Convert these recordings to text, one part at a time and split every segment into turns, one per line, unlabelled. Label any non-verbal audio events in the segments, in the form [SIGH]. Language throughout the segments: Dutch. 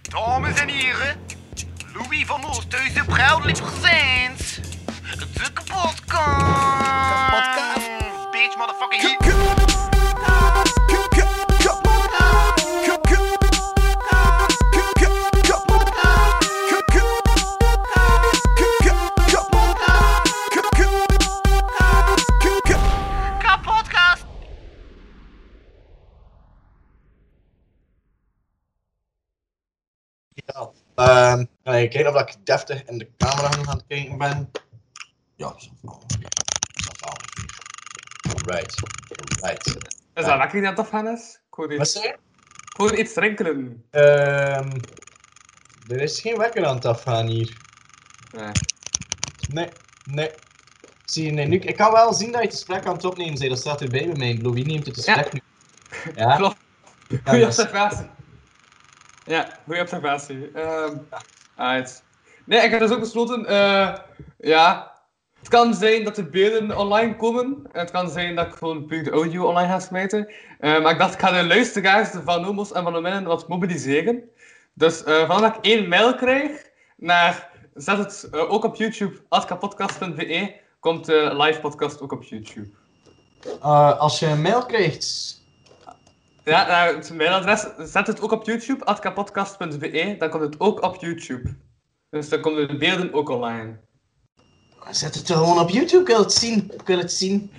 Dames en heren, Louis van Oosthuizen, Bruidelijk Gezins. De kapotkast.
Kapotkast.
Bitch, motherfucker, hier. Kapotkast.
Ehm, kan je kijken of ik deftig in de camera aan het kijken ben? Ja, dat is wel. Ja, dat is wel. Right, right.
Is dat lekker dat dat van is? Ik hoor
Wat
iets,
zei je?
ik hoor iets rinkelen.
Ehm, er is geen wekker aan het afgaan hier.
[LAUGHS] Nee.
Nee, nee. Zie je, nee, nu, ik kan wel zien dat je het gesprek aan het opnemen bent. Dat staat erbij bij mij. Louis neemt het gesprek nu. Ja, dus,
Klopt.
dat
Goeie
is-
observatie. Ja, goeie observatie. Ehm alright. Nee, ik heb dus ook besloten, eh, ja. Het kan zijn dat de beelden online komen. Het kan zijn dat ik gewoon puur de audio online ga smijten. Eh, maar ik dacht, ik ga de luisteraars van Nomos en van de Minnen wat mobiliseren. Dus eh vanaf dat ik één mail krijg naar, zet het eh, ook op YouTube, atkapodcast.be, komt de live podcast ook op YouTube.
Eh, als je een mail krijgt,
Ja, nou, het mailadres, zet het ook op YouTube, atkapodcast.be, dan komt het ook op YouTube. Dus dan komen de beelden ook online.
zet het gewoon op YouTube. Ik wil het zien. Ik wil het zien.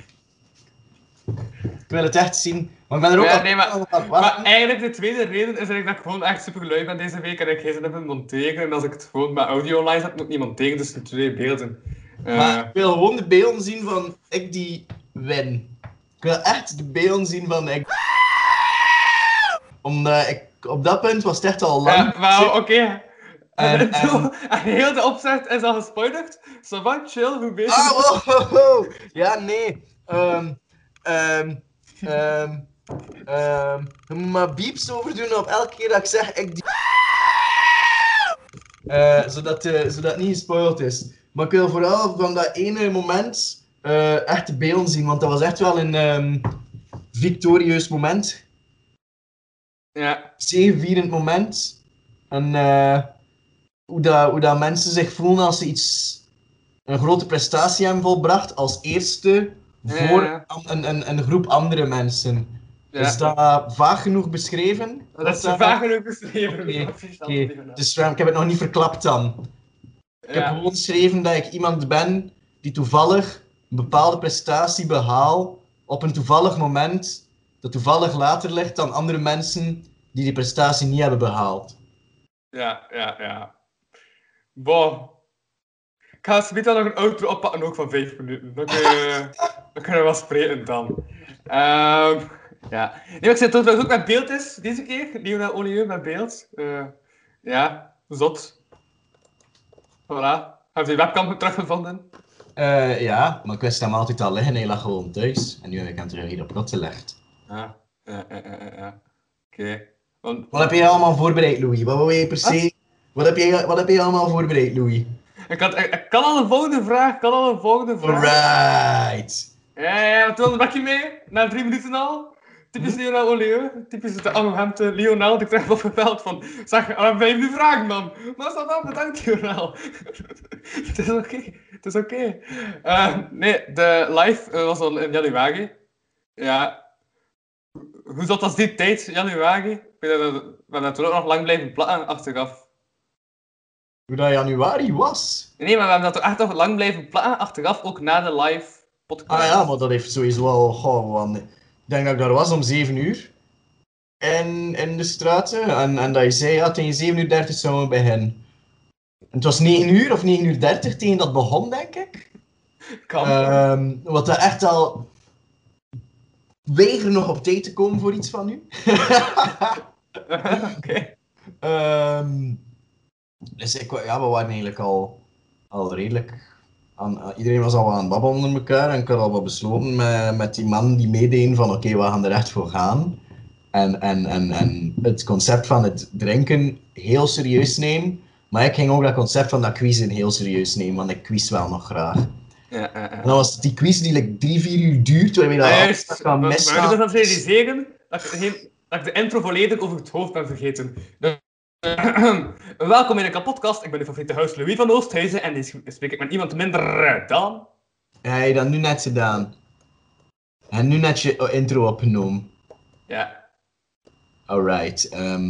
Ik wil het echt zien. Want ik ben er ook
Ja,
al-
nee, maar-
al- al-
Maar eigenlijk de tweede reden is eigenlijk dat ik gewoon echt super lui ben deze week en ik geen zin heb in monteren. En als ik het gewoon met audio online zet, moet ik niet monteren, dus de twee beelden. Eh,
Maar ik wil gewoon de beelden zien van ik die win. Ik wil echt de beelden zien van ik. Omdat ik op dat punt was het echt al lang.
ja, maar oké.
En-
En, [LAUGHS] en heel de opzet is al gespoilerd. So what, chill, hoe bezig?
Ah, wow, wow, wow. Ja, nee. Ehm ehm ehm ehm je moet maar beeps overdoen op elke keer dat ik zeg ik die. Eh, zodat, eh, zodat het niet gespoild is. Maar ik wil vooral van dat ene moment eh, echt de beelden zien, want dat was echt wel een ehm, victorieus moment.
Ja,
zegevierend moment. En eh, hoe, dat, hoe dat mensen zich voelen als ze iets, een grote prestatie hebben volbracht als eerste
Ja,
voor
ja.
an- Een, een, een groep andere mensen.
ja.
Is dat vaag genoeg beschreven?
dat is
Wat, eh,
vaak genoeg beschreven.
Oké,
Dat is
Oké,
allemaal niet gedaan.
dus eh, ik heb het nog niet verklapt dan. Ik heb
Ja.
gewoon geschreven dat ik iemand ben die toevallig een bepaalde prestatie behaal op een toevallig moment dat toevallig later ligt dan andere mensen die die prestatie niet hebben behaald.
Ja, ja, ja. Boah. Ik ga zometeen nog een outro oppakken, ook van vijf minuten. Dan kunnen we, dan kunnen we wel spreken dan. Ehm, ja. Nee, maar ik zei dat het ook met beeld is, deze keer. Lionel Olieu met beeld. Eh, ja, zot. Voilà. Heb je die webcam teruggevonden?
Eh, ja, maar ik wist hem altijd al liggen. Hij lag gewoon thuis. En nu heb ik hem terug hier op rot gelegd.
Ja, ja, ja, ja, ja, ja. Oké. Want
Wat heb jij allemaal voorbereid, Louis? Wat wil jij per se... Wat heb, jij, wat heb jij allemaal voorbereid, Louis?
ik, had, ik, ik kan al een volgende vraag, ik kan al een volgende vraag.
Alright.
Ja, ja, ja, want toen bak je mee, na drie minuten al. Typisch Lionel Olieu, typisch de Amsterdamse Lionel, die krijgt opgeveld van, zeg, ah, ben je nu vraag, man? Maar staat dan, bedankt Lionel. [LAUGHS] het is oké, het is oké. Eh, nee, de live eh, was al in januari. Ja. Hoe zat dat die tijd, januari? Ik weet dat- We hebben toen ook nog lang blijven plakken achteraf.
Hoe dat januari was.
Nee, maar we hebben dat toch echt nog lang blijven plakken achteraf, ook na de live podcast.
Ah ja, maar dat heeft sowieso al... Goh, want ik denk dat ik daar was om 7 uur. En in de straten. En, en dat je zei, ja, tegen 7 uur 30 zouden we beginnen. En het was 9 uur of 9 uur 30 tegen dat begon, denk ik.
Kan.
Ehm, wat er echt al. Weiger nog op tijd te komen voor iets van u.
[LAUGHS] Oké.
Ehm, dus ik, wa- ja, we waren eigenlijk al, al redelijk. Aan, aan- iedereen was al wel aan het babbelen onder elkaar en ik had al wat besloten met, met die man die meedeen van oké, we gaan er echt voor gaan. En, en, en, en het concept van het drinken heel serieus nemen. Maar ik ging ook dat concept van dat quizzen heel serieus nemen, want ik quiz wel nog graag.
Ja, ja, ja.
En dan was het die quiz die like, drie, vier uur duurt, waarmee dat
Ja,
alles
juist.
kan
Maar- Maar ik
misgaan.
moet dat realiseren dat ik, geen- dat ik de intro volledig over het hoofd ben vergeten. Dus [CLEARS THROAT] Welkom in de kapotkast. Ik ben uw favoriete host Louis van Oosthuizen en deze spreek ik met iemand minder eh, dan.
Hij heeft dat nu net gedaan. En nu net je intro opgenomen.
Ja.
Alright. ehm,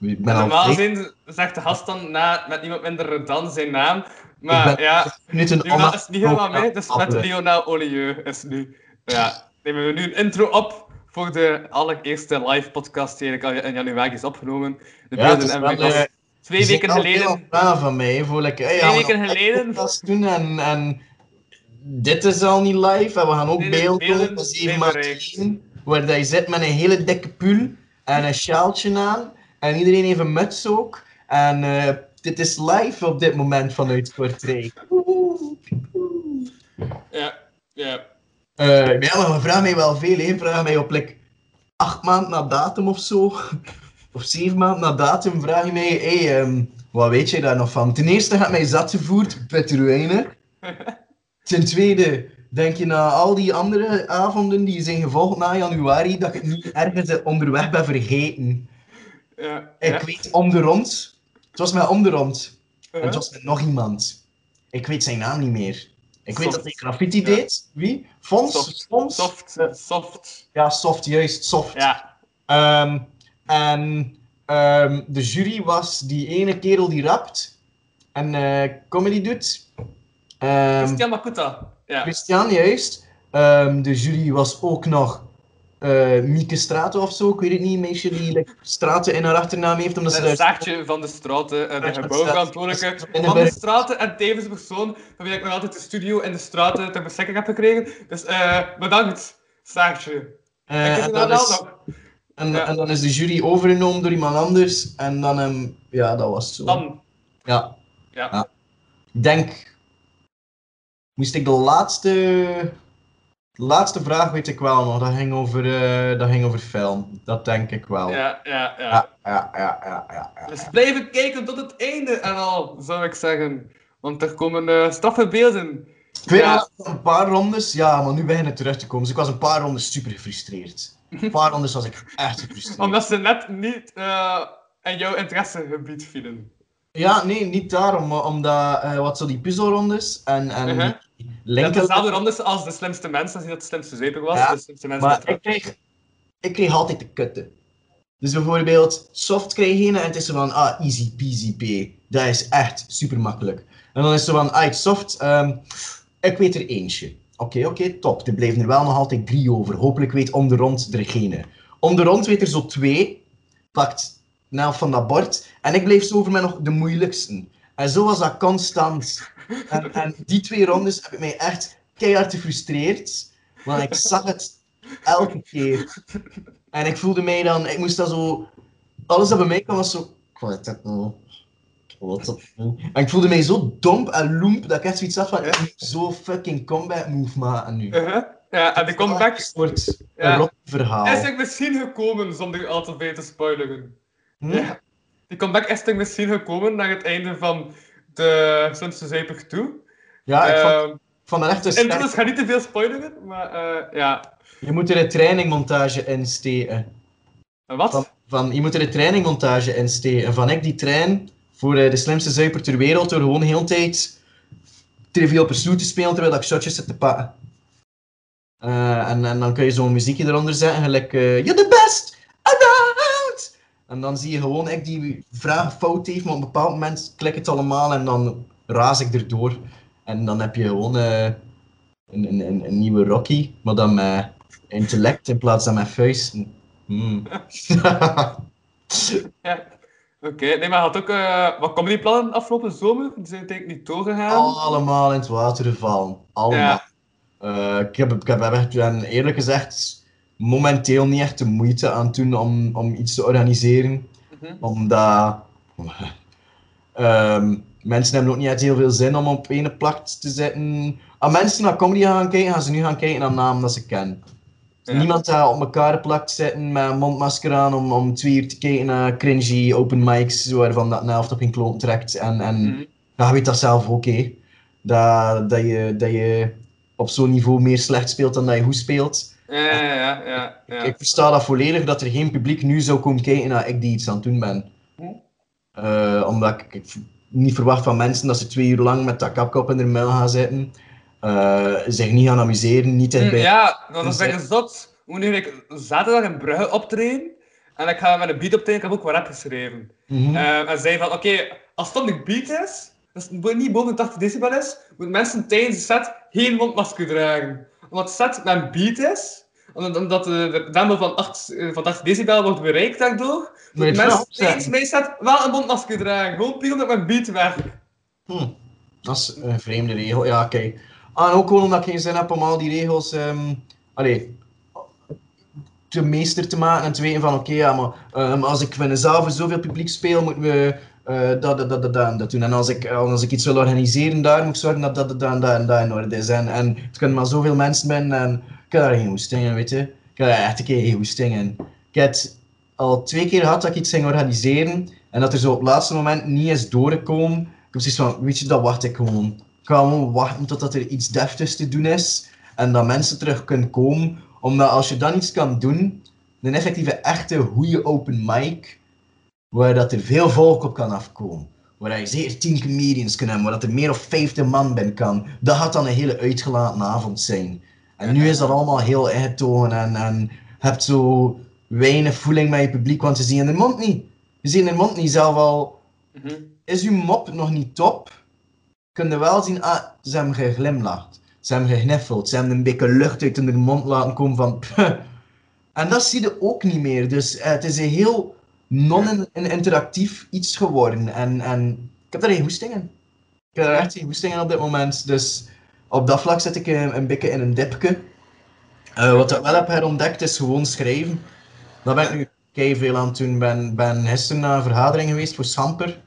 ik ben
Normaal
al
gezien zegt de gast dan na, met iemand minder dan zijn naam.
Ik
Maar
ben-
ja,
minuten
nu dat is niet helemaal
onafgebroken
mee. Dus met
babbelen.
Leona Olieu is nu. Ja, nemen we nu een intro op voor de allereerste live podcast die eigenlijk al in januari is opgenomen. De
Ja, het
beelden
is
hebben we
wel, eh,
pas twee
Ze
weken
zijn al heel
geleden.
ontdaan van mij, voor like, hey,
Twee
gaan we
weken
nog een
geleden.
podcast doen en, en dit is al niet live en we gaan ook
Nee, de
beelden
beelden
doen van
zijn
7 maart
bereikt.
1, waar dat je zit met een hele dikke pull en een sjaaltje aan en iedereen heeft een muts ook en eh, dit is live op dit moment vanuit Kortrijk.
Ja, ja.
Eh ja, maar we vragen mij wel veel, hè. Vragen mij op like, acht maanden na datum of zo. [LAUGHS] Of zeven maanden na datum vraag je mij, hey, ehm, wat weet jij daar nog van? Ten eerste gaat mij zat gevoerd, Petruijnen. Ten tweede, denk je na al die andere avonden die zijn gevolgd na januari, dat ik het niet ergens onderweg ben vergeten.
ja,
Ik
ja.
weet om de rond. Het was mij om de rond. En
Uh-huh.
het was met nog iemand. Ik weet zijn naam niet meer. Ik weet
Soft.
dat hij graffiti
Ja.
deed. Wie? Fons?
Soft.
Fons?
Soft, soft.
Ja, soft, juist, soft.
Ja,
Ehm, en ehm, de jury was die ene kerel die rapt en eh, comedy doet. Ehm,
Christian Makuta. Ja.
Christian, juist. Ehm, de jury was ook nog eh, Mieke Straten of zo, ik weet het niet, een meisje die like, Straten in haar achternaam heeft. Omdat ze
Een
daar-
zaagje van de straten, eh, de
Ja,
gebouwverantwoordelijke
dat is-
van de straten en tevens de persoon van wie ik nog altijd de studio en de straten ter beschikking heb gekregen. Dus eh, bedankt, zaagje.
Eh,
ik heb
en,
het
dan
nou
is,
nog.
en,
ja.
en dan is de jury overgenomen door iemand anders. En dan, ehm, ja, dat was het zo.
Dan,
Ja.
ja.
Ja. Ik denk. Moest ik de laatste. De laatste vraag weet ik wel nog. Dat ging over, eh, dat ging over film. Dat denk ik wel. Ja,
Ja, ja, ja.
ja, ja, ja. ja, ja.
Dus blijven kijken tot het einde en al, zou ik zeggen. Want er komen eh straffe beelden.
Ik weet
Ja.
nog dat een paar rondes. Ja, maar nu beginnen terug te komen. Dus ik was een paar rondes super gefrustreerd. Een paar rondes was ik echt gefrustreerd.
Omdat ze net niet eh, in jouw interessegebied vielen.
Ja, nee, niet daarom. Maar omdat eh, wat zo die puzzelrondes en, en
Uh-huh.
die
Dat is
linker-
dezelfde rondes als de slimste mensen, als niet dat de slimste zeper was.
Ja,
de slimste mensen met
Maar
straf.
ik kreeg, ik kreeg altijd de kutte. Dus bijvoorbeeld, soft krijg je een en het is zo van, ah, easy peasy P. Dat is echt super makkelijk. En dan is zo van, ah, het soft, ehm, ik weet er eentje. Oké, oké, top. Er blijven er wel nog altijd drie over. Hopelijk weet om de rond er geen. Om de rond weet er zo twee, pakt een helft van dat bord. En ik bleef zo over met nog de moeilijkste. En zo was dat constant. En, en die twee rondes heb ik mij echt keihard gefrustreerd. Want ik zag het elke keer. En ik voelde mij dan, ik moest dat zo. Alles dat bij mij kwam was zo. Ik wil dit nou. Ik wil dit nou. En ik voelde mij zo domp en loemp dat ik echt zoiets had van. Ik moet zo fucking combat move maken nu.
Uh-huh. Ja, en die comeback
Het wordt
Ja.
een rot verhaal.
is er misschien gekomen zonder al te veel te spoileren.
Hm?
Ja. Die comeback is er misschien gekomen naar het einde van de Slimste Zeper toe.
Ja, ik vond,
Ehm,
ik vond dat echt een
en
sterk.
dus ga niet te veel spoileren, maar eh, ja.
Je moet er een trainingmontage in steken.
En wat?
Van, van, je moet er een trainingmontage in steken. Van ik die trein voor eh, de slimste zuiper ter wereld door gewoon heel de tijd trivial pursuit te spelen terwijl ik shotjes zit te pakken. Eh, en, en dan kun je zo'n muziekje eronder zetten, gelijk eh, You're the best around! En dan zie je gewoon ik die vraag fout heeft, maar op een bepaald moment klik het allemaal en dan raas ik erdoor. En dan heb je gewoon eh, een, een, een, een nieuwe Rocky, maar dan met intellect in plaats van met vuisten. Hmm.
Ja. Oké, nee, maar had ook eh wat comedyplannen afgelopen zomer. Die zijn denk ik niet doorgegaan.
[LAUGHS] Oh, Allemaal in het water gevallen. Allemaal.
Ja.
Eh, ik, heb, ik heb echt, en eerlijk gezegd momenteel niet echt de moeite aan het doen om, om iets te organiseren.
Mhm.
Omdat [LAUGHS] ehm, mensen hebben ook niet echt heel veel zin om op ene plak te zitten. Als mensen naar comedy gaan kijken, gaan ze nu gaan kijken naar namen dat ze kennen.
Ja.
Niemand gaat op elkaar plakt zitten met een mondmasker aan om, om twee uur te kijken naar cringy open mics waarvan dat een helft op hun kloon trekt. En, en
Mhm.
ja, je weet dat zelf ook, hè. Dat, dat, je, dat je op zo'n niveau meer slecht speelt dan dat je goed speelt.
Ja, ja, ja. ja, ja.
Ik versta dat volledig, dat er geen publiek nu zou komen kijken naar ik die iets aan het doen ben.
Hm?
Eh, omdat ik, ik niet verwacht van mensen dat ze twee uur lang met dat kapkap in hun muil gaan zitten. eh, zich niet gaan amuseren, niet
Hm,
in bij.
Ja, dat
Dus,
is
eh,
lekker zot. Hoe nu ik zaterdag in Brugge optreden en ik ga met een beat optreden, ik heb ook wat rap geschreven.
Mhm.
Eh, en zei van, oké, als dat een beat is, dat het bo- niet boven de 80 decibel is, moeten mensen tijdens de set geen mondmasker dragen. Omdat de set met een beat is, omdat, omdat de, de drempel van 8, eh, van 80 decibel wordt bereikt daardoor,
Moet je
moeten
het wel
mensen
opzetten.
tijdens mijn set wel een mondmasker dragen. Gewoon puur omdat ik mijn beat weg.
Hm, Dat is een vreemde regel. Ja, kijk. Ah, en ook gewoon omdat ik geen zin heb om al die regels ehm allee, te meester te maken en te weten van oké, ja, maar ehm, als ik in een zaal voor zoveel publiek speel, moeten we eh, dat, dat, dat, dat, dat, en dat doen. En als ik, eh, als ik iets wil organiseren, daar moet ik zorgen dat dat, dat, dat en dat en dat in orde is. En, en het kunnen maar zoveel mensen zijn en ik heb daar geen hoesting in, weet je. Ik heb daar echt een keer geen hoesting in. Ik heb het al twee keer gehad dat ik iets ging organiseren en dat er zo op het laatste moment niet is doorgekomen. Ik heb zoiets van, weet je, dat wacht ik gewoon. Ik ga gewoon wachten totdat er iets deftigs te doen is en dat mensen terug kunnen komen. Omdat als je dan iets kan doen, een effectieve, echte, goede open mic, waar dat er veel volk op kan afkomen. Waar je zeker 10 comedians kan hebben, waar dat er meer of 50 man bij kan. Dat gaat dan een hele uitgelaten avond zijn. En nu is dat allemaal heel ingetogen en, en hebt zo weinig voeling met je publiek, want ze zien hun mond niet. Ze zien hun mond niet zelf al is uw mop nog niet top, kun je wel zien, ah, ze hebben geglimlacht. Ze hebben gegniffeld. Ze hebben een beetje lucht uit hun mond laten komen van... "Puh." En dat zie je ook niet meer. Dus eh, het is een heel non-interactief iets geworden. En, en ik heb daar geen hoesting in. Ik heb daar echt geen hoesting in op dit moment. Dus op dat vlak zit ik een, een beetje in een dipje. Eh, wat ik wel heb herontdekt is gewoon schrijven. Daar ben ik nu kei veel aan het doen. Ik ben, ben gisteren naar een vergadering geweest voor Samper.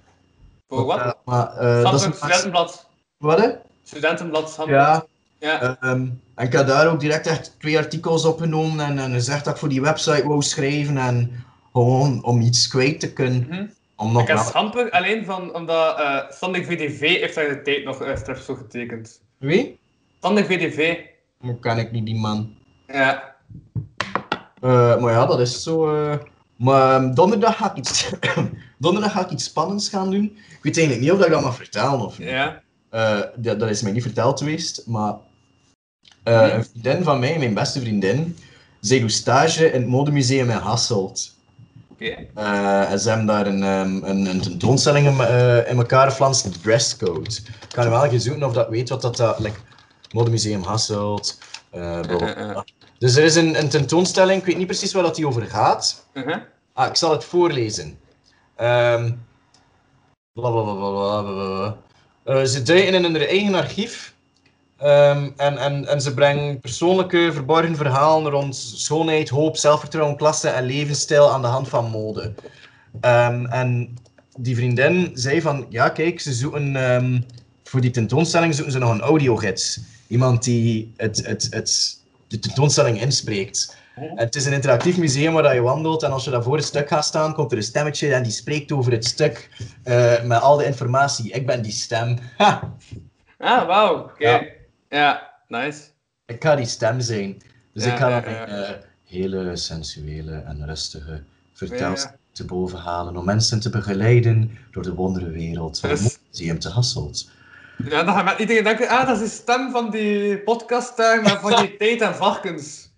Voor wat?
Ja, maar, eh, dat is een
Samsung
max-
studentenblad.
Wat, hè?
Studentenblad, Samsung.
Ja.
Ja.
ehm, en ik had daar ook direct echt twee artikels opgenomen en, en gezegd dat ik voor die website wou schrijven en gewoon om iets kwijt te kunnen.
Mhm.
Om nog
Ik heb
wel-
Samper alleen van, omdat eh Standing VDV heeft daar de tijd nog eh, strips voor getekend.
Wie?
Standing VDV.
Hoe kan ik niet die man?
Ja.
Eh, maar ja, dat is zo. eh. Maar ehm, donderdag ga, ik iets [COUGHS] donderdag ga ik iets spannends gaan doen. Ik weet eigenlijk niet of ik dat mag vertellen of niet.
Ja.
Eh, dat, dat is mij niet verteld geweest, maar eh, een vriendin van mij, mijn beste vriendin, zij doet stage in het modemuseum in Hasselt.
Oké.
Eh, en ze hebben daar een, ehm, een, een tentoonstelling in, eh, in elkaar geflanst, de dresscode. Ik kan wel eens zoeken of dat weet wat dat... dat like, Modemuseum Hasselt, eh, bla, bla,
Eh, eh, eh.
bla. Dus er is een, een tentoonstelling, ik weet niet precies waar dat die over gaat.
Mhm.
Ah, ik zal het voorlezen. Ehm bla, bla, bla, bla, bla, bla, bla. Eh, ze duiken in hun eigen archief. ehm, en, en, en ze brengen persoonlijke verborgen verhalen rond schoonheid, hoop, zelfvertrouwen, klasse en levensstijl aan de hand van mode. Ehm, en die vriendin zei van, ja kijk, ze zoeken, ehm, voor die tentoonstelling zoeken ze nog een audiogids. Iemand die het, het, het, de tentoonstelling inspreekt. En het is een interactief museum waar dat je wandelt en als je daar voor het stuk gaat staan, komt er een stemmetje en die spreekt over het stuk eh, met al de informatie. Ik ben die stem. Ha!
Ah, wauw. Oké.
Ja.
Ja, nice.
Ik ga die stem zijn. Dus
Ja,
ik ga
ja,
dan
ja.
een eh, hele sensuele en rustige vertelst
Ja.
te boven halen om mensen te begeleiden door de wonderenwereld van
Dus-
het museum te Hasselt.
Ja, dan gaat iedereen denken, ah, dat is de stem van die podcast daar, maar van
[LAUGHS]
die tijd en varkens.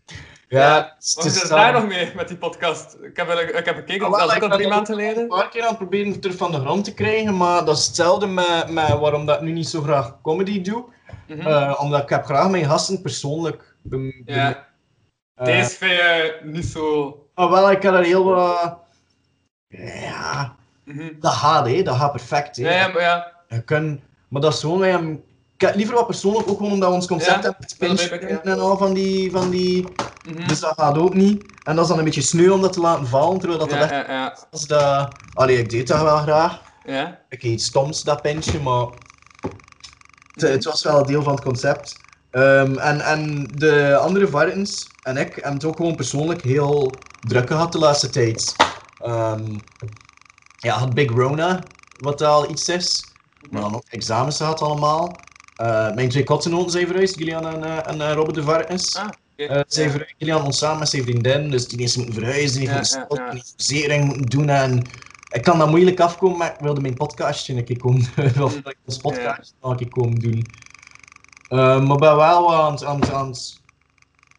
Ja,
het
Wat is er daar nog mee met die podcast? Ik heb, wel- ik heb gekeken,
Ah,
dat
wel,
is
ik
ook
ben
al drie
dat
maanden
een
geleden.
paar keer aan het proberen terug van de grond te krijgen, maar dat is hetzelfde met, met waarom dat ik nu niet zo graag comedy doe.
Mhm.
Eh, omdat ik heb graag mijn gasten persoonlijk. bem- bem-
ja.
eh,
Deze vind je niet zo...
Maar Ah, wel, ik heb er heel wat... Ja,
Mhm.
dat gaat, hè. dat gaat perfect. Hè.
Ja, ja, maar ja.
Je kunt- maar dat is gewoon... wij hebben- Ik heb het liever wat persoonlijk, ook gewoon omdat ons concept
Ja,
hebben met pinch
dat weet ik, ja.
en al van die, van die...
Mhm.
Dus dat gaat ook niet. En dat is dan een beetje sneu om dat te laten vallen, terwijl dat,
ja,
dat echt
ja, ja.
was dat... Allee, ik deed dat wel graag.
Ja.
Oké, iets stoms, dat pintje, maar het, het was wel een deel van het concept. Ehm, en, en de andere varkens en ik hebben het ook gewoon persoonlijk heel druk gehad de laatste tijd. Ehm, ja, had Big Rona, wat al iets is. Maar dan ook examens gehad allemaal. Eh, mijn twee kottenoten zijn verhuisd, Gillian en, eh, en eh, Robert de Varkens.
Ah, oké.
Eh, zij verhuisd, Gillian ons samen met zijn vriendin, dus die mensen moeten verhuizen, die
Ja,
moeten
ja,
stoppen,
ja.
die moeten doen en Ik kan dat moeilijk afkomen, maar ik wilde mijn podcastje een keer komen doen. [LAUGHS] Of dat ik ons podcast een keer komen doen. Eh, maar ben wel aan het- aan, het- aan het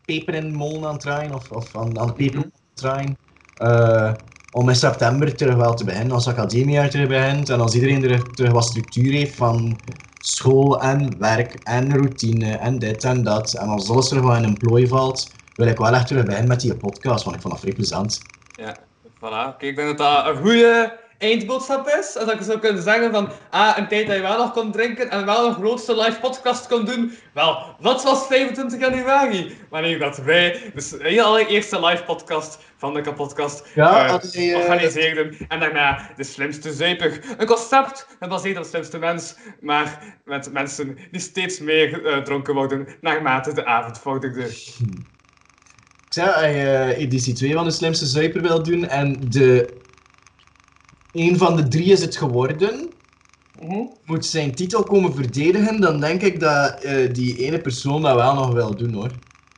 peper in de molen aan het draaien, of, of aan, aan de peper aan het draaien. Eh, om in september terug wel te beginnen, als academiejaar terug begint en als iedereen er terug wat structuur heeft van school en werk en routine en dit en dat. En als alles terug wat in een plooi valt, wil ik wel echt terug beginnen met die podcast, want ik vond dat vrij plezant.
Ja, voilà. Oké, ik denk dat dat een goede eindboodschap is. En dat ik zou kunnen zeggen van, ah, een tijd dat je wel nog kon drinken en wel een grootste live podcast kon doen. Wel, dat was 25 januari. Wanneer dat wij dus de hele allereerste live podcast van de kapodcast
Ja,
eh,
hadden die, eh,
organiseerden. En daarna de slimste zeper. Een concept gebaseerd op de slimste mens, maar met mensen die steeds meer eh, dronken worden naarmate de avond vorderde.
Ik zei, als je eh, editie 2 van de slimste zuiper wil doen en de... een van de drie is het geworden, moet zijn titel komen verdedigen, dan denk ik dat eh, die ene persoon dat wel nog wil doen hoor.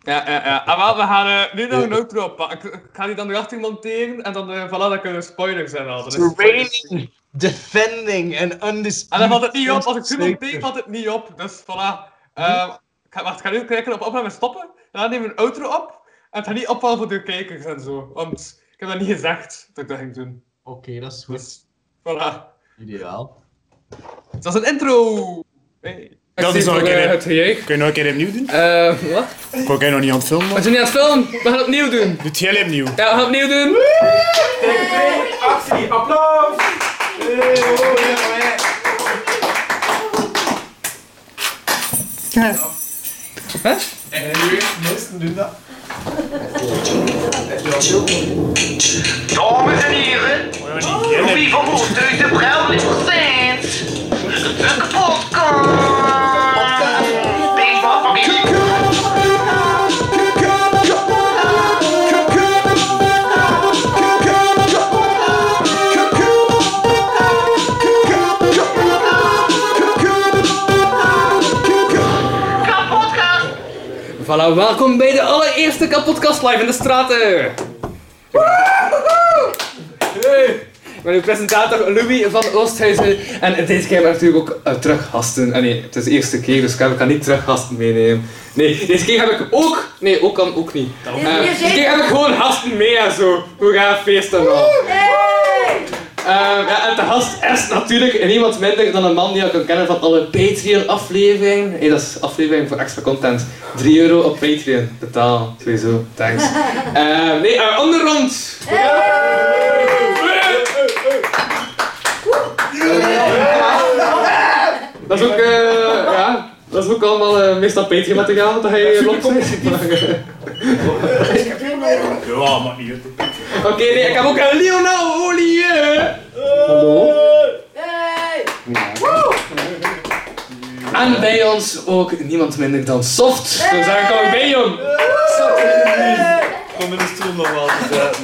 Ja, ja, ja. Ah, wel, we gaan eh, nu nog een outro pakken. Ik- Ik ga die dan erachter monteren en dan, eh voilà, dan kunnen we spoilers hebben. al. Dus- Dat is spoilers.
Reigning, defending en undisputed.
En dan Ah, valt het niet op. Als ik nu monteer,
Zuiper.
valt het niet op. Dus voilà.
Hm?
Eh, ik ga, wacht, ik ga nu kijken op opnemen stoppen. Daarna nemen we een outro op. En het gaat niet opvallen voor de kijkers en zo. Want ik heb dat niet gezegd dat ik dat ging doen.
Oké, dat is goed.
Dus voilà. Dus
Ideaal.
Dat is een intro! Hey.
Dat is nog een keer, hè.
Het gejuich.
Kun je nog een keer opnieuw doen?
Eh, wat?
Ik wou jij nog niet aan het filmen.
We
was.
zijn niet aan het filmen. We gaan het opnieuw doen.
Doet jij opnieuw?
Ja, we gaan het opnieuw doen.
Dames en heren, Louis van Moes, Teus de Bruil is present. De podcast. Deze motherfucking heat. Kapotkast.
Voilà, welkom bij de allereerste kapotkast live in de straten. Hey. Met uw presentator Louis van Oosthuizen. En deze keer ben ik natuurlijk ook eh, teruggasten. Ah nee, het is de eerste keer, dus ik kan- ik kan niet teruggasten meenemen. Nee, deze keer heb ik ook... Nee, ook kan ook niet. Eh, deze keer heb ik gewoon gasten mee en zo. We gaan feesten al. Ehm, ja, en de gast is natuurlijk niemand minder dan een man die je kan kennen van alle Patreon-afleveringen. Hey, dat is aflevering voor extra content. 3 euro op Patreon, totaal. Sowieso, thanks. Ehm, nee, eh, onderrond! Dat is ook, eh, ja, dat is ook allemaal eh, meestal Patreon-materiaal dat hij loopt. [LAUGHS]
Ja, maar niet.
Oké, nee, ik heb ook een Lionel Olier. Hallo. En bij ons ook niemand minder dan Soft. Dus daar kom ik bij, jong.
Kom in de stoel nog wel te zetten,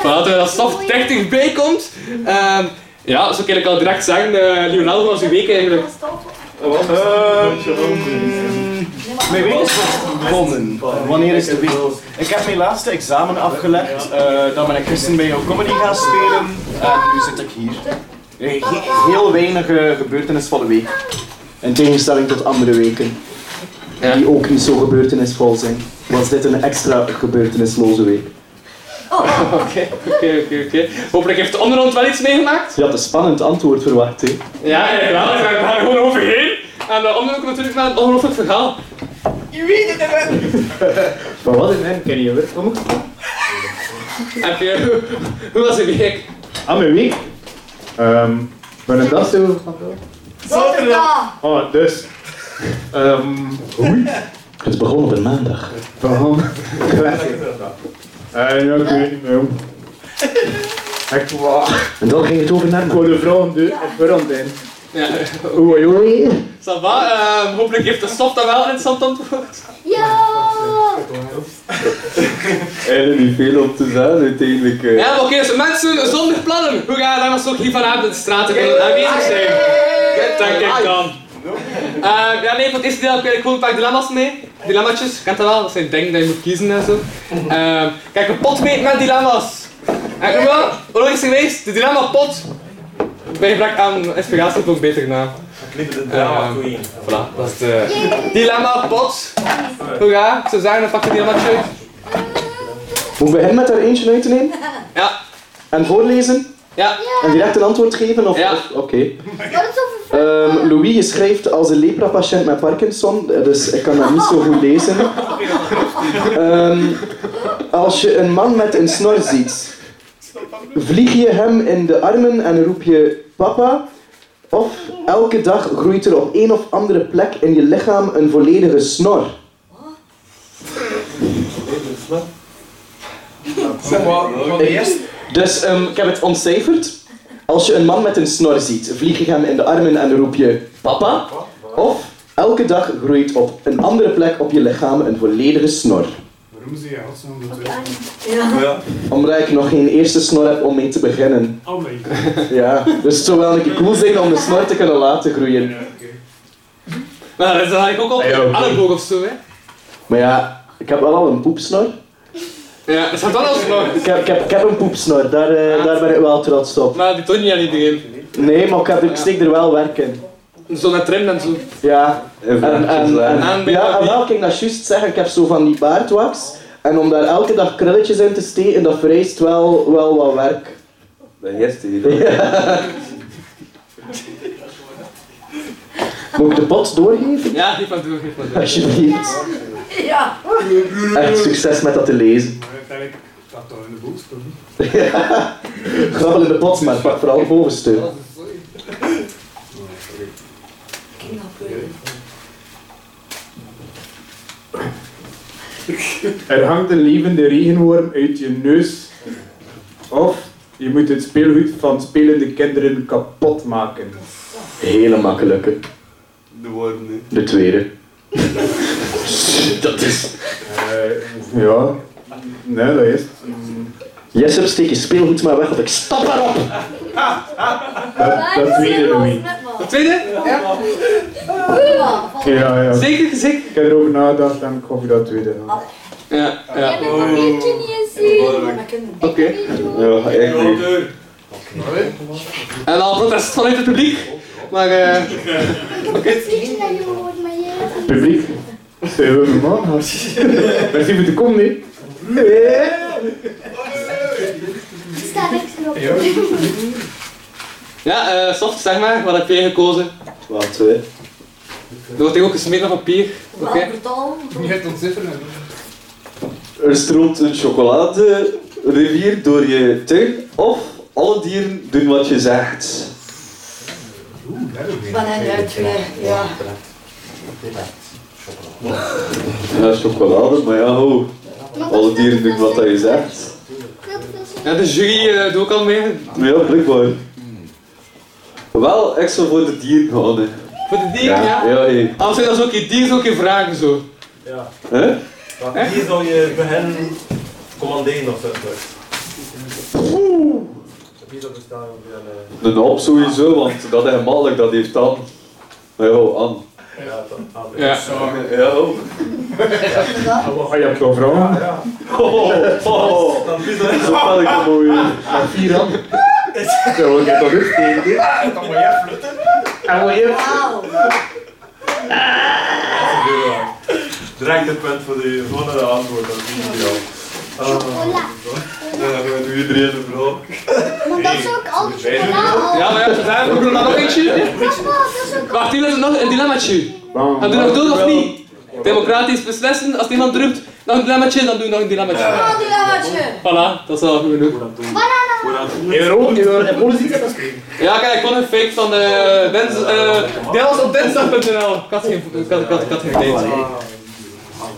Vooral dat Soft dichterbij komt. Ehm, ja, zo kan ik al direct zeggen. eh, Lionel, hoe was uw week eigenlijk?
Mijn week is begonnen. Wanneer is de week? Ik heb mijn laatste examen afgelegd. eh, dan ben ik gisteren bij jouw comedy gaan spelen. En nu zit ik hier. Eh, he- heel weinig eh, gebeurtenis van de week. In tegenstelling tot andere weken.
Ja.
Die ook niet zo gebeurtenisvol zijn. Was dit een extra gebeurtenisloze week?
Oké, oké, oké, oké. Hopelijk heeft de onderhand wel iets meegemaakt.
Je had een spannend antwoord verwacht, hè?
Ja, inderdaad. Ik ben daar gewoon overheen. En de onderhand komt natuurlijk met een ongelooflijk verhaal. [LAUGHS]
Maar wat is mijn ken je weer? Kom op.
Heb je... [LAUGHS] Hoe was uw week?
Ah, mijn week? Ehm, ben ik dat zo van doen? Oh, dus. Ehm Oei. Het is begonnen op een maandag. Begonnen.
Eh, ja, ik weet niet meer hoe. Ik wou,
En dan ging het over naar
ik wou de vrouw doen, op verand in.
Ja.
Oei, oei.
Ça va, ehm, hopelijk heeft de soft dan wel een interessant antwoord.
Er is niet veel op te zeggen uiteindelijk. eh.
Ja, maar oké, dus mensen zonder plannen. Hoe gaan we dan nog hier vanavond in de straten willen aanwezig zijn? Dat denk ik dan. Eh, ja, nee, voor het eerste deel heb ik eigenlijk gewoon een paar dilemma's mee. Dilemmaatjes, kent dat wel? Dat zijn dingen die je moet kiezen en zo. Eh, kijk, een pot mee met dilemma's. Eh, En ik wel, hoe is geweest? De dilemma pot. Bij gebrek aan inspiratie ook beter na. Dilemma queen. Voilà, dat is de dilemma pot. Hoera, ik zou zeggen, dan pak je een dilemmaatje uit.
Moet ik beginnen met er eentje uit te nemen?
Ja,
En voorlezen?
ja,
En direct een antwoord geven? Of,
Ja.
of- Oké. Ehm, Louis je schrijft als een lepra-patiënt met Parkinson, dus ik kan dat niet zo goed lezen. Ehm, als je een man met een snor ziet, vlieg je hem in de armen en roep je papa? Of elke dag groeit er op een of andere plek in je lichaam een volledige snor? Dus ehm, ik heb het ontcijferd. Als je een man met een snor ziet, vlieg je hem in de armen en roep je papa. Of elke dag groeit op een andere plek op je lichaam een volledige snor.
Waarom zie je godsnaam dat wel?
Omdat ik nog geen eerste snor heb om mee te beginnen.
Oh nee.
[LAUGHS] Ja, dus het zou wel een keer cool zijn om de snor te kunnen laten groeien.
maar dat is Nou, dan eigenlijk ook op
Ja, oké.
elleboog of zo, hè.
Maar ja, ik heb wel al een poepsnor.
Ja, dat gaat dan alsnog.
Ik heb, ik heb, ik heb een poepsnor, daar, eh, daar ben ik wel trots op.
Maar die toont niet aan iedereen.
Nee, maar ik, heb, ik steek er wel werk in.
Zo met trim en zo.
Ja, en, en, en,
En bij
ja, en
Barbie.
wel, kijk, dat is juist zeggen, ik heb zo van die baardwax. En om daar elke dag krulletjes in te steken, dat vereist wel, wel wat werk. [LAUGHS] Moet ik de pot doorgeven?
Ja, die van door, die van door.
Alsjeblieft.
Ja.
Echt succes met dat te lezen.
Maar uiteindelijk staat dat in de boel spelen.
[LAUGHS] Grabbel in de pot, maar pak vooral het bovenste.
Er hangt een levende regenworm uit je neus. Of je moet het speelgoed van spelende kinderen kapot maken.
Hele makkelijke.
De worm nu.
De tweede. dat is...
Eh, ja, nee, dat is. het.
Jesse, steek je speelgoed maar weg of ik stap erop!
Dat, dat tweede Louis.
De tweede?
Ja, ja.
Zeker, zeker. Ah.
Ik heb erover nagedacht en ik hoop dat eh, tweede. gaat.
Ja, ja. Oké.
Ja, echt
eh?
niet.
En dan protest vanuit het publiek. Maar eh.
Publiek, zijn we man? Merci voor de kom, nee.
ja, eh, soft zeg maar, wat heb jij gekozen?
Wat, hè?
Er wordt hier ook gesmeerd op papier. Oké.
Er stroomt een chocoladerivier door je tuig of alle dieren doen wat je zegt.
Van hen uitgelegd, ja.
Ja, chocolade, maar ja, ho. Alle dieren doen wat dat je zegt.
Ja, de jury eh, doet ook al mee.
Maar ja, blijkbaar. Wel, ik zou voor de dieren gaan, hè.
Voor de dieren, ja.
Ja, hé.
Anders zijn dat ook je dieren ook je vragen zo.
Hè?
Hier zal je bij hen commanderen of zo. Heb je dat bestaan? eh,
Een hap sowieso, want dat is makkelijk, dat heeft dan. Maar ja, aan.
Ja, dat
Ja.
Ja, ho.
Oh, je hebt wel vrouwen.
Zo kan ik het mooi.
Vier aan.
Ja, wat heb je dat ook?
Wauw.
Direct het punt voor de volgende antwoord, dat is niet jou. Dan gaan we nu iedereen de vrouw.
Oh, Ja, maar ja, vandaag doen we nog nog eentje. Wacht, hier is nog een dilemmaatje.
Bam,
Gaan we nog doen of
bam.
niet? Democratisch beslissen, als iemand drumt, nog een dilemmaatje, dan doen we nog een dilemmaatje. Voilà, dat is al goed genoeg.
In rood, in politiek heb ik
Ja, kijk, ik vond een fake van eh dins, eh deels op dinsdag.nl. Ik had geen, ik had, ik had, ik had geen idee.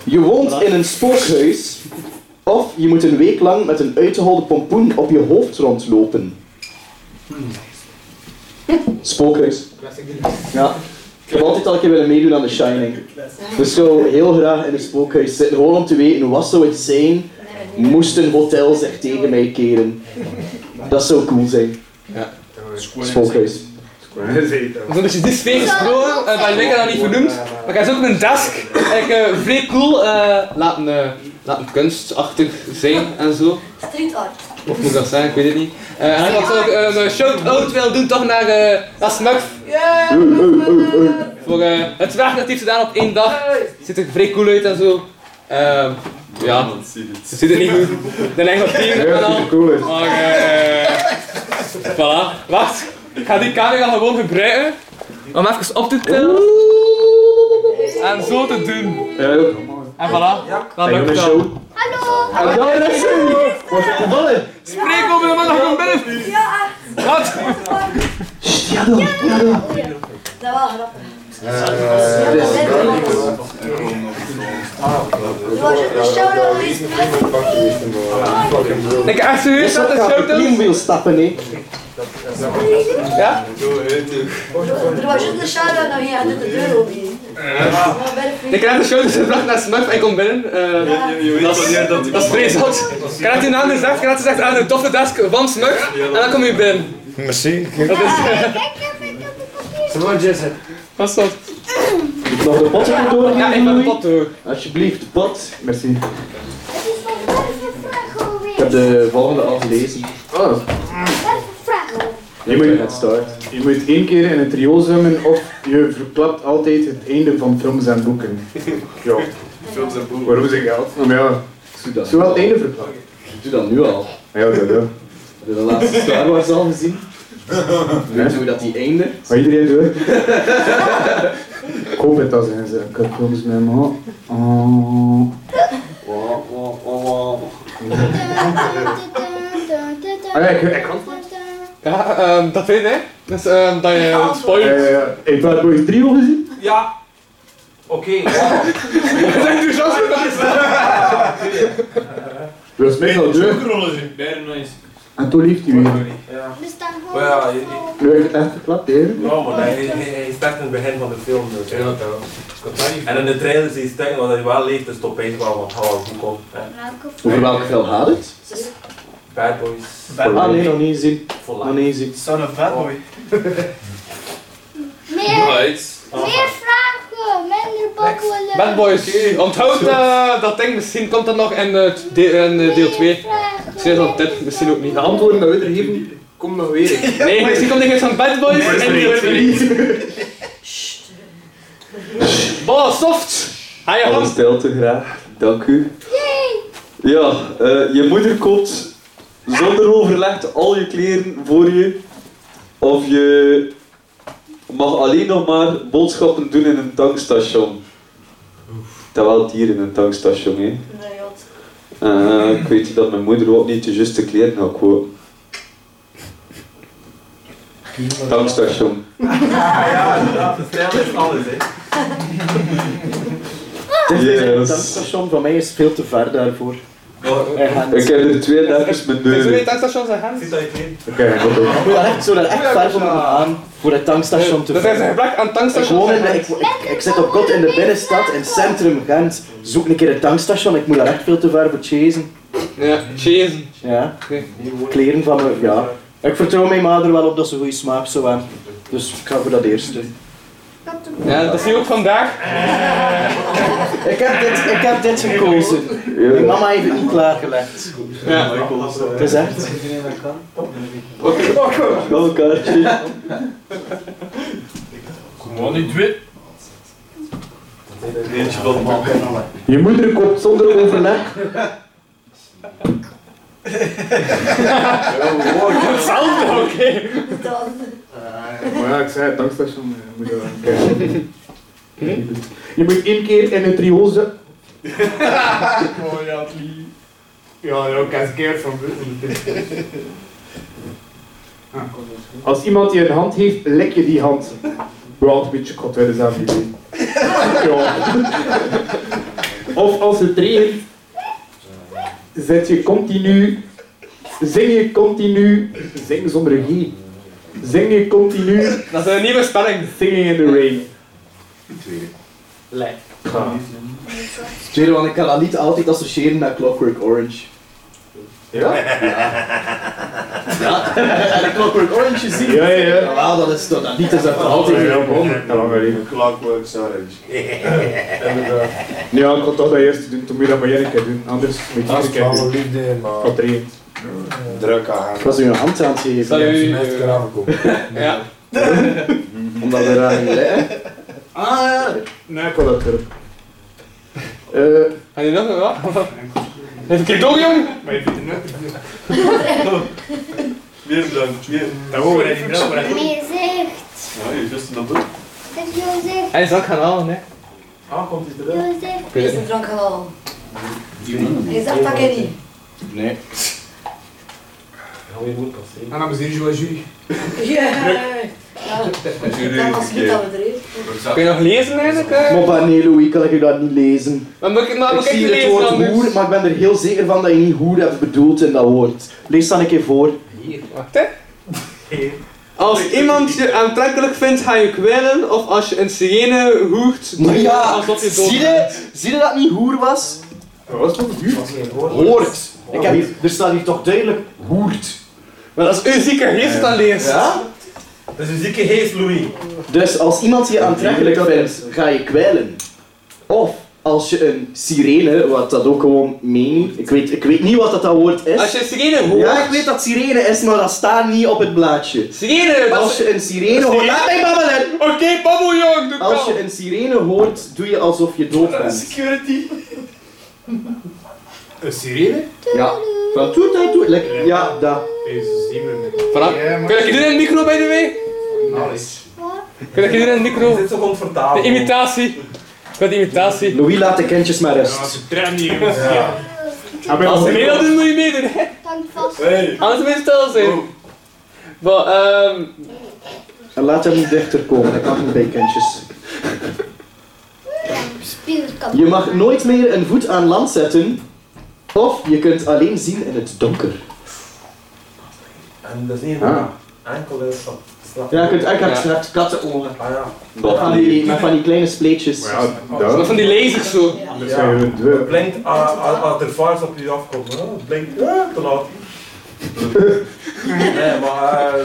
Je woont in een spookhuis. Of je moet een week lang met een uitgeholde pompoen op je hoofd rondlopen. Spookhuis. Ja. Ik heb altijd al een keer willen meedoen aan The Shining. Dus ik zou heel graag in een spookhuis zitten. Gewoon om te weten, wat zou het zijn moest een hotel zich tegen mij keren. Dat zou cool zijn.
Ja.
Spookhuis.
Zo'n beetje die sfeer gesproken, eh, maar ik heb dat niet vernoemd. Maar ik heb ook een desk. En ik eh, vrij cool eh, laten, eh, laten kunstachtig zijn en zo.
Street art.
Of moet ik dat zeggen, ik weet het niet. Eh, en ik had ook eh, een shout-out willen doen toch naar, eh naar Smurf.
Yeah.
Voor eh, het werk dat hij gedaan op één dag. Ziet er vrij cool uit en zo. Ehm, ja, ze ziet er niet goed. De eigen team en al.
Cool is.
Maar eh, voilà, wacht. Ik ga die camera gewoon gebruiken om even op te tillen. En zo te doen.
Ja,
En voilà, dat
Zijn
lukt
jullie
dan.
zo? Hallo! Ja, dat is het! Wat is het gevallen?
Spreek over de man dat komt binnen.
Ja,
Wat?
dat is wel grappig.
Ik heb echt serieus dat de show
Priem wil stappen, hè.
Ja?
Er was juist een shout-out naar hier, hij doet de deur open. Maar bij de
Ik
vriend-
heb de show gebracht naar Smurf en ik kom binnen. Eh,
Je weet wanneer dat ik...
dat is vrij zat. Ik had die naam gezegd, ik had gezegd aan de toffe desk van Smurf en dan kom je binnen.
Merci.
Dat is... Wat is dat?
Moet nog de pot gaan door?
Ja, ik ben de pot door.
Alsjeblieft, de pot.
Merci.
Ik heb de volgende al gelezen.
Oh. Je
Ik
moet,
het start.
je moet één keer in een trio zwemmen of je verklapt altijd het einde van films en boeken. Ja.
Films en boeken.
Waarom zeg je dat? Maar ja,
Doe dat.
zo wel het einde verklapt.
Doe dat nu al.
Ja, ja, ja.
Heb je de laatste Star Wars al [LAUGHS] gezien? Weet je hoe dat die eindigt?
Maar iedereen doet. Ik hoop het dat zijn ze. Ik heb films met me. Oh. Ah, ja, ik, ik kan
Ja, ehm, dat weet hè. Dus ehm, dat je
Ja,
spoilt.
ja, eh, ja. Heb je Bad Boys 3 al gezien?
Ja. Oké,
Dat is meestal deur. En toen lief hij weer.
Maar ja, Dus je- je-
Nu heb ik het echt verklapt, hè?
ja, maar hij, hij, hij start in het begin van de film, dus ja, dat wel. En in de trailer zie je staan, want hij wel leeft, dus top 1 wel, want hij wel goed komt. hè.
Over welke film gaat het?
Bad Boys.
Ah nee, nog niet gezien.
Voor
Nog
life.
niet gezien.
Son of bad boy.
Meer
Bad Boys, onthoud eh, dat ding, misschien komt dat nog in, eh, de- in eh, deel 2. Misschien is dat een tip, misschien dus ook niet.
De antwoorden dat we er geven, kom nog weer. in.
Nee, misschien komt er iets van Bad Boys in deel 2. Boah, soft! Ga je
Alles
hand.
stelt te graag. Dank u. Ja, eh, je moeder koopt zonder overleg al je kleren voor je. Of je mag alleen nog maar boodschappen doen in een tankstation. Terwijl het hier in een tankstation, hè.
Nee, wat.
Eh, ik weet dat mijn moeder ook niet de juiste kleren had kopen. Tankstation.
Ah, Stijl is alles, hè.
Yes.
tankstation van mij is veel te ver daarvoor. Hij gaat
Ik
niet.
heb er twee letters met
Zo weet
deuren.
tankstations en gaan.
Ziet dat je geen...
Oké, goed hoor.
Ik moet daar echt, zo daar echt ver van moeten gaan voor het tankstation te
Dat is een
vinden.
gebrek aan
Ik, woon
tankstations.
in de, ik, ik, ik zit op kot in de binnenstad, in centrum Gent. Zoek een keer een tankstation, ik moet daar echt veel te ver voor chasen.
Ja, cheers.
Ja.
Oké.
Kleren van me, ja. Ik vertrouw mijn moeder wel op dat ze goede smaak zou hebben. Dus ik ga voor dat eerste.
Ja, dat zie je ook vandaag.
Ik heb dit, ik heb dit gekozen. Mijn mama heeft het niet klaargelegd.
Ja.
Het is echt.
Wel een kaartje.
Eentje van de man.
Je moeder koopt zonder overleg.
Hetzelfde, oké.
Dan.
Maar ja, ik zei het, tankstation eh, moet je wel kijken. Je moet één keer in een trio zwemmen.
[LAUGHS] Oh ja, het lief. Ja, daar ook een keer van buiten. Ah,
Als iemand je een hand heeft, lek je die hand. Wel een beetje kot dus willen zijn, die doen. Ja. Of als het regent, zet je continu, zing je continu, zing zonder G. Zing je continu,
[LAUGHS] Dat is een nieuwe spelling.
singing in the rain.
Lek.
Ga.
Tweede, want ik kan dat niet altijd associëren met Clockwork Orange.
Ja?
Ja. En de Clockwork Orange gezien.
Ja, ja, ja.
Ah,
Wel, dat is toch dat niet, dat is dat altijd
Ja,
heel
man. Dat lang geleden.
Clockwork Orange.
Inderdaad. Ja, ik kon toch dat eerst doen, toen moet je dat maar één keer doen. Anders moet je
Dat
het
is
een keer
wel
doen.
liefde, maar
Van drie.
Druk aan.
Ik was nu een hand aan het geven.
Salut.
mensen kunnen afkomen.
Ja.
Omdat er aan liggen.
Nee, ik wil dat terug. Eh,
Ga je nog wat? Even kijken, toch jong?
Maar je vindt het nuttig.
Meer bedankt. Meer.
Dan horen we niet meer, maar dat
Meer zicht.
Ja, je zus dat ook.
Heb Jozef,
Hij is ook gaan halen, hè?
Ah, komt hij eruit?
Jozef.
Wie is de drank halal? Is dat dat ik niet?
Nee.
Nou, En dan is hier zoals jullie.
Ja. Ja. Dat was niet dat we er eerst.
Kun je nog lezen eigenlijk? hè?
Maar van nee, Louis, kan ik je dat niet lezen?
Maar moet ik, maar
Ah, Ik
moet ik
zie
niet
het
lezen
woord
dan
hoer, maar ik ben er heel zeker van dat je niet hoer hebt bedoeld in dat woord. Lees dan een keer voor.
Wacht, hè. Als iemand je aantrekkelijk vindt, ga je kwellen. Of als je een sirene hoert, doe
Maar
je
ja,
alsof je dood
zie je, zie je dat niet hoer was?
wat was dat duur?
Hoort.
Ik heb hier, er staat hier toch duidelijk hoert.
Maar als u zieke geest dan leest.
Ja?
Dat is een zieke geest, Louis.
Dus als iemand je aantrekkelijk vindt, ga je kwijlen. Of als je een sirene, wat dat ook gewoon meent, ik weet, ik weet niet wat dat, dat woord is.
Als je een sirene hoort.
Ja, ik weet dat sirene is, maar dat staat niet op het blaadje.
Sirene, dat
Als
is-
je een sirene hoort... Laat mij babbelen!
Oké, babbel jong, doe
Als je
kalm.
een sirene hoort, doe je alsof je dood bent.
Security.
Een sirene?
Ja. Van toet, toet, toet. Lekker. Ja, dat.
Jezus, die we met
Voilà. Kun je doen in de micro, by the way?
alles.
Kun je doen in de micro?
Dit is zo comfortabel.
De imitatie. Ik wil de imitatie.
Louis laat de kindjes maar
Ja,
rust.
ze trainen hier. Ja.
Ah, bij
Als
ons
je mee wil doen, moet je meedoen, hè.
Hang vast.
Hey.
Anders moet je stil zijn. Maar, ehm...
En laat hem niet dichter komen, dat kan niet bij kindjes.
Spierkant.
Je mag nooit meer een voet aan land zetten. Of je kunt alleen zien in het donker.
En dat is niet
Ah.
enkel is dat.
Ja, je kunt eigenlijk
Ja.
straks kattenogen.
Ah ja.
Met van, die, met van die kleine spleetjes.
Ja,
Wat
dat.
van die lasers zo.
Dat zijn we deur.
Blinkt ah, ah, als er vaars op je afkomt. hè. Het Blinkt ah, te
[LAUGHS]
laat. Nee, maar eh,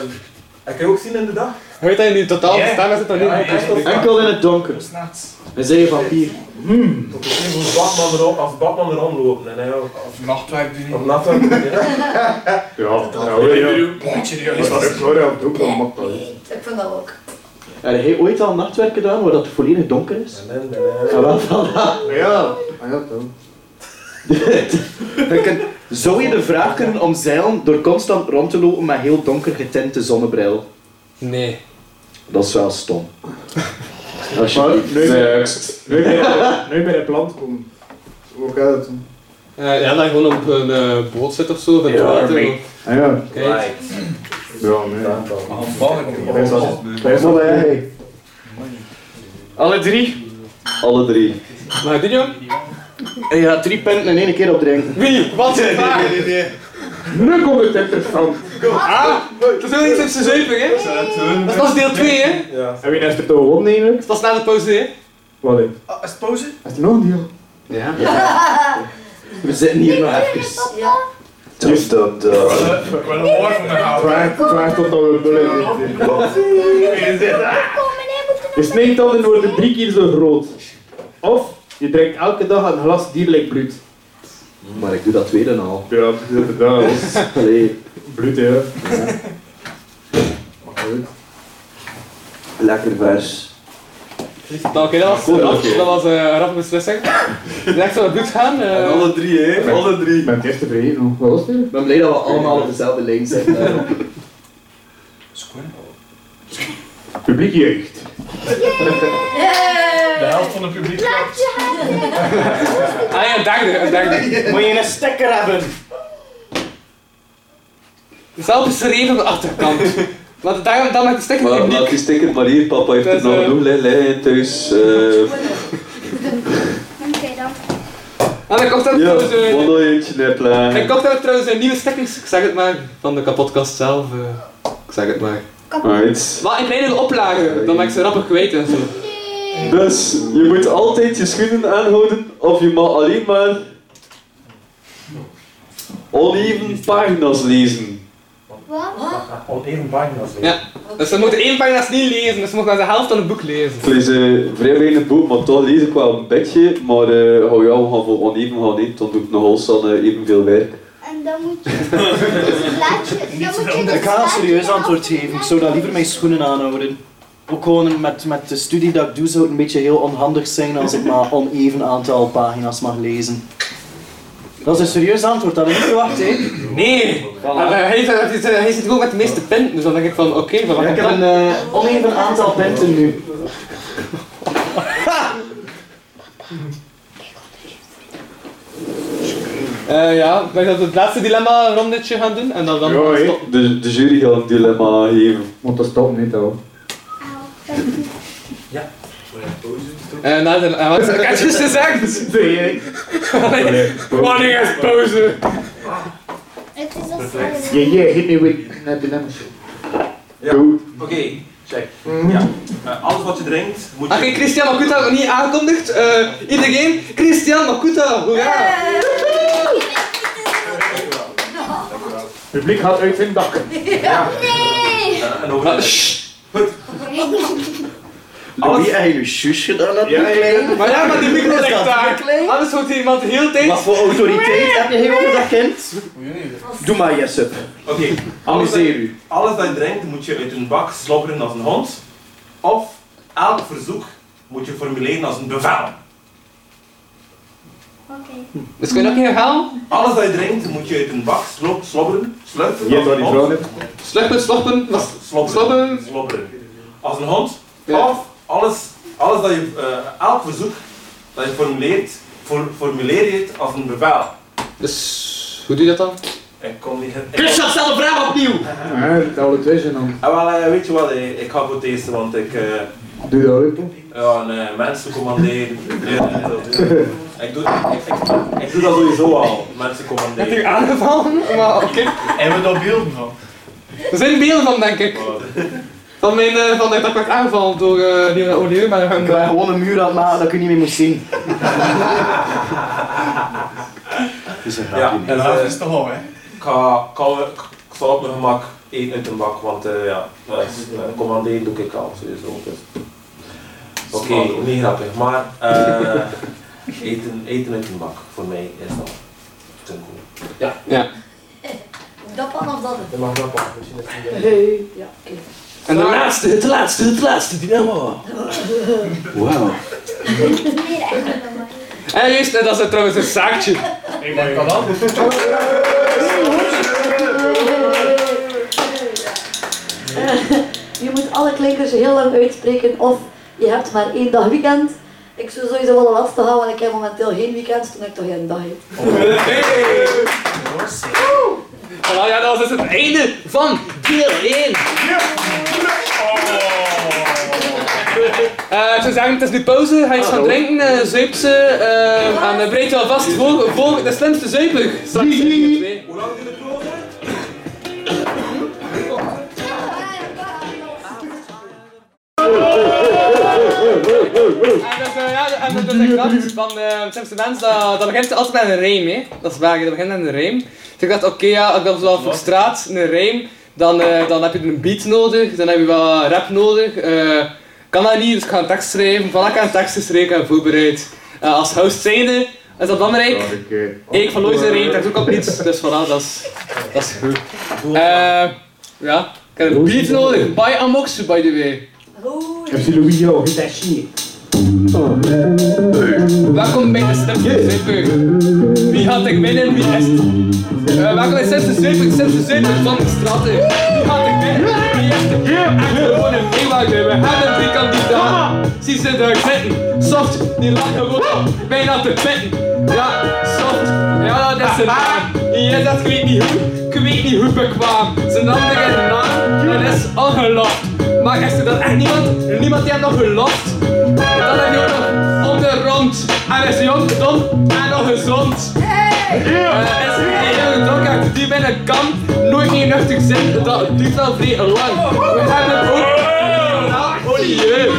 ik kan je ook zien in de dag.
Weet dat je nu totaal
Ja.
verstaan, maar zit dat niet
Ja, ja, ja.
Enkel in het donker.
S'nachts.
En zij je vampier.
Hmm. Tot ik zie hoe Batman erop, als Batman eraan loopt. En hij ook.
Of nachtwerk doen.
Op nacht werkt hij, hè.
Ja, ja, hoor je.
Pontje, die
Dat is waar, ja, dat ook wel makkelijk.
Ik vind dat ook.
Heb jij ooit al nachtwerk gedaan waar dat het volledig donker is?
Nee, nee, nee.
Ja, wel voilà.
Ja. Ah, ja, toch.
Dan kun- Zou je de vraag kunnen omzeilen door constant rond te lopen met heel donker getinte zonnebril?
Nee.
Dat is wel stom.
Maar
Alsjeblieft.
nu Next. Nu ben je- nu ben je plant komen. Hoe gaat het?
Eh, ja, dan gewoon op een eh, boot zit of zo, of in het water.
Ah ja.
Kijk.
Ja, nee.
Volgende
Wij zijn wel
Alle drie?
Alle drie.
Maar dit jong?
En je gaat drie punten in één keer opdrinken.
Wie?
[LAUGHS]
Wat is waar?
Nu komt het interessant.
Dat is wel niet sinds de zeven, hè? Dat is pas deel 2, hè? Dat
Ja.
En wie heeft er toch gewonnen eigenlijk?
is pas na de pauze, hè?
Wat is?
Ah, Is het pauze?
Is er nog een deel?
Ja. We zitten hier nog even.
Ja.
Dus dat.
[LAUGHS] Ik wil een woord van me houden.
Twijfel tot dat we bullen zitten.
Kom, meneer, moet
Je sneeuwtanden worden drie keer zo groot. Of je drinkt elke dag een glas dierlijk bloed.
Maar ik doe dat tweede al.
Ja, dat is inderdaad.
Allee,
Bloed, ja.
lekker vers.
Nou, oké, dat was
Goed,
rap.
oké.
Dat was eh, een rap beslissing. Direct van het bloed gaan. eh.
Alle drie, hè? Alle
Ik
drie.
ben het eerst tevreden hoor. Wat was het?
Ik ben blij dat we allemaal op dezelfde lijn zitten.
Publiek jeugd.
Yeah.
De helft van het publiek.
Ah ja, een derde, een derde.
Moet je een stekker hebben?
Zelf is er één aan de achterkant. Want daar, dan maakt de sticker
Maar
publiek.
laat die sticker maar hier, papa heeft
Dat
er
is,
nog
eh,
genoeg liggen thuis. eh.
Oké dan.
En ik kocht daar
Ja,
trouwens, eh,
wat wil je eentje nippelen?
ik kocht daar trouwens een nieuwe stickers, ik zeg het maar, van de kapotkast zelf. eh. Ik zeg het maar.
Right.
Maar in kleinere oplagen, dan ben ik ze rapper kwijt en zo.
Dus je moet altijd je schoenen aanhouden of je mag alleen maar oneven pagina's lezen.
Wat?
Al één pagina zo.
Ja. Dus ze moeten één pagina's niet lezen, dus ze moeten naar de helft van het boek lezen.
Ik lees eh, vrij weinig boek, maar toch lees ik wel een beetje. Maar eh hou jou gaan voor oneven gaan niet, dan doe ik nog als dan eh, evenveel werk.
En dan moet je [LAUGHS] een blaadje, dan moet je dus
Ik ga een serieus antwoord geven. Ik zou dan liever mijn schoenen aanhouden. Ook gewoon met, met de studie dat ik doe, zou het een beetje heel onhandig zijn als ik maar oneven aantal pagina's mag lezen. Dat is een serieus antwoord, dat had ik niet verwacht, hè?
Nee! Maar eh, hij, zit- hij, zit gewoon met de meeste punten, dus dan denk ik van oké, van wat
Ja, ik heb
komt
een eh,
dat?
oneven aantal punten nu.
Eh, ja, wij gaan het laatste dilemma rondetje gaan doen en dan dan
Ja, hè. de, de jury gaat een dilemma geven.
Want dat stopt niet hoor.
En na de... eh, wat ik had juist gezegd! Nee, Wanneer is pauze?
Het is
Yeah, yeah, hit me with uh, dilemma shit.
Ja. Oké, check. Ja. Eh, alles wat je drinkt, moet je...
Had je Christian Makuta niet aangekondigd? Eh, iedereen, Christian Makuta, hoera!
Publiek gaat uit zijn dak.
Nee!
En over
Wie eigenlijk je zus gedaan had?
Ja,
ja.
Maar ja, maar die micro
Is
ligt
dat
daar. Anders hoort iemand heel tijd.
Wat voor autoriteit heb je hier over dat kind? Doe maar Jesse.
Oké, alles, dat- alles dat je drinkt moet je uit een bak slobberen als een hond. Of elk verzoek moet je formuleren als een bevel.
Dus kun je nog een verhaal?
Alles dat je drinkt moet je uit een bak slo- slobberen, slurpen.
Je hebt
als een
al die
hond.
vrouw Sloppen, sloppen, was...
Slobberen.
Slobberen.
Als een hond. Of alles, alles dat je, eh, elk verzoek dat je formuleert, for, formuleer je het als een bevel.
Dus, hoe doe je dat dan?
Ik kom niet... ik-
Christian, stel de vraag opnieuw!
Ja, dat al het is en dan.
Ah, wel, eh, weet je wat, eh, ik ga voor het eerste, want ik... eh,
Doe dat ook.
Ja, nee, mensen commanderen. Nee, nee, dat- Ik doe, ik, ik, ik doe dat sowieso al, mensen commanderen.
Heb je aangevallen? Maar oké.
En we daar beelden van.
Er zijn beelden van, denk ik. Van mijn, eh, van dat ik werd aangevallen door eh die Olieu, maar
Ik ben gewoon een muur aan het maken dat ik je niet meer moest zien.
Ja, en dat is toch al, hè? Ik, ga, ik, ga- eh, ik zal op mijn gemak eten uit een bak, want eh, ja, eh, eh, commanderen doe ik al sowieso. Dus. Oké, niet grappig, maar eh, [LAUGHS] eten, eten uit een bak, voor mij is dat te goed.
Ja. ja.
Dat kan of dat het.
mag dat pakken, misschien is het niet
Hey. Ja, oké. [LAUGHS]
En de laatste, het laatste, het laatste dilemma.
Wauw.
Meer echt dan maar.
En juist, eh, dat is trouwens een zaakje.
Ik ben kan dat.
Je moet alle klinkers heel lang uitspreken of je hebt maar één dag weekend. Ik zou sowieso wel een laatste gaan, want ik heb momenteel geen weekend, toen ik toch een dag heb.
Voilà, ja, dat was dus het einde van deel 1. Eh, ik zou zeggen, het is nu pauze. Ga je iets gaan drinken? eh zuip ze. eh, en eh, breid je alvast voor, voor de slimste zuiper. Straks zijn jullie twee. En dat is, eh, ja, en dat is een kracht van eh slimste mens, dat, dat begint altijd met een rijm, hè. Dat is waar, dat begint met een rijm. Dus ik dacht, oké, ja, ik ben wel voor straat, een rijm, dan, eh, dan heb je een beat nodig, dan heb je wat rap nodig. eh, kan dat niet, dus ik ga een tekst schrijven. Voilà, ik heb een tekst geschreven en voorbereid. Eh, als host zijnde, is dat belangrijk. Ik van Loois een rijm, daar doe ik op niets, dus voilà, dat is, dat is goed. Eh, ja, ik heb een beat nodig, by Amoxu, by the way.
Heb je Louis jou getachieerd?
Welkom bij de Stemste Zuiper. Wie had ik binnen, wie is het? Eh, welkom bij Stemste Zuiper, Stemste Zuiper van de straten. Wie had ik binnen, wie is het? Echt gewoon een meewagen, we hebben drie kandidaten. Zie ze daar zitten, soft, die lachen gewoon op, bijna te pitten. Ja, soft, ja dat is een naam. Ja, dat weet niet hoe, ik weet niet hoe bekwaam. Zijn andere naam, dat is ongeloofd. Maar is er dan echt niemand, niemand die hem nog geloft? Dan heb je ook nog onderrond. Hij is jong, dom en nog gezond. Eh, is een jonge donker die binnen kan. Nooit meer nuchtig zijn, dat duurt wel vrij lang. We hebben ook regionaal Olieu.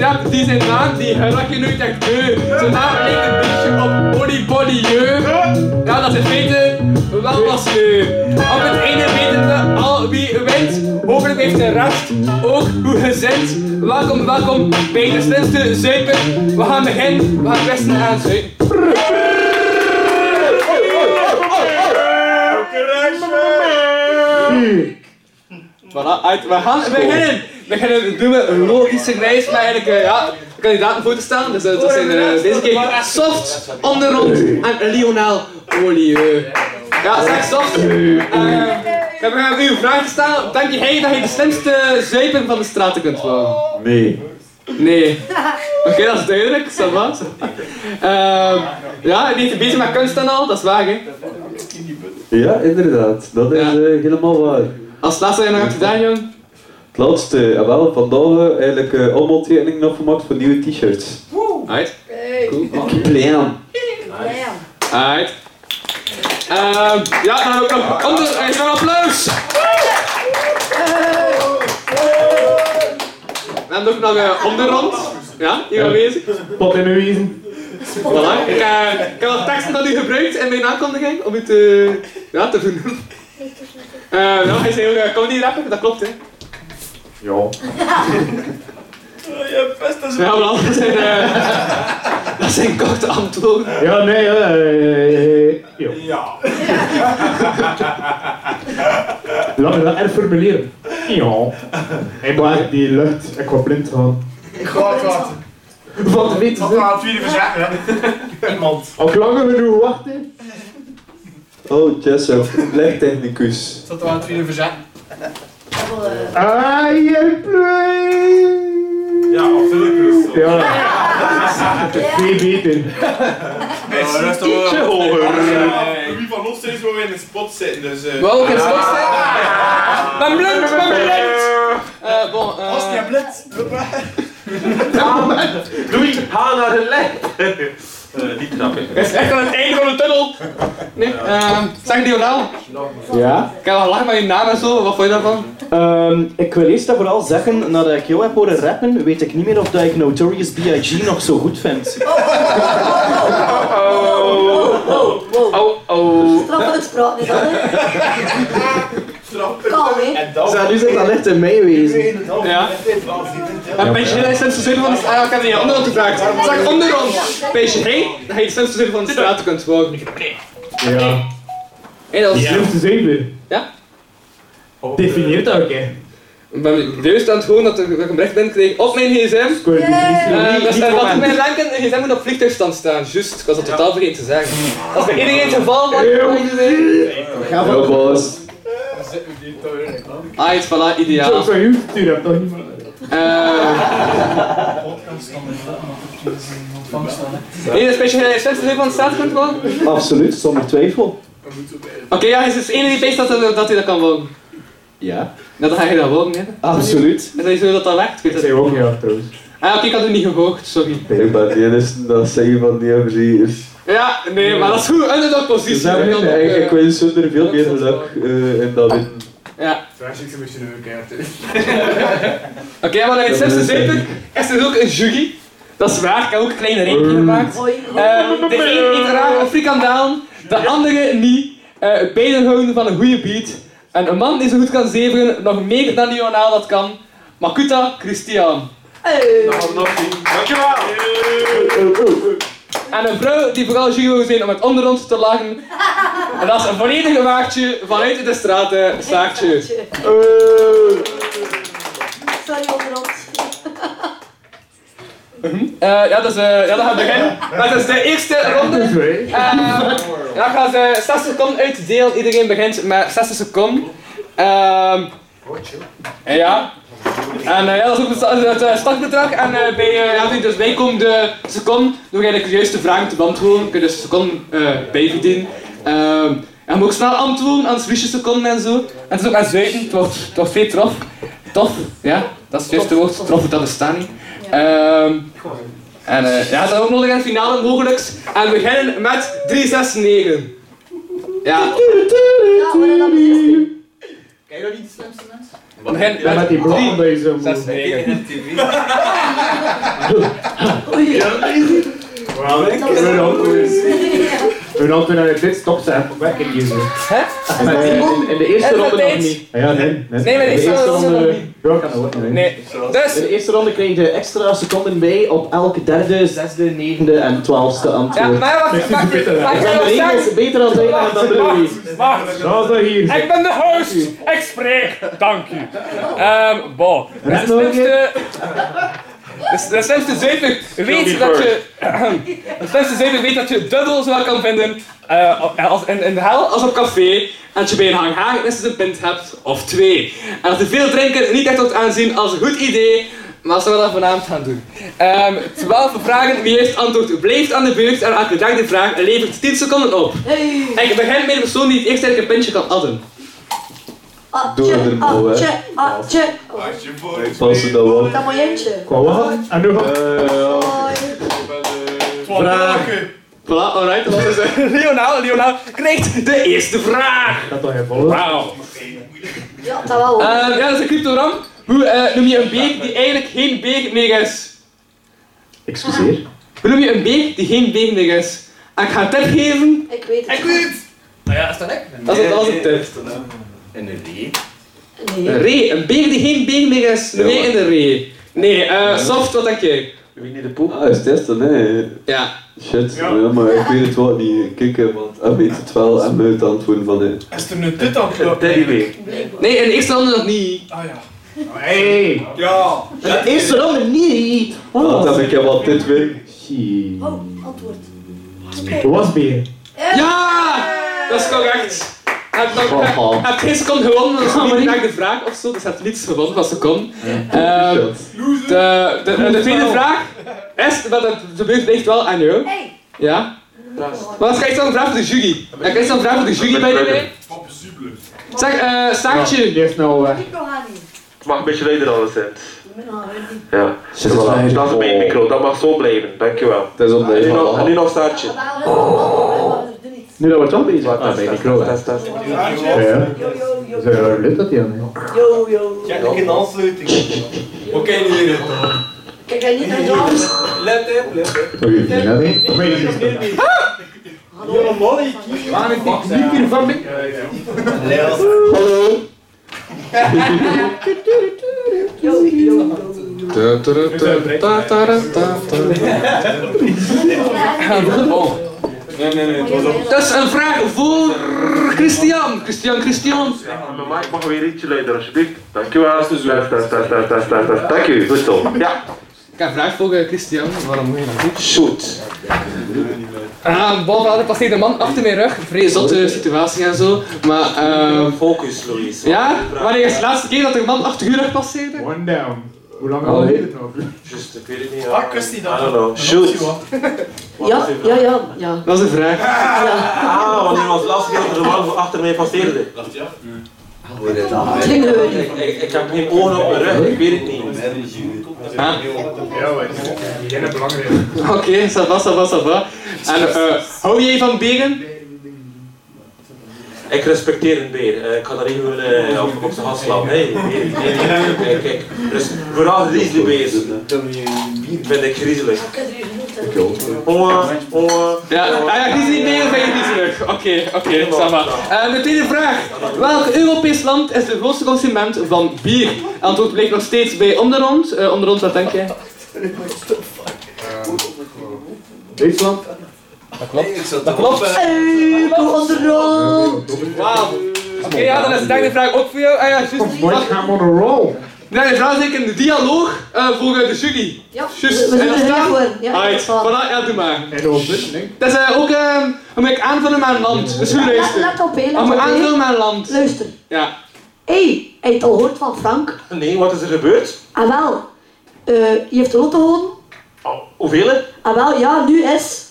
Ja, die zijn naam, die raak je nooit echt beu. Zijn naam lijkt een beetje op Oli Bollieu. Ja, dat is in feite wel pas nu. Op het ene weten we al al wie weet, mogelijk heeft hij recht. Ook hoe gezind. Welkom, welkom bij de slimste zuiper. We gaan beginnen, we gaan westen aan zuipen. Voilà, uit. We gaan beginnen. We gaan doen we logische wijs, maar eigenlijk eh, ja, de kandidaten voor te staan. Dus eh, dat zijn eh, deze keer Soft, Onderrond en Lionel Olieu. Ja, zeg Soft. Eh, we hebben aan u een vraag gesteld. Denk jij dat je de slimste zuipen van de straten kunt worden?
Nee.
Nee. Oké, dat is duidelijk. Ça va. Ehm, ja, die is bezig met kunst en al, dat is waar hè.
Ja, inderdaad. Dat is eh, helemaal waar.
Als laatste heb je nog wat gedaan, jong?
Het laatste, eh, wel, vandaag eh, eigenlijk eh, allemaal tekeningen afgemaakt voor nieuwe t-shirts.
Uit.
Cool. Plan.
Alright. Ehm, ja, dan heb ik nog onder. Er is nog applaus! We hebben ook nog eh onderrond. Ja, hier aanwezig.
Pot in uw wiezen.
Voilà. Ik, eh, ik heb wat teksten dat u gebruikt in mijn aankondiging om u te, ja, te vernoemen. Eh nou, hij is een heel eh, comedy rapper, dat klopt hè.
Ja.
Je best
Ja, maar anders zijn, eh, dat zijn korte antwoorden.
Ja, nee, ja. eh, ja. Laat me dat herformuleren. Ja. Hij maakt die lucht, ik word blind gaan.
Ik ga het wat.
Van de witte
Wat aan het vierde verzet, hè? Iemand.
Ook langer we nu wachten.
Oh, Jessop, legtechnicus.
Tot aan het vierde verzet.
Ah, je
Ja, of Philippus.
Ja. Twee beter.
Rest
ietsje hoger.
Wie van ons is wel in de spot zitten, dus... eh.
Wou ik in de spot zitten?
Ah, ja.
Ben blind, ben blind! Eh, bon, eh,
Als die blitz.
Doei, ga naar de lek! Eh, Niet knap, hè.
Het is echt aan het einde van de tunnel. Nee, ehm, zeg Lionel.
Ja?
Ik heb al lachen met je naam en zo, wat vond je daarvan?
Ehm, ik wil eerst en vooral zeggen, nadat ik jou heb horen rappen, weet ik niet meer of dat ik Notorious B.I.G. nog zo goed vind.
Oh, oh.
Straf het spraat niet aan, hè? Kalm, hè?
Zeg, nu zit dat echt in mij wezen.
Ja. En Peesje Hey, dat is de slimste zin van de straat. Ah, ik heb die andere hand gevraagd. Zeg onder ons. Peesje Hey, dat je de slimste zin van de straat kunt volgen.
Ja.
Hé, dat is
Slimste zeven. Oh.
Ja?
Definieert dat ook, hè?
Ik ben juist aan het gewoon dat ik dat ik een bericht binnenkreeg op mijn gsm.
Square
Eh,
divisie.
dat staat wat mijn denken, een gsm moet op vliegtuigstand staan. Juist, ik was dat totaal vergeten te zeggen. Dat is bij iedereen het geval, maar
Ga
Ja, boss.
Ah, het is voilà, ideaal.
Zo, zo, je stuur hebt toch niet meer.
Eh, Nee, dat is Peesje Hey, dat je de slimste zin van de straat kunt volgen.
Absoluut, zonder twijfel.
Oké, ja, hij is dus de enige die beest dat, dat hij dat kan wonen.
Ja.
Ja, Nou, dan ga je dat wonen, hè.
Absoluut.
Is dat zo dat dat werkt? Ik weet
Ik
het
zei
niet.
ook ja, trouwens.
Ah, oké, ik had het niet gehoogd, sorry.
Ik ben de enige dat zeggen van die MC'ers.
Ja, nee, maar dat is goed. En dat positie.
Dus ik,
eh,
ik, ik wens hun er veel meer geluk eh, in
Ah,
dat winnen.
Ja.
Vraag ik een beetje een kaart.
Oké, maar dan in het zesde zeper is er ook een juggie. Dat is waar, ik heb ook een kleine
Ehm.
rekening gemaakt.
Hoi.
Eh, de een eet raar een frikandel, de andere niet. Eh beiden houden van een goede beat. En een man die zo goed kan zeven, nog meer dan Lionel dat kan. Makuta Christian.
Hey.
En een vrouw die vooral juggie wil zijn om het onderrond te lachen. En dat is een volledig waardje vanuit de eh, straten, staartje.
Sorry, onderhand.
Eh, ja, dus, eh, ja, dat gaat beginnen. Maar dat is de eerste ronde.
Twee.
Ehm dan gaan ze 60 seconden uit te delen. Iedereen begint met 60 seconden. Ehm en ja. En eh, ja, dat is ook het, sta- het, eh, startbedrag. En eh, bij, eh, ja, dus wij komen de seconde door eigenlijk de juiste vragen te beantwoorden. Kun je dus de seconde eh, bijverdienen. Ehm, en je moet ook snel antwoorden, anders verlies je seconden en zo. En het is ook aan zuipen, het wordt, het wordt veel trof. Tof, ja, dat is het juiste woord. Trof, dat bestaat niet. Ehm, en eh, ja, dat is ook nodig in de finale mogelijk. En we beginnen met 369. Ja,
Ja, maar dat is
Ken je dat niet, de slimste mensen?
we beginnen
Ja, met
met
die blokken bij zo.
369.
Oei.
Waarom?
Dat is-
En dan Oh, toen hij dit stopt, zei hij, werk ik hier zo.
Hè?
En, eh,
In- in de eerste ronde nog niet.
Ah Ja, nee.
Nee, maar de eerste ronde nog
Ja, kan dat ook niet.
Nee. Dus.
In de eerste ronde kreeg je extra seconden bij op elke derde, zesde, negende en twaalfde antwoord.
Ja, maar wacht, wacht, wacht, wacht,
Ik ben de
wacht,
regels
wacht.
beter dan de en dan de Louis.
Wacht.
Dat is hier.
Ik ben de host. Ik spreek. Dank u. Ehm, bo. De slimste... De, de slimste zeven weet dat je... De slimste zeven weet dat je dubbel zowel kan vinden eh, op- als in, in de hel als op café. En dat je bij een hanghaag minstens een pint hebt of twee. En dat de veel drinken niet echt wordt aanzien als een goed idee. Maar ze willen dat vanavond gaan doen. Ehm 12 vragen, wie heeft antwoord blijft aan de beurt en elke dag de vraag levert 10 seconden op. Ik begin bij de persoon die het eerst eigenlijk een pintje kan adden.
Doe er maar
Atje,
hè.
atje. Oh,
Pas het dan wel.
Dat momentje.
Qua wat? En nu wat?
Vraag. Voilà, alright, dat is eh, [LAUGHS] Leonel. Leonel krijgt de eerste vraag.
Dat toch even.
Wauw.
Ja, dat wel. hoor.
Eh, ja, dat is een cryptogram. Hoe eh, noem je een beek die eigenlijk geen beek meer is?
Excuseer.
Hoe noem je een beek die geen beek meer is? En ik ga een tip geven.
Ik weet het.
Ik weet het! Nou ja, is dat ik?
Dat is, dat is een tip.
Een ree.
Een
Nee.
ree. Een beek die geen beek meer is. Een
Ja,
ree
maar-
in de ree. Nee, eh, soft, wat denk je?
Winnie de Pooh.
Ah, is testen, hè?
Ja.
Shit, ja. maar ik weet het wel niet. Kikken, want hij weet het wel en moet het antwoorden van de.
Is er nu dit aan
Een teddybeer.
Nee, in de eerste ronde nog niet.
Ah ja.
Hey!
Ja.
De eerste ronde niet.
Ah, dan heb ik hem al dit weer.
Shit.
Oh, antwoord.
Hoe was bier?
Ja! Dat is correct. Heb Ah, nog
Haha.
heb geen seconde gewonnen, dat is niet naar de vraag of zo, dus heb niets gewonnen van seconde. Ehm de, de, de, tweede vraag is, dat het de beurt ligt wel aan jou.
Hey.
Ja? Maar dan ga ik dan een vraag voor de jury. Dan ga ik dan een vraag voor de jury bij de mee. Zeg, eh, Saartje.
Die is nou weg.
Ik wil haar niet.
Het mag een beetje luider alles zijn.
Ik ben haar niet.
Ja.
het is
Voilà,
fijn.
dat is mijn
Oh.
micro, dat mag zo blijven, dankjewel.
Het is op
En
de Oh.
nu nog- en nu
van
nog staartje.
Maar we hebben er niet.
Nu dat wordt wel
Ah,
bezig.
Wacht, test, test, test, test.
Ja, ja.
Yo, yo, yo.
Zo, ja, lukt dat hier aan?
Yo, yo.
Ja, ik in de aansluiting. Oké, nu weer het.
Kijk, jij niet naar de arms.
Let op, let op.
Oké, niet hè? Ik weet het niet.
Hallo, molly, kies. Waarom ik die
Hier van mij.
Hallo!
Yo, yo, yo.
Nee, nee, nee, het was op.
Dat is een vraag voor Christian. Christian, Christian.
Mijn mic mag weer ietsje luider, alsjeblieft. Dankjewel. Test, test, test, test, test, test, test. Dank u, goed zo. Ja.
Ik heb een vraag voor eh, Christian. Waarom moet je dat doen?
Shoot!
Ah, bovenaan passeert een man achter mijn rug. Vrij
eh,
zotte situatie en zo. Maar, ehm...
Focus, Louise.
Ja? Wanneer is de laatste keer dat er een man achter uw rug passeerde?
One down. Hoe lang al heet het nou?
Just, ik weet het niet.
Ah, kust die dan?
I don't know. Shoot.
Ja, ja, ja, ja.
Dat is een vraag.
Ah, wanneer was de laatste keer dat er een man achter mij passeerde?
Klingen we niet.
Ik, ik heb geen ogen op mijn rug, ik weet het niet.
Jij bent belangrijk.
Oké, ça va, ça va, ça va. En eh, hou jij van beren?
Ik respecteer een beer. Eh, ik ga daar even eh, op, op zijn hand slaan. Nee, nee, nee. nee. Kijk, kijk. Dus vooral grizzlybeesten.
eh,
Vind ik griezelig.
Ik heb er hier genoemd. hè.
Jongen, jongen.
Ja, ah, ja, die is niet meer, ben je niet terug. Oké, oké, ça va. Eh, de tweede vraag. Welk Europees land is de grootste consument van bier? Antwoord blijkt nog steeds bij Onderhond. Eh onderhond, wat denk jij?
Duitsland?
Dat klopt.
Hey, kom onderaan.
Wauw. Oké, ja, dan is de derde vraag ook voor jou. Ah ja, juist.
Boy,
Wacht.
gaan we on a roll.
De derde vraag is eigenlijk een dialoog eh, voor eh, de jury.
Ja,
Juist,
we
en
zijn
dat
er
staat?
heel voor. Ja, dat
Alright,
is waar.
voilà, ja, doe maar.
En op dit, denk ik.
Dat is eh, ook ehm om ik aanvullen aan land. Dus goed
Let,
luisteren.
let op, hè.
Om ik
Let op,
aanvullen aan
hè.
land.
Luister.
Ja.
Hé, hij het al gehoord van Frank.
Nee, wat is er gebeurd?
Ah wel, eh, je hebt de lotto gewonnen.
Oh, hoeveel?
Ah wel, ja, nu
[LAUGHS]
is...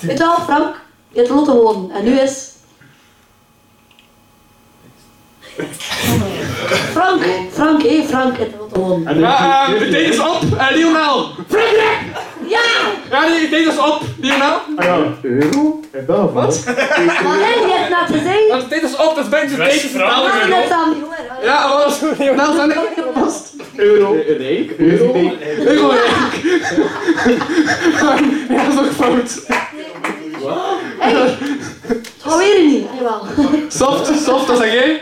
Weet je wel, Frank? Je hebt de lotto gewonnen. En nu is...
[LAUGHS]
Frank, Frank, hé Frank, je hebt de lotto gewonnen.
En
Ja, eh, de tijd is op. Eh, Lionel. Frankrijk!
Ja!
Ja, de tijd is op. Lionel.
ja. Euro? En dat
Wat?
Maar hé, Ah, je hebt net gezegd.
Want de tijd is op. Dat is bijna de tijd is
Ah,
verteld.
net dan, jongen. oh,
Ja, wat was Lionel? Dan
Euro. Euro?
ik.
[LAUGHS] Ja, dat is ook fout.
Hey, het gaat weer niet. Jawel.
Soft, soft, dat zeg jij?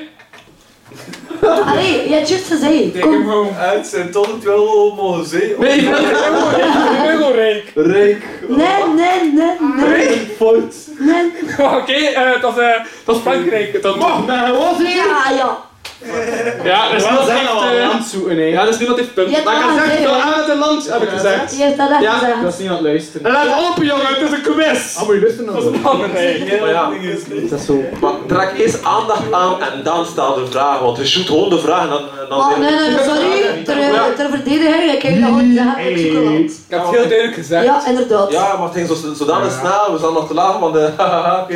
Allee, je hebt juist gezegd. Kom.
Het zijn tot het wel mogen zien.
Nee, ik ben gewoon rijk.
Rijk.
Nee, nee, nee, nee.
Fout.
Nee.
Oké, eh, dat is, eh, dat is Frankrijk. Dat mag.
Ja, ja.
Ja, dat is
Wel
niet
zijn
echt,
dat we
eh,
een Ah, land zoeken, hè.
Ja, dat is niemand heeft
Je
punt.
hebt
Maar ik
al
had gezegd, ik
gezegd,
wil
hè?
aan het een land, heb ik gezegd.
Je hebt dat echt
Ja,
gezegd.
Dat is niet aan het luisteren.
Laat op, jongen, het is een quiz.
Ah, moet je luisteren dan?
Belangrijk.
Maar ja,
Dat is zo.
Maar trek eerst aandacht aan en dan staat de vraag. Want je shoot gewoon de vraag en dan... en dan
Oh,
zeg je-
nee, nee, sorry. Ter, ter verdediging, ik heb dat ooit gezegd. Ik zoek een land.
Ik heb het heel duidelijk gezegd.
Ja, inderdaad.
Ja, maar het ging zo, zodanig snel, we zaten nog te laag, want... eh, [LAUGHS] oké.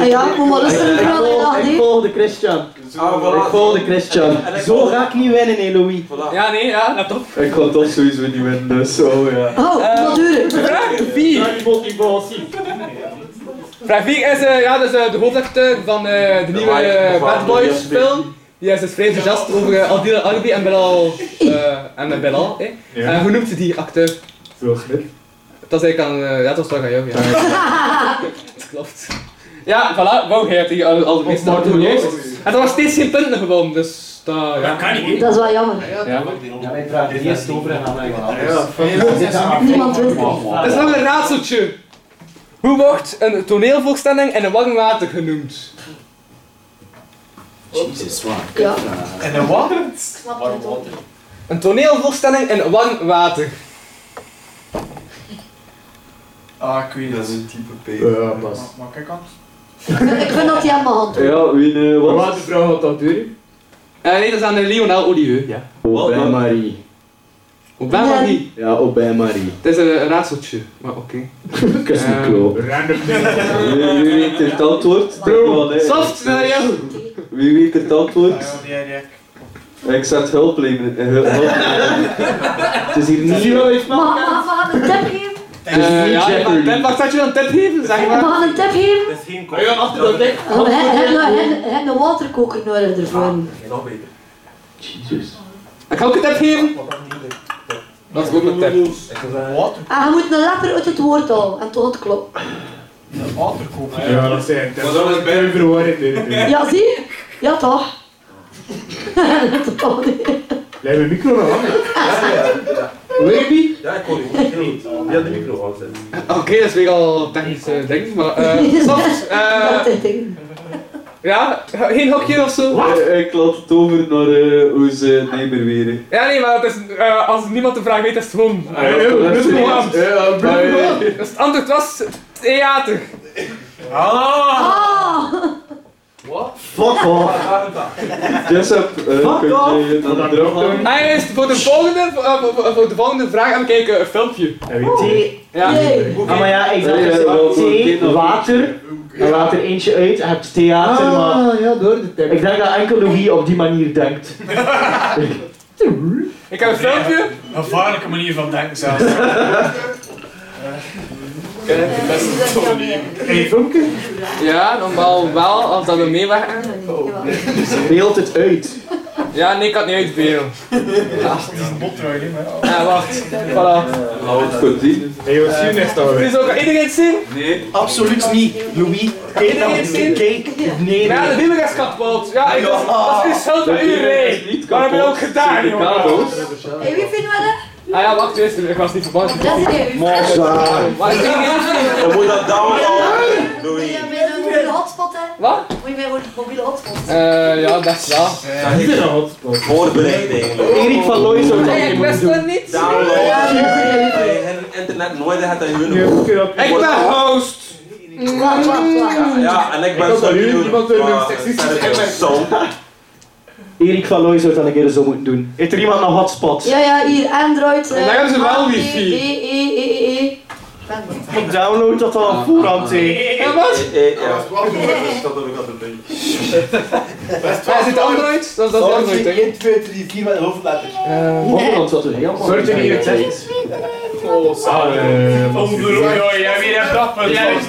Ah ja, ik moet maar rustig een
Ik
kraan
volg-
dag,
Ik
nee.
volg de Christian.
Ah, voilà.
Ik volg de Christian.
En ik-
Zo ga ik niet winnen, hè, Louis.
Voilà.
Ja, nee, ja, let op.
Ik kan toch sowieso niet winnen, dus zo ja.
Oh, wat duur.
Vraag 4. Vraag 4 is, eh, ja, dat is eh, de hoofdacteur van eh, de nieuwe eh, Bad Boys film. Die is dus vrij enthousiast over eh, Adil Arbi en Belal. eh en eh, Belal, hè.
Ja.
Eh, hoe noemt ze die acteur?
Will Smith.
Dat zei ik aan, eh, ja, dat was toch aan jou, ja. [LAUGHS] Dat klopt. Ja, voilà, wou jij hebt hier al, al de meeste
Martin
acteurs juist.
Lawrence.
En er was steeds geen punten gewonnen, dus dat, ja.
kan niet.
Dat is wel jammer.
ja.
Ja, wij praten eerst over en gaan naar iemand anders.
Niemand wist het.
Dat is nog een raadseltje. Hoe wordt een toneelvoorstelling in een warm water genoemd?
Jezus, waar.
Ja.
En een wat?
Ik snap het ook.
Een toneelvoorstelling in warm water.
Ah, ik weet het.
Ja, pas.
Maar kijk aan.
Ik vind dat hij aan mijn hand
Ja, wie eh,
Maar
wat?
wat de vrouw had dat duur?
Eh, nee, dat is aan de Lionel Olieu. Ja.
Marie.
Op ben
Ja.
niet.
Ja, op bij Marie.
Het is eh, een raadseltje, maar oké.
Kus
Eh.
de klo.
Random
Wie, wie weet het antwoord? Druk wel, hè.
Soft, naar jou.
Wie weet het antwoord?
Ja, die en die.
Ik zet hulpleven. eh, hul-
[LAUGHS]
hulpleven. Het is hier niet...
Maar maar we gaan een tip geven.
Eh, ja, maar Ben, mag dat je dan een tip geven? Zeg
We
maar.
gaan een tip geven. Oh,
Dat is geen
Maar je gaat achter dat ding.
We hebben een waterkoker nodig ervoor.
Nog beter.
Ik ga ook een tip geven. Dat is ook een tip.
En Ah, je moet een letter uit het woord halen. En toch het klopt.
Ja, dat zijn. Dat
dat was
is bijna verwarrend. dit is.
Ja, zie? je? Ja, toch. [LAUGHS] Toch niet.
Blijf mijn micro nog hangen.
Ja, ik kon niet. Ik niet. Die had de micro al gezet.
Oké, dat is weer al technisch eh, ding, maar eh soft. eh,
Dat is ding.
ja, geen hokje of zo.
Eh, Ik laat het over naar eh, hoe ze Nijmer weer.
Ja, nee, maar het is, eh, als niemand de vraag weet, is het gewoon.
Ja,
Ja, Dus het antwoord was theater.
Ah!
Fuck off. Jessup, eh, kun je dan
Dat
erop
klopt,
gaan?
En eerst voor de volgende, voor, eh, voor- voor de volgende vraag gaan we kijken een filmpje.
En weet je?
Ja.
Jee.
Ah, maar ja, ik dacht
Nee,
dus,
ja, wel,
thee,
wel,
water, en laat er eentje uit, en heb je theater,
Ah,
maar...
ja, door de
Ik denk dat enkel Louis op die manier denkt.
Ik heb een filmpje.
Een gevaarlijke manier van denken zelfs.
Een filmpje?
Ja, normaal wel, als dat we meewerken.
Beeld het uit.
Ja, nee, ik had niet uitbeelden.
Bottrui, hè, maar ja.
Ja, wacht. Voilà.
Goed, die.
Hey, wat zien is dat
Dus ook, kan iedereen het zien?
Nee.
Absoluut niet, Louis. Eet
Iedereen zin?
Kijk, nee,
Ja, de
nee.
wielrek is kapot. Ja, ik, dat, is- dat is geen schuld van iedereen.
niet
Wat heb je ook
kapot.
gedaan,
De
jongen?
kabels.
Hé, wie vinden we
Ah ja, wacht, eerst, ik was niet verbaasd.
dat? Dat is hier.
Maar ik denk niet-
Dan moet dat downloaden.
Moet je met een mobiele hotspot, hè?
Wat?
Moet je met een mobiele hotspot?
Eh, ja, best wel.
Voorbereid eigenlijk.
Erik van Looij zou dat
Nee, ik
niet moeten
wist
doen.
dat niet.
Downloaden.
Ja,
Bij hen internet nooit gaat dat
Ja,
hun.
oké, dat-
Ik ben host.
Wacht, wacht, wacht.
Ja, en ik
Ik
ben
hoop
zo
dat jullie
nieuw.
niemand in de seksistisch hebben.
Zo.
Erik van Looij zou dat een keer zo moeten doen. Heeft er iemand een hotspot?
Ja, ja, hier, Android. eh,
En daar hebben ze wel
A, T,
wifi.
B, E, E, E, E. Ik ben er.
Ik download dat al op voorhand, hé.
Ja, wat?
Eh, Ja,
Ja, is het Android? Dat is dat Android, hè?
2, 3, 4 met een hoofdletter.
Wat dan? Dat is heel
Zorg dat je niet het zegt.
Ik weet het niet.
Oh,
Ah, eh, jij weer hebt dat punt. Jij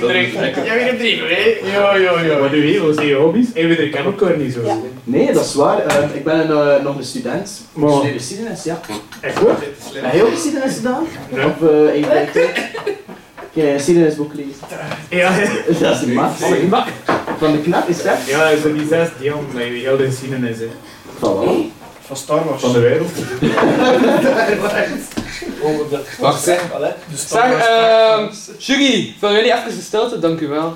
weer hebt drie, hè?
Jo, jo, jo.
Wat doe je? Wat zijn je hobby's? En weer de camcorder niet zo.
Nee, dat is waar. Eh, ik ben eh, nog een student. Ik
Maar-
studeer geschiedenis, ja.
Echt hoor?
Heb je ook geschiedenis gedaan?
Nee.
Of eh één bij twee? Kun je een geschiedenisboek lezen?
Ja.
Dat is de max.
Oh,
Nee.
Van de knap is dat?
Ja, zo die zes die jongen die heel de scene is. hè.
Van Star Wars.
Van de wereld.
Wacht, zeg. Zeg, ehm, jury, vullen jullie even de stilte? Dank u wel.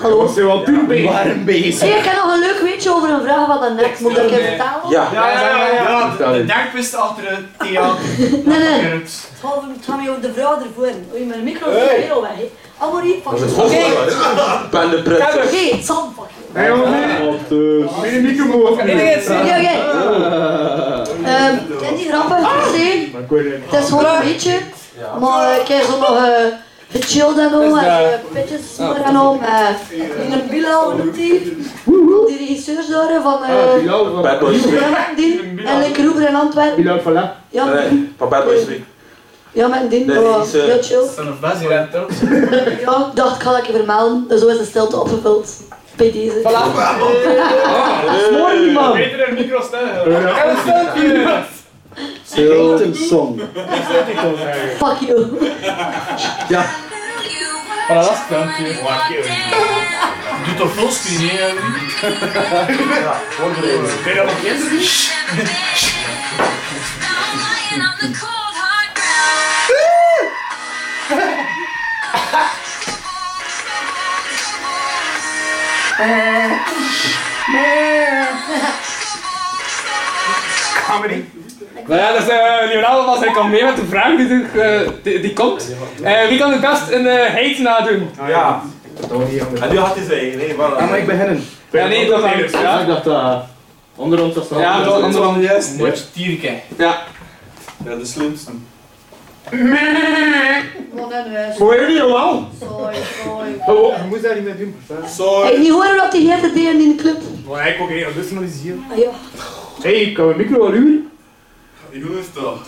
Hallo.
Ze wel puur bezig.
Warm
Hey, ik heb nog een leuk weetje over een vraag van de net. Moet ik dat even vertalen?
Ja, ja, ja.
Vertel
De
eens.
darkwist achter het theater.
Nee, nee. Het gaat over- het gaat mij over de vrouw ervoor. Oei, mijn micro is
Hey.
heel weg. hè. Allemaal hier, pak.
Dat is goed, hè? Ben de pret.
Oké, Sam, pak.
Hé jongen, weer een microfoon over.
Nee, nee, nee. Ja, ja. Ehm, ken die grappen? Nee.
Maar ik weet het niet.
Het is gewoon een beetje, maar ik heb zo nog eh gechilled en zo, en eh,
Ah,
pitjes smoren en al, maar eh, in een Bilal, hoe noemt die? Die regisseurs daar eh, van eh,
Bad Boys 3.
die en Lekker Roeber in Antwerpen.
Bilal, voilà.
Ja,
Eh,
Nee, van Bad Boys 3.
ja, met die,
Nee,
maar
die is, eh,
heel chill.
Van Basie rent ook.
[LAUGHS] Ja, ik dacht, ik ga dat even vermelden, dus zo is de stilte opgevuld. Bij deze. [LAUGHS]
Mooi man!
Beter een micro stellen.
Ik heb
een filmpje.
Stilte song.
Fuck you.
Ja.
Voilà, dat is het filmpje. Doe toch fullscreen, hè? Ja, voorbereid. Ben je dat op
Comedy. Nou ja, dus eh Leonardo was ik al mee met de vraag die, er, eh, die, die komt. Eh, wie kan het best een eh heet nadoen?
Ja. En nu had hij zijn eigen, hè? Voilà.
Ga maar ik beginnen.
Ja, nee, dat is
Ik dacht dat onder ons was dat
Ja, dat onder ons
juist.
Moet tierke.
Ja.
Ja, de slimste.
Wat een huis.
Voor jullie allemaal.
Sorry,
[LAUGHS]
sorry.
Je moet Oh, daar niet mee doen.
Ik niet horen wat die hele deed in de club.
Maar ik ook niet, dat is nog eens hier.
Ah, ja.
Hé, ik kan mijn micro al uren.
Jongens toch.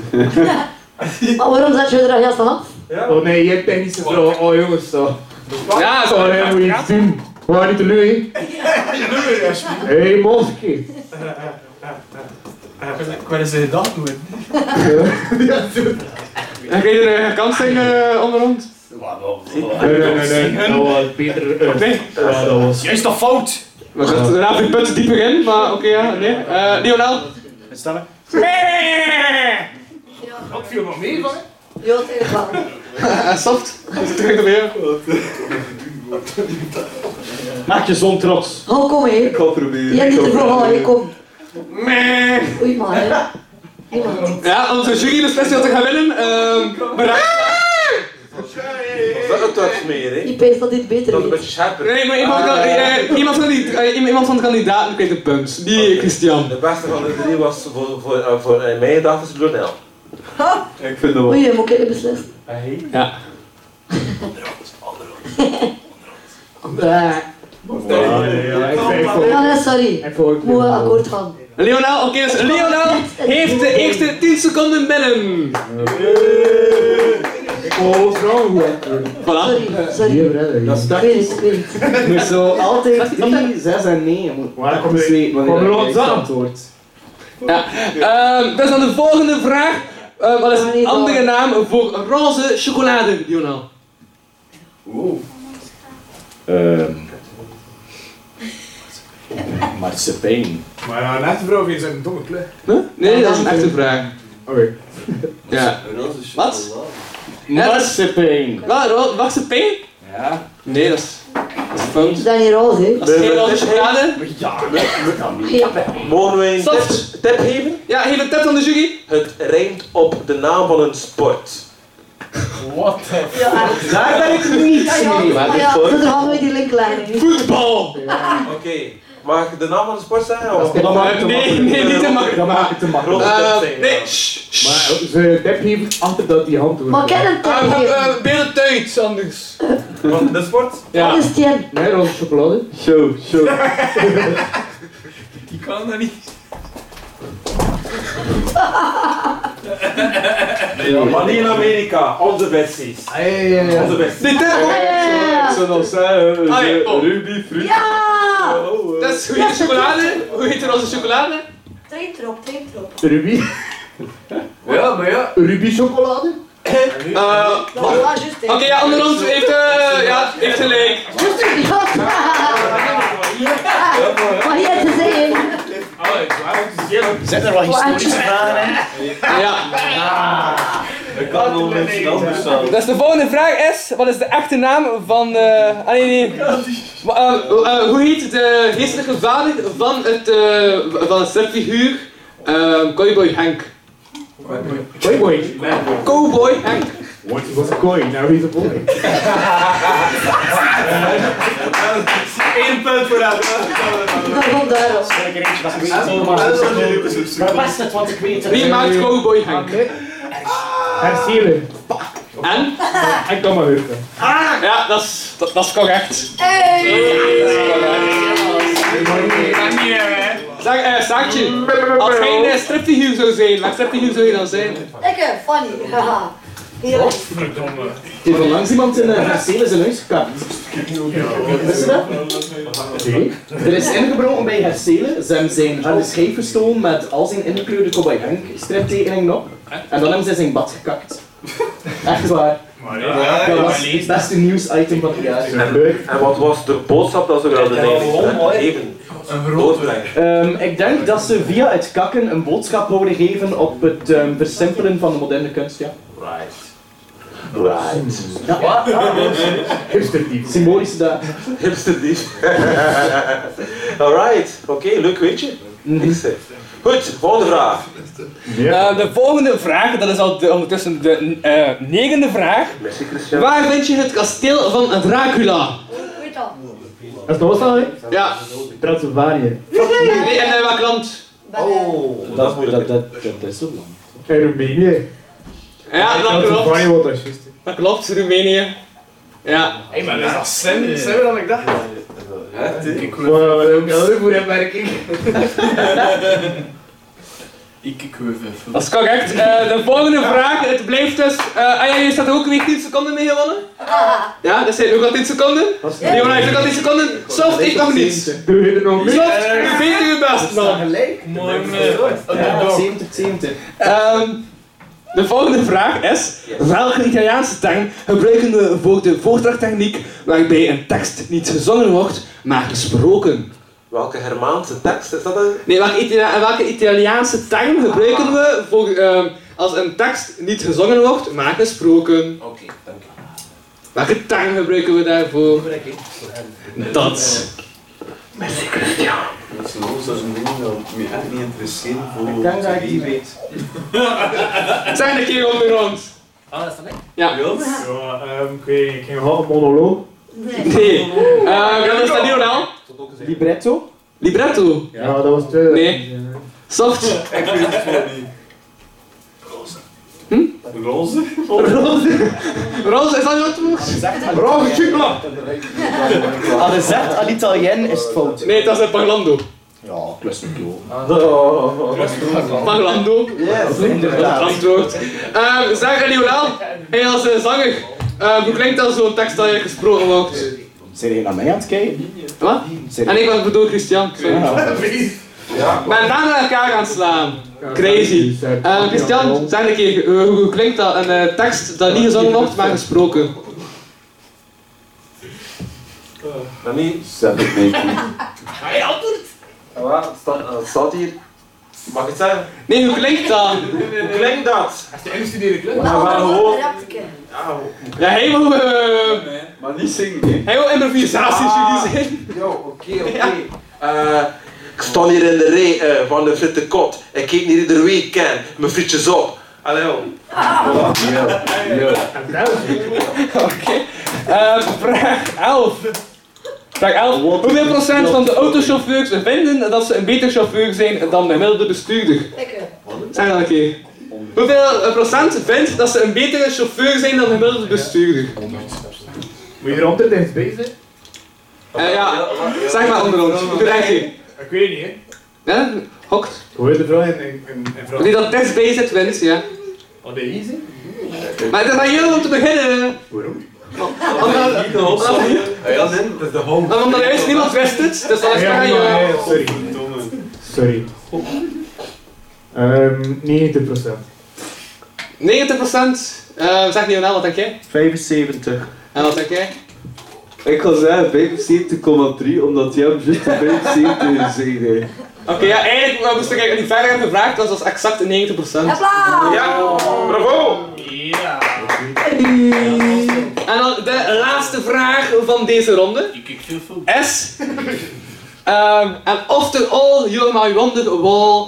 Maar waarom zet je er al juist van af?
Oh nee, jij bent niet zo vrouw. Oh jongens, zo.
Ja,
zo. Hé, moet je iets doen. Waar niet te lui, hè? Hé, hey, moskee.
Ik wil eens een gedachte doen.
[LAUGHS] En kun je er eh, een kans tegen eh, onder ons?
Nee, nee, nee, nee. Dat was beter. eh,
Nee.
ja, dat was.
Is dat fout?
We gaan we raken de punten dieper in, maar oké, ja, nee. Eh Lionel?
Stellen.
Wat viel nog mee van?
Ja, het is wel.
[LAUGHS]
Eh, soft. Dus ik druk erbij.
Maak je zon trots.
Hou, Oh, kom
Ik
hier.
ga proberen.
Jij
ik
niet
ga
de vrouw van
proberen.
je kom.
Meh.
Oei, maar. hè. Oei, maar.
Ja, onze jury beslist wat te gaan winnen. Ehm maar
Dat is toch meer, hè?
Ik weet dat dit beter
Dat is een
weet.
beetje scherper.
nee, maar iemand,
Ah,
kan, eh, iemand, van die, eh, iemand van de kandidaten kreeg de punt. Die Christian.
De beste van de drie was voor, voor, eh, voor eh, mijn gedachten is Brunel.
Ik vind dat wel.
Oei, moet ik even beslissen.
Ah,
Ja.
Ah,
Eh,
Ja, ik ben voor.
[LAUGHS] Ja, nee, sorry.
Ik voor.
Ik moet wel akkoord gaan.
Lionel, oké, dus Lionel heeft de eerste 10 seconden binnen.
Ik wil vrouwen goed akkoord.
Voilà.
Sorry,
Eh,
sorry.
Hier, hè.
Dat
Dat
is
Ik
dat.
weet het, ik weet het.
Je moet zo altijd 3, 6 en 9.
Waar komt die- komt er ons aan?
antwoord?
Ja. Ehm, dat is dan de volgende vraag. Ehm, wat is een andere naam voor roze chocolade, Lionel?
Ehm. Marsepein.
Maar ja, een echte vrouw vindt zijn domme kleur.
Huh? Nee, dat is een echte vraag.
Oké.
Ja. Wat? Net?
Marsepein.
Wat? ro- Wacht, ze pijn?
Ja.
Nee, dat is... Dat is fout.
Ze zijn hier roze, hè.
Dat is geen roze chocolade.
Geen-
Mogen wij een
Soft.
tip, tip geven?
Ja, geef een tip aan de jury.
Het rijmt op de naam van een sport.
What the f?
Ja, echt.
Daar ben ik niet
Ja, ja,
mee.
maar ja, dan gaan we die link leggen.
Voetbal!
Oké, mag ik de naam van de sport zeggen? Of
Dat maakt het
Nee, nee, niet te makkelijk.
Dat maakt het te makkelijk.
grote
Eh,
tip zeggen?
nee, shh, shh.
Maar ze dep hier achter dat die hand hoort.
Maar ken hem
Eh,
toch
Ah,
eh,
niet?
eh, Beeld het uit, anders.
Van de sport?
Wat
Ja.
is Tien?
Nee, roze chocolade.
Show, show.
[LAUGHS]
Die kan dat niet.
Money in Amerika, onze besties. Onze besties.
Dit is ook-
Zo nog zijn,
Ah, ja, oh.
Ruby, fruit.
Ja!
eh.
Dat is goede chocolade. Hoe heet er onze chocolade?
Trein erop, trein erop.
Ruby?
Ja, maar ja. Eh,
Ruby chocolade?
Dat was juist, hè.
Oké, ja, Anderland heeft, eh, ja, heeft gelijk.
Juist, hè. Maar hier te zeggen.
Zijn er wat historische vragen
Ja.
Ik kan nog mensen anders zijn.
Dus de volgende vraag is, wat is de echte naam van... eh ah nee, nee.
Maar, eh, eh, hoe heet de geestelijke vader van het, eh van het stripfiguur eh, Cowboy Henk?
Playboy.
Cowboy Henk.
Once he was a coin, now he's a boy.
Eén punt voor jou.
Dat komt daarop.
Zeker eentje dat ik weet. Maar best het, want ik weet het.
Wie maakt Cowboy Henk?
Herzielen.
En?
En kan maar hurken.
Ja, dat is, dat, dat is correct. Zeg, eh, Saartje, als jij een eh, stripfiguur zou zijn, welk stripfiguur zou je dan zijn?
Lekker, funny. Haha. Hier.
Oh.
Er heeft onlangs iemand in uh, Marcelen zijn huis gekapt. Wist je dat? Nee. Er is ingebroken bij Hercelen. Ze hebben zijn harde schijf gestolen met al zijn ingekleurde Cowboy Hank striptekeningen op. En dan hebben ze zijn bad gekakt. Echt waar. Dat was het beste nieuwsitem van het jaar.
En wat was de boodschap dat ze wilden nemen? Even. Doorbrengen.
Ehm, ik denk dat ze via het kakken een boodschap wilden geven op het ehm, versimpelen van de moderne kunst. Ja.
Right. Right.
Ja, ja, ja.
Hipsterdief.
Symbolisch daar.
Hipster dief. Alright, oké, leuk weetje.
Mhm.
Niks hè. Goed, volgende vraag.
Eh, de volgende vraag, dat is al de- ondertussen de eh, negende vraag.
Merci Christian.
Waar vind je het kasteel van Dracula?
Goed dan.
Dat is nog wel snel, hè?
Ja.
Transylvanië.
Nee, en eh, welk land?
Oh, dat is moeilijk.
dat, dat is zo lang.
En Roemenië.
Ja, dat klopt.
Transylvanië, wat dat is juist.
Dat klopt, Roemenië. Ja.
maar dat is dat slim?
Zijn we dan ik dacht?
Wow,
Voor opmerking.
Ik kweuven.
Dat is correct. Eh, de volgende vraag, het blijft dus... eh, ah ja, je staat ook weer 10 seconden mee gewonnen.
Haha.
Ja, dat zijn ook al 10 seconden. Leona heeft ook al 10 seconden. Soft, ik nog niet.
Doe je er nog mee?
Soft, vind je best nog.
Gelijk?
Mooi,
Ja, 70, 70.
Ehm, de volgende vraag is: welke Italiaanse term gebruiken we voor de voordrachttechniek waarbij een tekst niet gezongen wordt, maar gesproken?
Welke Hermaanse tekst is dat? Een?
Nee, welke, Italia- welke Italiaanse term gebruiken we voor, ehm, als een tekst niet gezongen wordt, maar gesproken?
Oké, dank je.
Welke term gebruiken we daarvoor? Dat.
Dat is los, dat is een ding dat me echt niet interesseert
Ik denk dat
voor
ik
wie
die
weet.
Zijn een keer onder ons?
Ah, dat is dat niet?
Ja,
Ja.
ehm, ik weet niet, ik ging half een monoloog.
Nee.
Nee. Ehm, dat is dat niet oraal?
Libretto?
Libretto.
Ja, dat was twee.
Nee. Soft.
Ik weet het gewoon
[LAUGHS]
niet. Roze. Hm?
Roze, is dat jouw antwoord?
Bravo, Chicla!
Al gezegd al Italien is het fout.
Nee, dat is een parlando.
Ja, plus een kilo.
Parlando.
Yes,
Dat
inderdaad.
antwoord. Ehm zeg Leonel, hey, als eh, zanger, ehm, hoe klinkt dat zo'n tekst dat je gesproken wordt?
Zijn jullie naar mij aan het kijken?
Wat?
Zijn
En ik was bedoel Christian. sorry. Ik ben naam naar elkaar gaan slaan. Crazy. Eh, Christian, zeg een keer, eh, hoe klinkt dat? Een eh, tekst dat niet gezongen wordt, maar gesproken.
Dat niet?
Zet het mee.
Wat? Staat, eh, staat hier? Mag ik het zeggen?
Nee, hoe klinkt dat?
Hoe klinkt dat?
Maar allemaal rapke.
Ja,
Ja, hij wil, eh,
Maar niet zingen, hè.
hij wil improvisaties jullie zijn.
Ah. Yo, oké, oké. Eh, ik sta hier in de rij eh, van de fritte kot. Ik eet niet ieder weekend mijn frietjes op. Allee, joh.
Oké. Ehm, vraag 11. Vraag 11. Hoeveel procent van de autochauffeurs vinden dat ze een beter chauffeur zijn dan de gemiddelde bestuurder?
Lekker.
Zeg dat een keer. Hoeveel eh, procent vindt dat ze een betere chauffeur zijn dan de gemiddelde bestuurder?
Moet je er altijd dichtbij zijn?
Eh, ja, zeg maar onder ons. Hoe denk je?
Ik weet niet, hè.
Hè? Hokt.
Hoor je de vraag in, in, in, in vraag?
Wie dat best bij zit, wint, ja.
Oh, de easy?
Maar het is aan jullie om te beginnen.
Waarom?
Omdat- omdat-
Ja, nee, dat is de home.
Maar omdat er juist niemand wist het, dus dan is het
Ja,
aan
ja, ja, ja,
jou.
sorry. Sorry. Ehm 90%.
90%. eh, zeg niet wat denk jij?
75.
En wat denk jij?
Ik ga zeggen 75,3 omdat jij hem juist 75 gezegd heeft.
Oké, ja, eigenlijk maar moest ik eigenlijk niet verder hebben gevraagd, dus dat is exact 90%.
Applaus!
Ja, bravo! Ja. En dan de laatste vraag van deze ronde. Is... ehm, en of the all you my wonder wall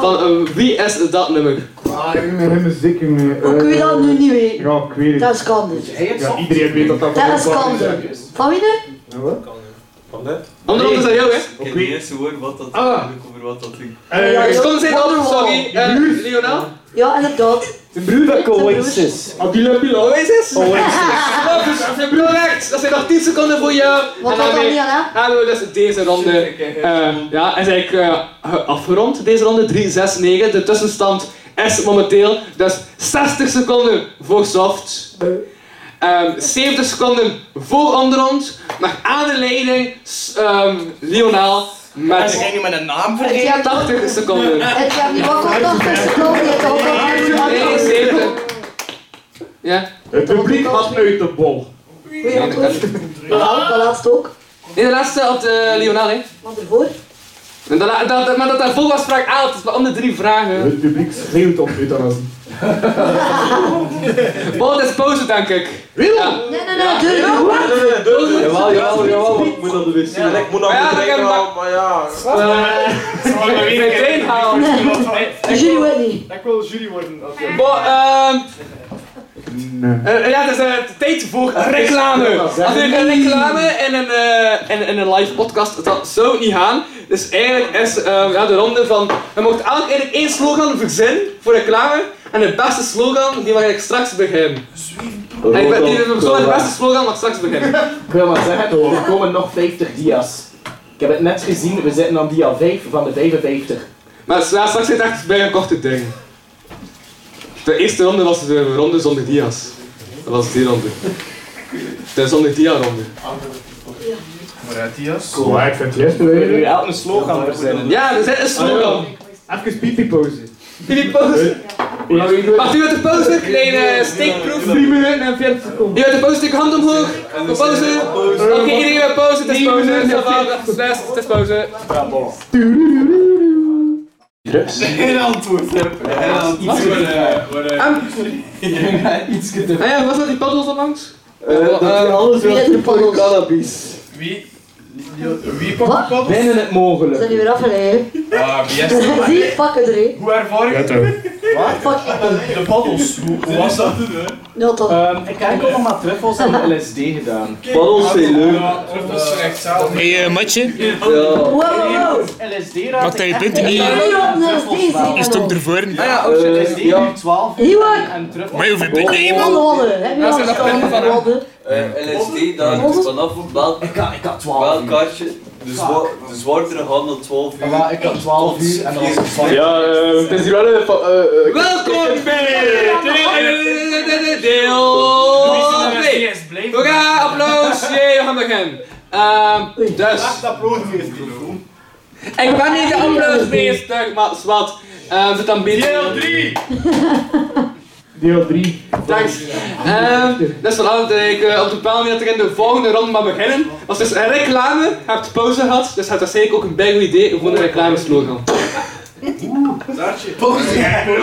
van eh, wie is dat nummer?
Ah, ik ben helemaal zeker mee.
Hoe kun je dat nu niet weten?
Ja, ik weet het.
Dat is kandig.
Ja, iedereen weet dat dat
Dat is
van ons
kandig. Van wie nu?
Ja, wat?
Van dit?
Andere ronde is aan jou, hè?
Ik weet niet eens woord wat dat
Ah.
over wat dat doet.
Eh,
Dus kom zijn op, sorry.
je
eh,
broer.
Lionel?
Ja, inderdaad.
De broer dat
Zijn broers.
Adil en Bilal.
Oasis?
Oasis.
Oasis, dat is correct. Dat zijn nog 10 seconden voor jou.
Wat
En
was dat
daarmee
niet aan, hè?
Hebben we dus deze ronde eh, ja, is eigenlijk eh, ge- afgerond. Deze ronde 3, 6, 9. De tussenstand is momenteel dus 60 seconden voor soft. ehm, 70 seconden voor onderrond. Maar aan de leiding s- ehm Lionel
En
met
ze gingen met een naam
Het
vergeten.
jaar toch?
80 seconden.
Het jaar niet. Wat komt nog tussen komen? Je hebt ook nog
Nee, 70. Ja,
Het publiek was uit de bol.
Wie had het? Dat laatst ook.
nee, de laatste op de eh, Lionel, hè.
Want ervoor?
En dat, dat, dat- maar dat daarvoor was vraag A, het is maar om de drie vragen.
Het publiek schreeuwt op euthanasie.
Bol, dat is pauze, denk ik. Ja.
Nee, nee, nee, doe het niet.
Jawel, jawel, jawel, want ik moet naar de wc.
Ja, ik moet nog
Ja,
een
dat
drinken,
kan
maar, maar ja.
Eh, Mijn been houden.
Nee, jullie weten niet.
Ik wil jury worden.
Bo, ehm,
Nee.
eh, ja, het is eh, tijd voor reclame. Als je een reclame [LAUGHS] en een, eh, en, en een live podcast, dat zou niet gaan. Dus eigenlijk is ehm, ja, de ronde van, we mogen elk eigenlijk één slogan verzinnen voor reclame. En de beste slogan, die mag ik straks beginnen. En ik ben, die de persoon met de beste slogan mag straks beginnen.
Ik wil maar zeggen, er komen nog 50 dia's. Ik heb het net gezien, we zitten aan dia 5 van de 55.
Maar ja, straks zit echt bij een korte ding. De eerste ronde was de ronde zonder dia's. Dat was die ronde. De zonder dia ronde.
Vooruit, Dias.
Cool, ik vind het juist
We willen nu
leuk.
elk een slogan verzinnen.
Ja, er zit een slogan.
Even pipi pose.
Jullie pauze. Mag u uit de pauze? Kleine steekproef.
3 minuten en 40 seconden.
Je uit de pauze, steek hand omhoog. Voor pauze. Oké, iedereen uit pauze. Het is pauze. Het is pauze. Het is pauze. Het is pauze.
Geen antwoord. Geen antwoord.
Ah ja, was dat die paddels onlangs?
Eh, dat is alles
Wie heeft
wat
de
voor
paddels?
cannabis.
Wie? Wie pakt de paddels?
Binnen het
We zijn
mogelijk.
nu weer afgeleid.
Ah,
[LAUGHS]
wie is dat?
Zie, pakken er één.
Hoe ervaar je
Fuck it.
de paddels?
[LAUGHS]
Hoe hoe was dat?
Nou dan.
Ehm, ik heb ook nog maar truffels
Ah,
en LSD gedaan.
Paddels zijn leuk.
Truffels zijn echt zelf.
Hey, eh, matje,
Ja.
Wow, wow, wow.
LSD
maak
raad
dat je
ik
punten niet.
Nee, joh, nee, dat is deze.
Is het ook ervoor?
Ah ja,
Eh,
LSD
ja.
nu 12
Iwak.
en truffels.
Maar hoeveel punten
Heb je
iemand?
al Heb je
Ja,
al
ze hebben dat
een ronde?
eh,
LSD, dat
hangt dus
vanaf welk,
Ik had, ik had 12 uur.
kaartje,
Dus-
de,
Ah,
zwaardere gaan dan 12
Ah, maar ik had 12 uur en dan was het van.
Ja, eh, het is hier wel een... fa- eh, eh,
Welkom bij deel 2. We gaan applaus. Jee, we gaan beginnen. Ehm, dus. Ik ben niet de applausmeester, maar zwart. Ehm doe dan beter. Deel 3.
Deel 3.
Thanks. Ehm, dus vanavond dat ik eh, op de paal dat ik in de volgende ronde mag beginnen. Als dus een reclame, je hebt pauze gehad, dus het was zeker ook een bijgoed idee voor een reclameslogan.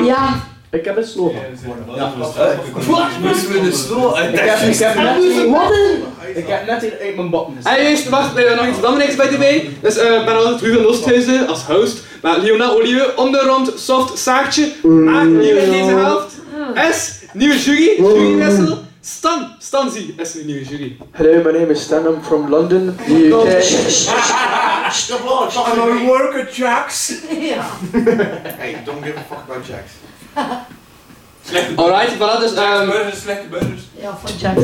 Ja.
Ik heb een slogan.
Moesten we de stoel uit?
Ik heb, ik heb net,
Wat een...
ik heb net in uit mijn bad gezet.
En eerst wacht, eh, nog iets belangrijks bij de mee. Dus eh, ik ben altijd Ruben Losthuizen als host. Maar Leona Olieu, onderrond, soft, zaakje, maakt nieuw in deze helft. S, nieuwe jury, jurywissel. Stan, Stanzi is een nieuwe jury.
Hello, my name is Stan, I'm from London, the
God.
UK.
Gaan we worken, Jax?
Ja.
Hey, don't give a fuck about Jax.
Alright, voilà, dus ehm,
Burgers, slechte burgers.
Ja, van Jacks.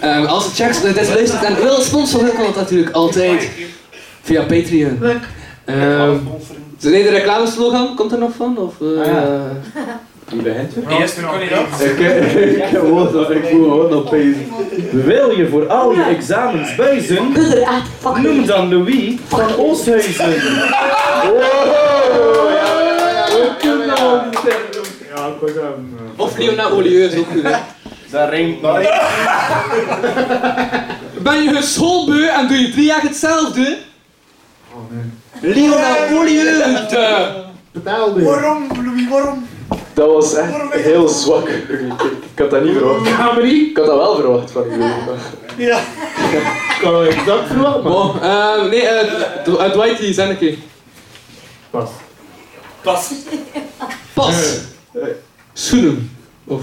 ehm, als de Jacks dit luistert en wil sponsoren, kan dat natuurlijk altijd via Patreon.
Leuk.
Ehm, nee, de reclameslogan, komt er nog van? Of,
Ah,
eh,
Wie begint er?
Eerst een kandidaat.
Ik eh, [LAUGHS] ik word nog, ik moet gewoon nog bezig.
Wil je voor al je examens buizen? Noem dan Louis van
[LAUGHS]
Oosthuizen. Wow!
Ja, ik was hem.
of Leona Olieu is ook goed. hè.
Dat ringt
Ben je schoolbeu en doe je drie jaar hetzelfde? Oh nee. Leona Olieu!
Vertelde.
Waarom, Louis, waarom?
Dat was echt heel zwak. Ik, ik- ik had dat niet verwacht. Ik had dat wel verwacht van u.
Ja.
Kan ik dat verwachten?
Wow, ehm, nee, eh, Dw- eh, Dwight die zijn een keer.
Pas.
Pas.
Pas! Schoenen. Of.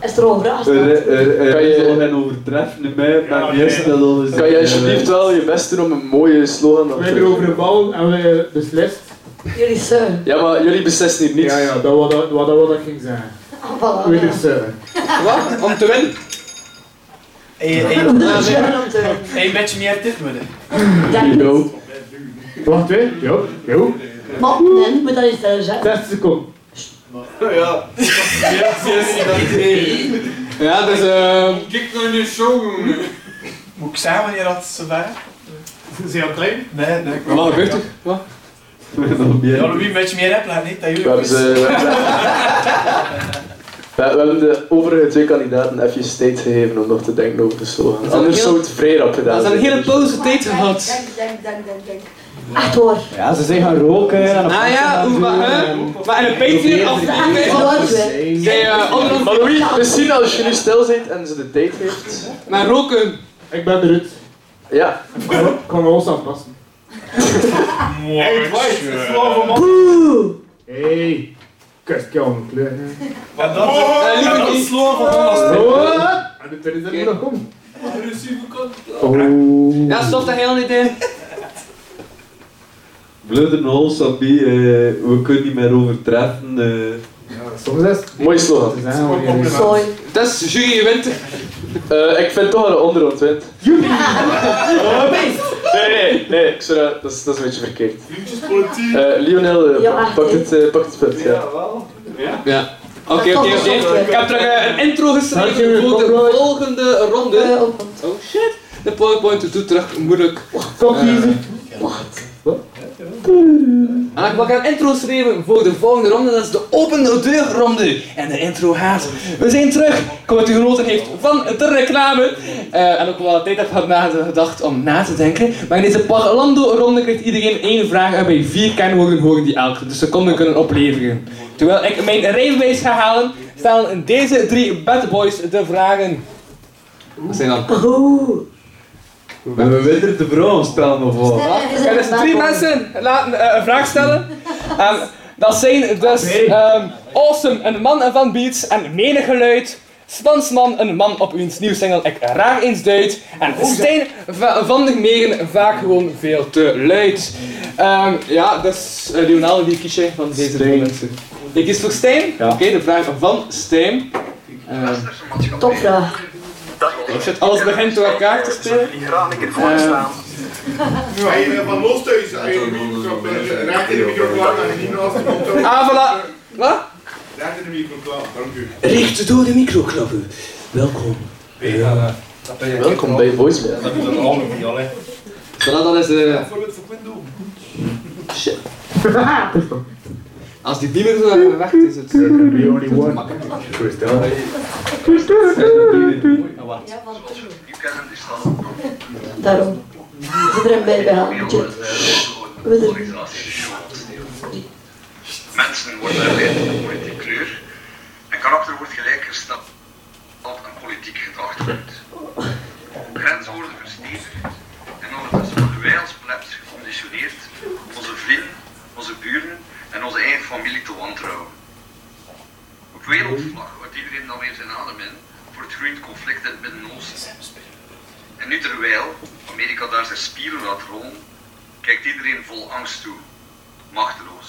Is er over
Er, er, er,
Kan
er
je-
is al een overtreffende mij, maar die is dat al eens-
Kan je alsjeblieft wel je best doen om een mooie slogan
We
af te
hebben
doen?
over een bal en we beslist.
Jullie zijn.
Ja, maar jullie beslissen hier niets.
Ja, ja, dat was dat, wat dat, wat dat ging zijn.
Ah, voilà.
We er zijn.
Wat? Om te winnen?
Hey, met je niet uit dit midden.
Yo. Wacht, hè? Jo, jo.
Maar nee, moet dat eens daar zeggen.
60 seconden.
Ja.
Yes, yes, Ja, dus ehm.
Kijk naar je show. Moet ik zeggen wanneer dat ze waren? Zijn ze al klein? Nee, nee.
Wat gebeurt er? Wat?
Ja, Louis, met je meer hebt, laat niet dat
We hebben,
jullie...
ze, we, hebben we- we hebben de overige twee kandidaten even tijd gegeven om nog te denken over de slogan.
is een
Anders
heel-
zou het vrij rap gedaan
Dat is een
zijn.
hele pauze tijd gehad.
Denk, denk, denk, denk, denk. Echt hoor.
Ja, ze zijn gaan roken en op
Nou ja, hoe- maar, hè? maar in een Patreon aflevering zijn eh, anderen
Maar Louis, misschien als je nu stil bent en ze de tijd heeft.
naar roken.
Ik ben eruit.
Ja,
Ik kan alles aanpassen.
Mooi.
Hey, kustjan, kleur. hè.
En dat is
lieve
een
niet.
sloor van Thomas.
Wat? En de tweede zin moet nog komen.
Ja, stof dat heel niet in.
Blood and all, Sabi, eh, we kunnen niet meer overtreffen. eh.
Soms is het.
mooi slogan.
te zeggen, hoor, jongens.
Sorry.
Dat is Jury Winter.
Eh, ik vind toch dat de onderhand wint. Nee, nee, nee, ik zou dat, dat, is, dat is een beetje verkeerd. Eh, Lionel, eh,
Ja, echt,
pak,
hè?
het, eh, pak het punt. Ja.
Ja. Oké, oké, oké. Ik heb terug eh, een intro geschreven voor de volgende
Eh,
ronde. Oh shit. De PowerPoint doet terug moeilijk. Eh,
Fuck easy.
En ik wil gaan intro schrijven voor de volgende ronde, dat is de open deur ronde. En de intro gaat. We zijn terug, ik hoop dat u genoten heeft van de reclame. Eh, en ook wel wat tijd heb gehad na- gedacht om na te denken. Maar in deze Parlando ronde krijgt iedereen één vraag en bij vier kernwoorden horen die elk de seconden kunnen opleveren. Terwijl ik mijn rijbewijs ga halen, stellen deze drie bad boys de vragen. Wat zijn dan?
We hebben winter te bron staan of wat?
Er is drie mensen laten eh, een vraag stellen. En dat zijn dus ehm, Awesome, een man van beats en menig geluid. Spansman, een man op wiens nieuwe single ik raar eens duid.
Oh,
En Stijn Va- van der Megen, vaak gewoon veel te luid. Ehm, ja, dus eh, Lionel, wie kies jij van deze drie mensen? Ik kies voor Stijn. Oké, de vraag van Stijn. Ehm,
Topvraag.
ik zet alles begint door elkaar te spelen. Ehm,
Van los thuis. Raak in de microfoon klaar, niet naast de microfoon.
ah, voilà. Wat?
Raak in de microfoon klaar, dank u.
Richt door de microklappen. Welkom.
Eh,
Welkom bij Voicemail.
Dat is een ander van jou, hè.
Zodat dat is eh,
Voorbeeld voor Quinto.
[LAUGHS] Als die niet meer zo weg is, het
We only one. Christel.
Daarom. Zit er een bij bij aan. Tjut.
eh,
We er-
Mensen worden geleid door politieke kleur en karakter wordt gelijkgesteld aan politiek gedachtegoed. Grenzen worden verstevigd en ondertussen worden wij als plebs geconditioneerd onze vrienden, onze buren en onze eigen familie te wantrouwen. Op wereldvlag houdt iedereen dan weer zijn adem in voor het groeiend conflict in het Midden-Oosten. En nu terwijl Amerika daar zijn spieren laat rollen, kijkt iedereen vol angst toe, machteloos.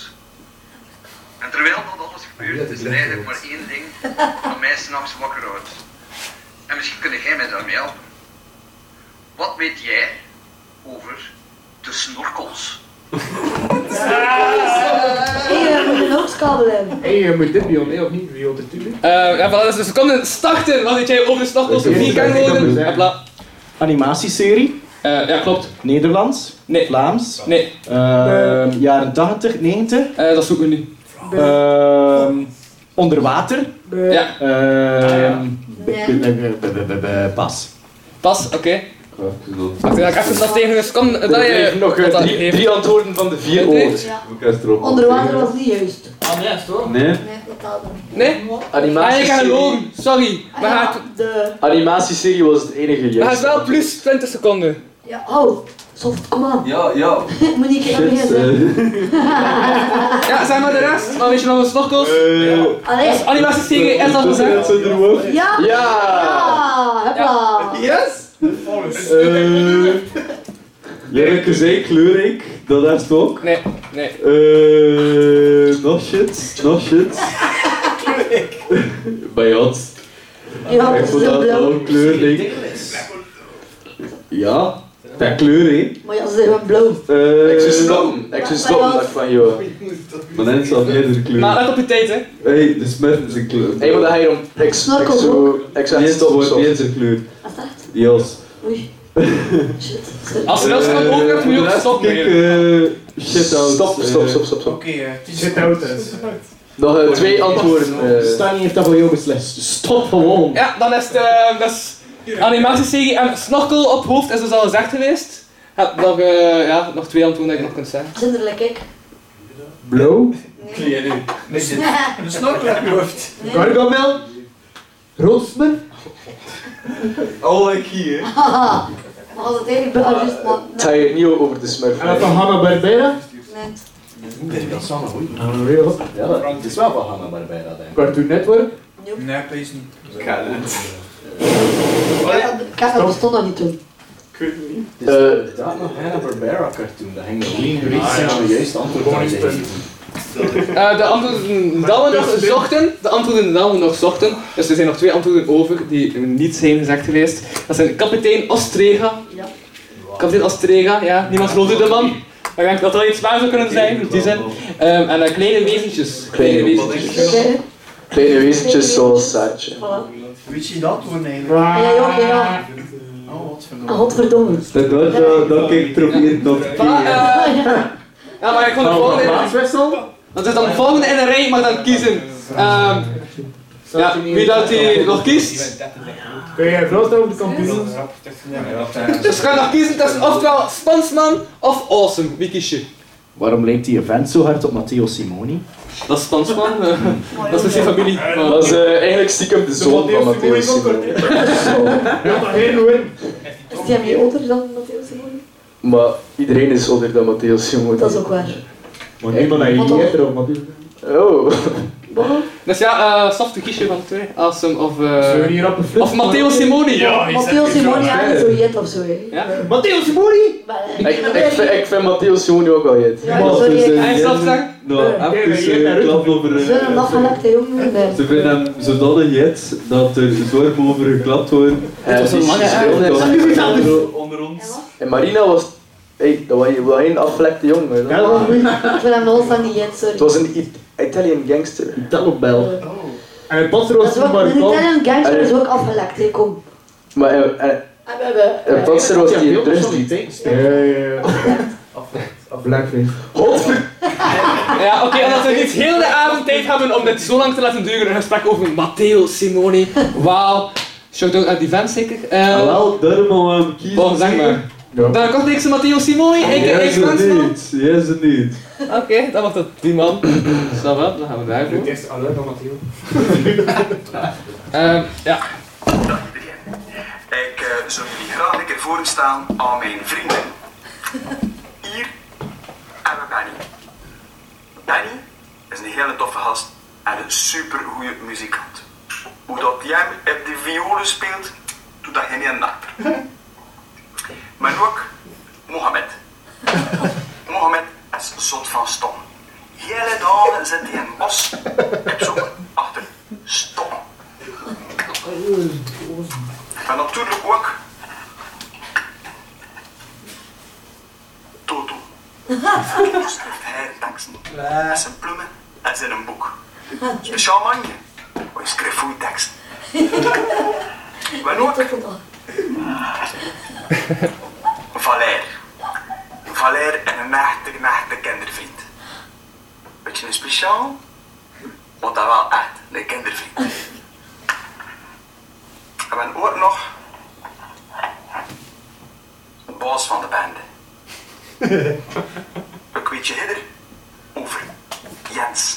En terwijl dat alles gebeurt, is er eigenlijk maar één ding dat mij s'nachts wakker houdt. En misschien kun jij mij daarmee helpen. Wat weet jij over de snorkels?
Hé, we moeten ook skabel hebben.
Hé, hey, moet dit bij nee, of niet? Wie wil dit doen?
Eh, ja, voilà, dus, dus er komt een starter, wat weet jij over de starters
Ik weet
die
het
kan
niet, ik
worden.
kan het
Hopla.
Animatieserie?
eh, ja, klopt.
Nederlands?
Nee.
Vlaams?
Nee. eh,
Ehm, jaren 80, 90?
dat zoeken we nu.
ehm, onder water?
Ja.
Ehm, b- b- b- b- b- b- Pas.
Pas, oké. Wacht, ja, ik even dat tegen dus kom, eh, dat je...
nog eh,
dat dat
drie,
heeft.
drie antwoorden van de vier
Oké.
oors.
Ja.
erop.
Onderwater was niet juist.
Ah, nee, is toch?
Nee.
Nee, totaal niet.
Nee? Ah,
Animatieserie.
ik ga gelogen. Sorry.
Ah,
Maar
ja,
gaat-
de...
Animatieserie was het enige
maar gaat
juist.
wel plus 20 seconden.
Ja, oh. Soft, kom aan.
Ja, ja.
[LAUGHS] Moet ik even
Shit,
Ja, zeg maar de rest. Maar weet je nog een snorkels?
Eh.
Allee.
Als Animatieserie is dat gezegd.
Ja! Ja! Hopla!
Yes!
Eh, Janneke zei kleurrijk, dat is het ook.
Nee, nee.
Eh, nog shit, nog
[LAUGHS]
shit. Bij ons.
Ja,
Ik vond dat
blauw.
ook kleurrijk. Ja, dat kleur hè.
Maar ja, ze zijn wel blauw.
Eh,
Ik zou stoppen. Ik zou stoppen. dacht van joh.
Maar net zal meerdere kleuren.
Maar let op je tijd, hè.
Hé, hey, de smerten zijn kleur.
Hey, maar dat ga je om. Ik ik zou. Ik zou echt
Eerst
stoppen.
wordt
zo.
eerst een kleur. Jos.
Oei. Shit.
Als ze wel
Eh,
gaan over, moet je ook
de rest
stoppen.
kijk,
hè.
eh, shit out.
Stop, stop, stop, stop. stop.
Shit out is.
Nog eh, twee antwoorden. eh.
eh. Stanley heeft dat voor jou beslist. Stop gewoon.
Ja, dan is het eh, dus animatieserie en snorkel op hoofd is dus al gezegd geweest. Ik Heb nog, eh, ja, nog twee antwoorden dat je nog kunt zeggen.
Zinderlijk, ik.
Blauw.
Kleren nu.
[LAUGHS]
Nee, zit. Een snorkel heb je hoofd.
Gargamel. Rotsman.
Al ik hier.
Haha. Maar als het eigenlijk blauw is, maar...
Het gaat hier niet over de smurf.
En dat van Hanna Barbera.
Nee.
Dat is wel een goeie.
Unreal.
Ja, dat- het is wel van Hanna Barbera, denk ik.
Cartoon Network.
Nee, pees niet.
Kijk, dat bestond nog niet toen.
Het is inderdaad nog Hanna Barbera cartoon. Dat ging nog niet geweest zijn om de juiste antwoord aan te geven.
Eh, de antwoorden dat we nog zochten, de antwoorden dat we nog zochten, dus er zijn nog twee antwoorden over die niet zijn gezegd geweest. Dat zijn kapitein Ostrega.
Ja.
Kapitein Ostrega, ja, niemand geloofde de man. Maar ik denk dat dat wel iets waar zou kunnen zijn, die zijn. Ehm, en dan kleine wezentjes. Kleine wezentjes.
Oké.
Kleine wezentjes zoals Saartje.
Voilà.
Weet je dat hoor, nee?
Ja, ja, ja, ja.
Oh, wat verdomme.
Ah, godverdomme.
Dat, dat, dat, dat kijk probeert nog te
Voilà, eh,
Ja.
Ja, maar ik kon de volgende in Dat is dan de volgende in de rij, maar dan kiezen. Ehm, ja, wie dat die nog kiest.
Kun jij vrouwen op de computer?
Dus ga je nog kiezen tussen ofwel Spansman of Awesome. Wie kies je?
Waarom lijkt die event zo hard op Matteo Simoni?
Dat is Spansman. eh, dat is misschien familie. Maar-
Dat is eh, eigenlijk stiekem de zoon van Matthäus Simon.
Ja, maar geen win.
Is die hem hier ouder dan Matteo Simon?
Maar iedereen is onder dan Matthäus Simon.
Dat is ook waar.
Maar niemand heeft je eerder op, man.
Oh.
Waarom?
Dus ja, eh soft kies je van de twee. Awesome of... eh,
Zullen we hier op een flip?
of Matteo Simoni.
Matteo Simon, ja, niet zo jet of zo, hè.
Ja.
Matteo Simoni!
Maar, eh,
Ik, ik, vind, ik vind Matthäus Simon ook wel heet.
Ja, sorry, ik-
Hij is zelf zeggen.
Nou, even eh, klap over.
Ik
eh,
ben een afgelekte jongen. eh.
Ze vinden hem zodanig jet dat er zorgen over geklapt worden. Eh, dus-
Hij
was een lange
Onder, ons. En Marina was... Hey, dat was wel een afgelekte jongen.
Ja, dat is goed.
Ik ben hem nog van die jet,
Het
sorry.
was een It- Italian gangster.
Telebel.
En het past er
Dat
was
is ook,
maar
een
kan.
Italian gangster is ook afgelekt, hè, kom.
Maar hij- hij-
En we hebben...
hij
eh,
was er was die in Dresden.
Ja, ja, ja. Blackface.
Godver...
Ja, oké, omdat we niet heel de avond tijd hebben om dit zo lang te laten duren. Een gesprek over Matteo Simoni. Wauw. Shout-out aan die vent zeker. Eh,
Ah, wel, daarom gaan we hem kiezen.
Bon, zeg maar.
Ja.
Dan kocht ik ze Matteo Simoni, ik
Jij
ik
is het
Spansman.
niet, jij is het niet.
Oké, dan was dat die man. Snap wel, dan gaan we daarvoor.
is alert dan Matteo.
[LAUGHS] Ehm ja.
Dag iedereen. Ik eh, zou jullie graag een keer voorstaan aan mijn vrienden. Hier hebben we Benny. Benny is een hele toffe gast en een supergoeie muzikant. Hoe dat jij hem op de violen speelt, doet dat geen ene achter. Maar ook Mohammed. Mohammed is zot van stom. Hele dagen zit hij in het bos op zoek achter stom. En natuurlijk ook. Toto.
herteksten. Met zijn plummen en zijn boek. Oh, Speciaal manje. Hij schreef goede teksten. Wel ook. [LAUGHS] Valer. Valer en een echte, echte kindervriend. Beetje een speciaal, maar dat wel echt een kindervriend. En ben ook nog de baas van de bende. Een kwietje hidder over Jens.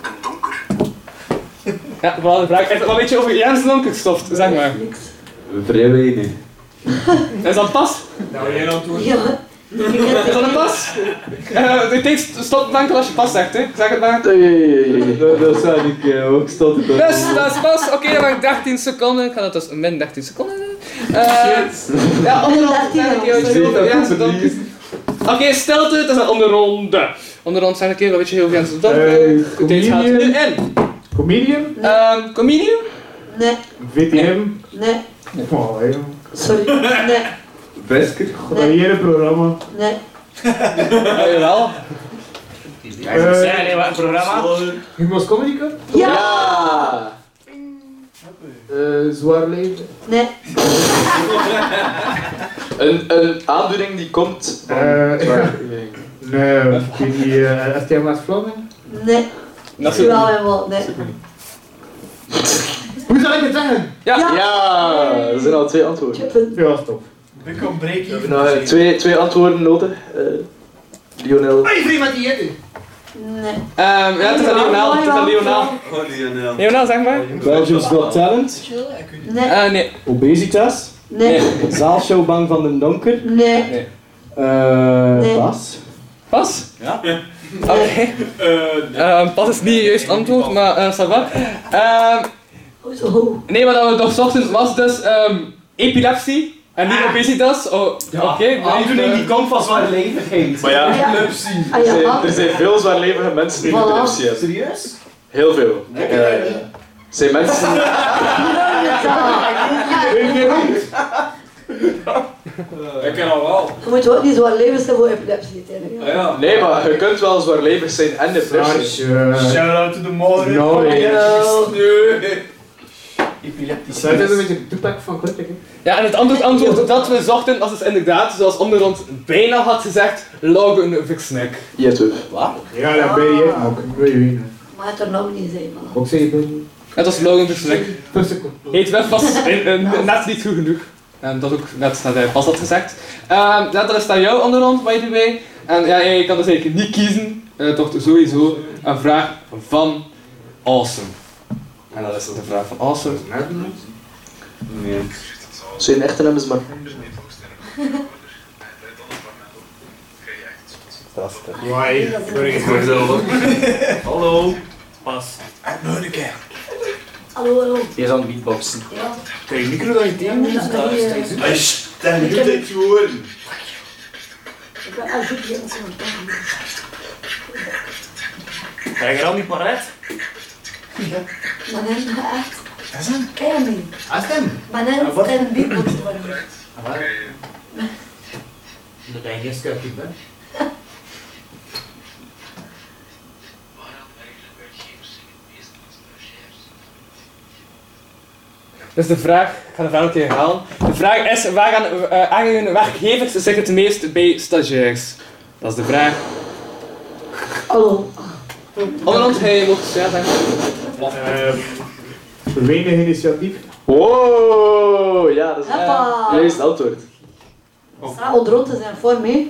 Den donker.
Ja, vooral de vraag. Echt wel een beetje over Jens Donkerstoft, zeg maar.
Vrij weinig.
Is dat pas?
Nou, jij antwoord.
Ja. [LAUGHS]
Is dat een pas? Eh, de tijd stopt enkel als je pas zegt, hè? Zeg het maar.
Dat zei ik eh, ook, stond het ook.
Dus, dat is pas. Oké, dan ben ik 13 seconden. Ik ga dat dus min 13 seconden. doen. Eh, ja, onderhand. Oké, stilte. Het is een onderronde. Onderronde zijn een keer een beetje heel Jens Donker. De tijd gaat nu in.
Comedian?
Ehm, comedian?
Nee.
VTM?
Nee.
Oh, heel.
Sorry. Nee.
Wesker?
Goeie programma.
Nee.
Ja, jawel.
Zeg, nee, wat een programma?
Eh, Humo's Comedy Club?
Ja!
Eh, zwaar leven.
Nee.
Een, een aandoening die komt van...
Eh, [LAUGHS] Nee, ik weet niet, eh, STM West-Vlaming?
Nee.
Dat is-
Jawel, jawel. Nee.
Hoe zal ik het zeggen?
Ja!
Ja, er zijn al twee antwoorden.
Ja, stop.
Ik kom breken.
We hebben nog, eh, twee, twee antwoorden nodig. Eh Lionel.
iemand die het
Nee.
Ehm, ja, het is aan Lionel. Het is aan Lionel.
Oh, Lionel.
Lionel, zeg maar.
Belgium's Got Talent.
Nee.
Eh, nee.
Obesitas.
Nee.
Zaalshow Bang van den Donker.
Nee.
Eh
Nee.
Bas.
Pas?
Ja.
Oké. Ehm, pas is niet juist antwoord, maar eh ça va. Ehm,
Hoezo? Oh,
nee, wat we toch zochten was dus ehm, epilepsie en niet obesitas. Oh, Oké, eh,
Aandoening die komt van zwaarlevigheid.
Maar ja,
Ja.
er
Ah,
[LAUGHS]
ja.
zijn, er zijn veel zwaarlevige mensen die
Voilà.
epilepsie hebben.
Serieus?
Heel veel. Ja, ja. Zijn mensen...
Ik ken al wel.
Je moet ook niet zwaar leven zijn voor epilepsie. hè.
Ja.
Nee, maar je kunt wel zwaarlevig zijn en epilepsie.
Shout out to the morning.
No, nee.
Nee.
Epileptisch.
Dat is een beetje de toepak van Kortrijk.
Ja, en het antwoord, antwoord dat we zochten was dus inderdaad, zoals onderland bijna had gezegd, Logan Vixneck.
Jetwuf.
Wat?
Ja, dat ben je ook. Ik weet niet.
Maar het er nog niet zijn, man.
Ook zei je ben
Het was Logan Vixneck. Heet web was in- in- net niet goed genoeg. En dat ook net nadat hij pas had gezegd. Ehm ja, dat is dan jouw onderhand, by the way. En ja, je kan dus eigenlijk niet kiezen. Eh, toch sowieso een vraag van Awesome. En dat is dus de vraag van Awesome.
Nee.
Zijn echte naam is maar...
Why? Hallo. Pas. Nog een keer.
Hallo, hallo.
Die is aan het beatboxen.
Kijk, de micro dat je tegen me
Ja, dat is niet,
Hij is tegen doet het gewoon.
Ik ben al goed jong van het begin.
Ga je er al niet parat?
Maar dan echt.
Dat is hem.
Kijk me.
Dat is hem.
Maar dan
wat?
zijn een beatbox worden.
Dat ben je geen stukje, hè?
Dus de vraag, ik ga de vraag een keer herhalen. De vraag is, waar gaan eh, hangen werkgevers zich het meest bij stagiairs? Dat is de vraag.
Hallo.
Onderhand, hij mocht ja zeggen.
Weinig initiatief.
Wow, ja, dat is
Hoppa.
juist het antwoord.
Sarah Odronte zijn voor mij.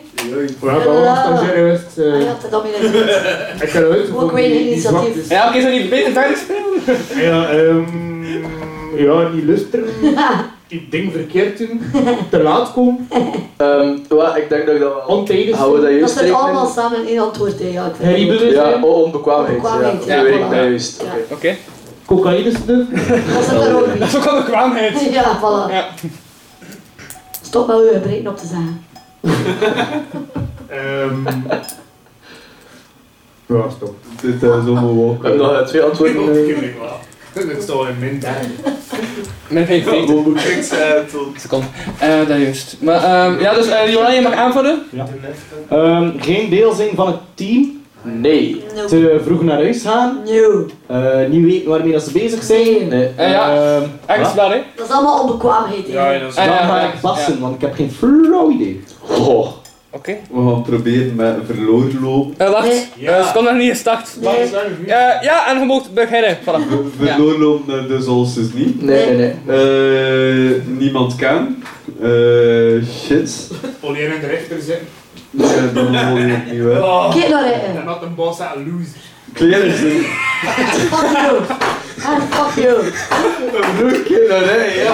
We hebben allemaal stagiair geweest.
Ah
eh,
ja, dat dan weer
Ik kan eruit.
Ook weinig initiatief.
Ja, oké, zou die beter verder spelen?
Ja, ehm. Ja, niet luisteren. Die ding verkeerd doen. Te laat komen.
Ehm, wa, ik denk dat ik dat wel...
Ontijdig.
Houden we dat
Dat
juist
zijn allemaal
rekenen?
samen in één antwoord tegen elkaar.
Herriebelen
Ja, oh.
zijn.
o- onbekwaamheid. Ja,
Onbekwaamheid, ja,
die weet ik
voilà.
dat juist. Oké.
Oké.
Cocaïne snuffen.
Dat is er ook
Dat is ook wel bekwaamheid.
niet. [LAUGHS] Ja, voilà. Stop met uw gebreken op te zeggen.
Ehm. Ja, stop.
Dit is allemaal
We hebben nog eh, twee antwoorden. eh.
Dat is toch wel een min
Met geen vriend. Ze komt. Eh, dat juist. Maar ehm, ja, dus eh Joranje mag aanvullen.
Ja. Ehm, geen deel zijn van het team? Nee. Te vroeg naar huis gaan? Eh,
Nee.
niet weten waarmee dat ze bezig zijn? Nee.
Eh, ja.
Echt
waar, hè? Eh,
Dat is allemaal onbekwaamheid. hè.
Ehm, Dan ga ik bassen, want ik heb geen flauw idee.
Oh.
Oké.
We gaan proberen met verloren lopen.
Eh, wacht, Eh, ze komt nog niet gestart.
Nee.
Eh, ja, en je mag beginnen. Voilà.
Verloren lopen naar de Zolsters dus niet.
Nee,
eh,
nee,
Eh, niemand kan. Eh, shit.
Alleen in de rechter zitten.
Ja, dat wil ik niet hè.
Kijk naar hij.
En dat een boss aan loser.
Kleren zijn.
Fuck you. Ah, fuck you.
Broer, kijk naar hij, ja.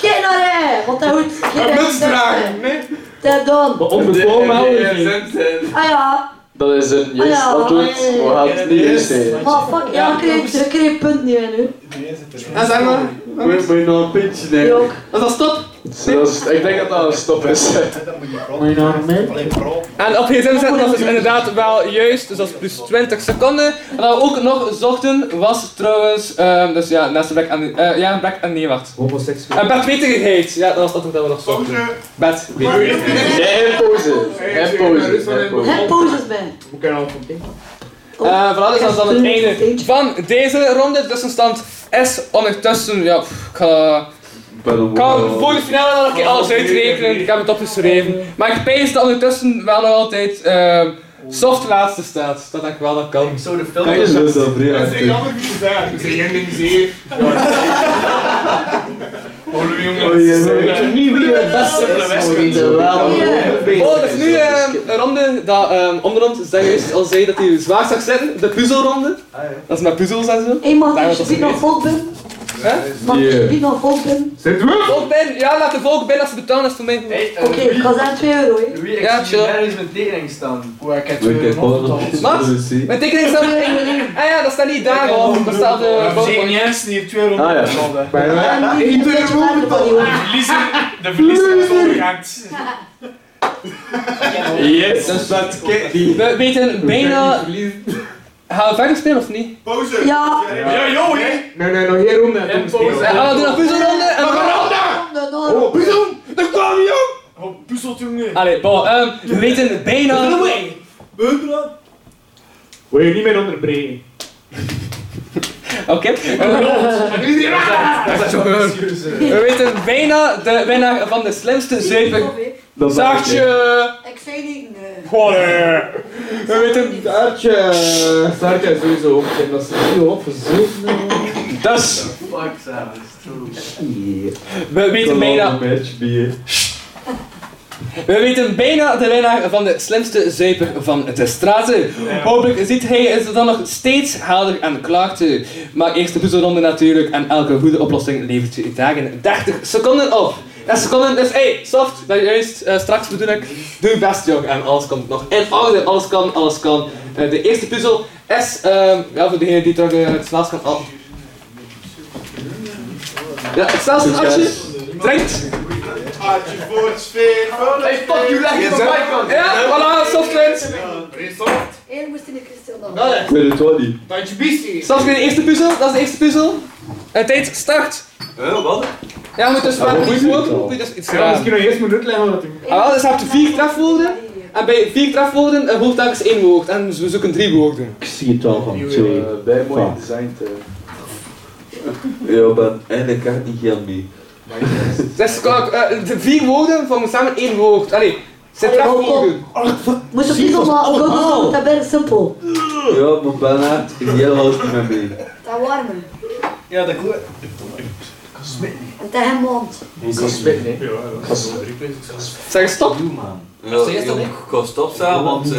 Kijk naar hij. Want hij hoort geen
Een
respect
mutsdrager,
meer. Dat dan. Ah ja.
Dat is een
Ah,
juist
ja.
antwoord. We gaan het niet eens zeggen.
Maar fuck, ja, dan krijg je een punt nu en nu.
En zeg maar.
Moet je nog een pintje
Nee,
nemen?
ook.
Is dat stop?
Dus Dat is- ik denk dat dat een stop is. [LAUGHS]
Mijn armen.
En op gsm zetten was dus inderdaad wel juist, dus dat is plus 20 seconden. En wat we ook nog zochten was trouwens, ehm, dus ja, naast de Black en, eh, ja, Black en nee, wacht.
Homoseksueel.
En Bert Wetigheid, ja, dat was dat ook dat we nog zochten. Bert Wetigheid.
Nee, pose.
En poses.
Heb poses bij.
Hoe kan dat van
Eh voilà, dus dat is dan het einde van deze ronde. Tussenstand is ondertussen, ja, pff, ik ga... kan voor de finale nog een keer alles uitrekenen, ik heb het opgeschreven. Maar ik pees dat ondertussen wel nog altijd ehm, soft laatste staat. Dat denk ik wel, dat kan. Zo de film
Kijk eens, dat is dat vrij
Dat is
actief.
echt jammer niet gedaan. Dat is geen museum. Oh, Louis, jongen.
Oh, ja,
dat is-
weet je
niet wie het beste
Simpele wedstrijd.
Oh, dat is nu ehm, een ronde dat ehm onderhand zeg juist al zei dat hij zwaar zag zitten, de puzzelronde. Dat is met puzzels en zo.
Eenmaal
Daar
dat
was
je
dat
biet nog
geweest.
vol bent. Mag je
Yeah.
biet nog vol bent?
Zitten we? Volk ben, ja, laat de volk ben als ze betalen, dat is voor mij.
Oké, ik ga zijn 2 euro. hè.
Louis, ik
Ja,
zie
chill.
je nergens met tekening staan. Hoe ik het eh,
Ik heb ook nog iets
Wat?
willen zien.
Mijn tekening staat Ah ja, dat staat niet daar hoor, dat staat eh, op de
Zeker
PowerPoint.
niet eens, die heeft 200
Ah, ja.
gulden.
En die
Ik doe
dat
er
je
ook
waarde van die
De
hoort.
verliezer, de verliezer is opgehangt.
Yes, dat is wat kijk die.
We weten bijna. Gaan we verder spelen of niet?
Pauze.
Ja.
Ja, joh, hè.
Nee, nee, nog geen ronde.
En pauze.
Ah, we doen nog puzzelronde en dan gaan we.
Ronde,
Oh,
ronde.
Puzzel, dat kwam, joh. Oh, puzzelt, jongen.
Allee, bon, ehm, we weten bijna.
Beugelen.
Wil je niet meer onderbreken?
Oké. We weten bijna de winnaar van de slimste zeven.
Dat dacht ik.
Zachtje!
Ik zei niet nee.
Golle! We weten.
Saartje, Saartje is sowieso ook. Dat is heel opgezocht.
Dus,
Fuck, Sam, is true.
we weten bijna.
Een match bier.
We weten bijna de winnaar van de slimste zuiper van de straten. Hopelijk ziet hij is dan nog steeds helder en klaarte. Maar eerst de puzzelronde natuurlijk en elke goede oplossing levert je dagen 30 seconden op. 30 seconden, dus hey, soft, dat juist, eh, straks bedoel ik. Doe je best jong en alles komt nog in orde, alles kan, alles kan. Eh, de eerste puzzel is, ehm, ja voor degene die terug eh, het snelst kan al. Ja, het snelste actie, drinkt.
Hartje voor het sfeer. Hey, fuck you, leg je van mij kant.
Ja, voilà, soft wint.
Resort.
Eén moest in de kristal nog.
Ik weet het wel niet.
Tandje biestie.
Start weer de eerste puzzel, dat is de eerste puzzel. En tijd start!
Huh, wat?
Ja, je moet dus
Ah, wat
wel
is
goed
het
worden,
al?
moet je dus iets
Eh, Ja,
raden.
misschien nog eerst moet uitleggen wat hij...
Ah, wel, dus je hebt vier trefwoorden. En bij vier trefwoorden eh, hoeft telkens één woord. En we zoeken drie woorden.
Ik zie het al van twee.
eh,
Bij mooi
Fuck.
design te.
Ja, maar eigenlijk had ik niet geld mee.
Dus eh, eh, de vier woorden vormen samen één woord. Allee, het zijn
Allee, hou
trefwoorden.
Moest je niet maar go, go, go, dat ben ik simpel.
Ja, maar bijna, ik geld was niet meer mee.
Dat warme.
Ja, dat goed.
En dat hem mond.
Ik kan spitten, hè.
Zeg stop.
Als eerste ook gewoon stopstaan, want... eh,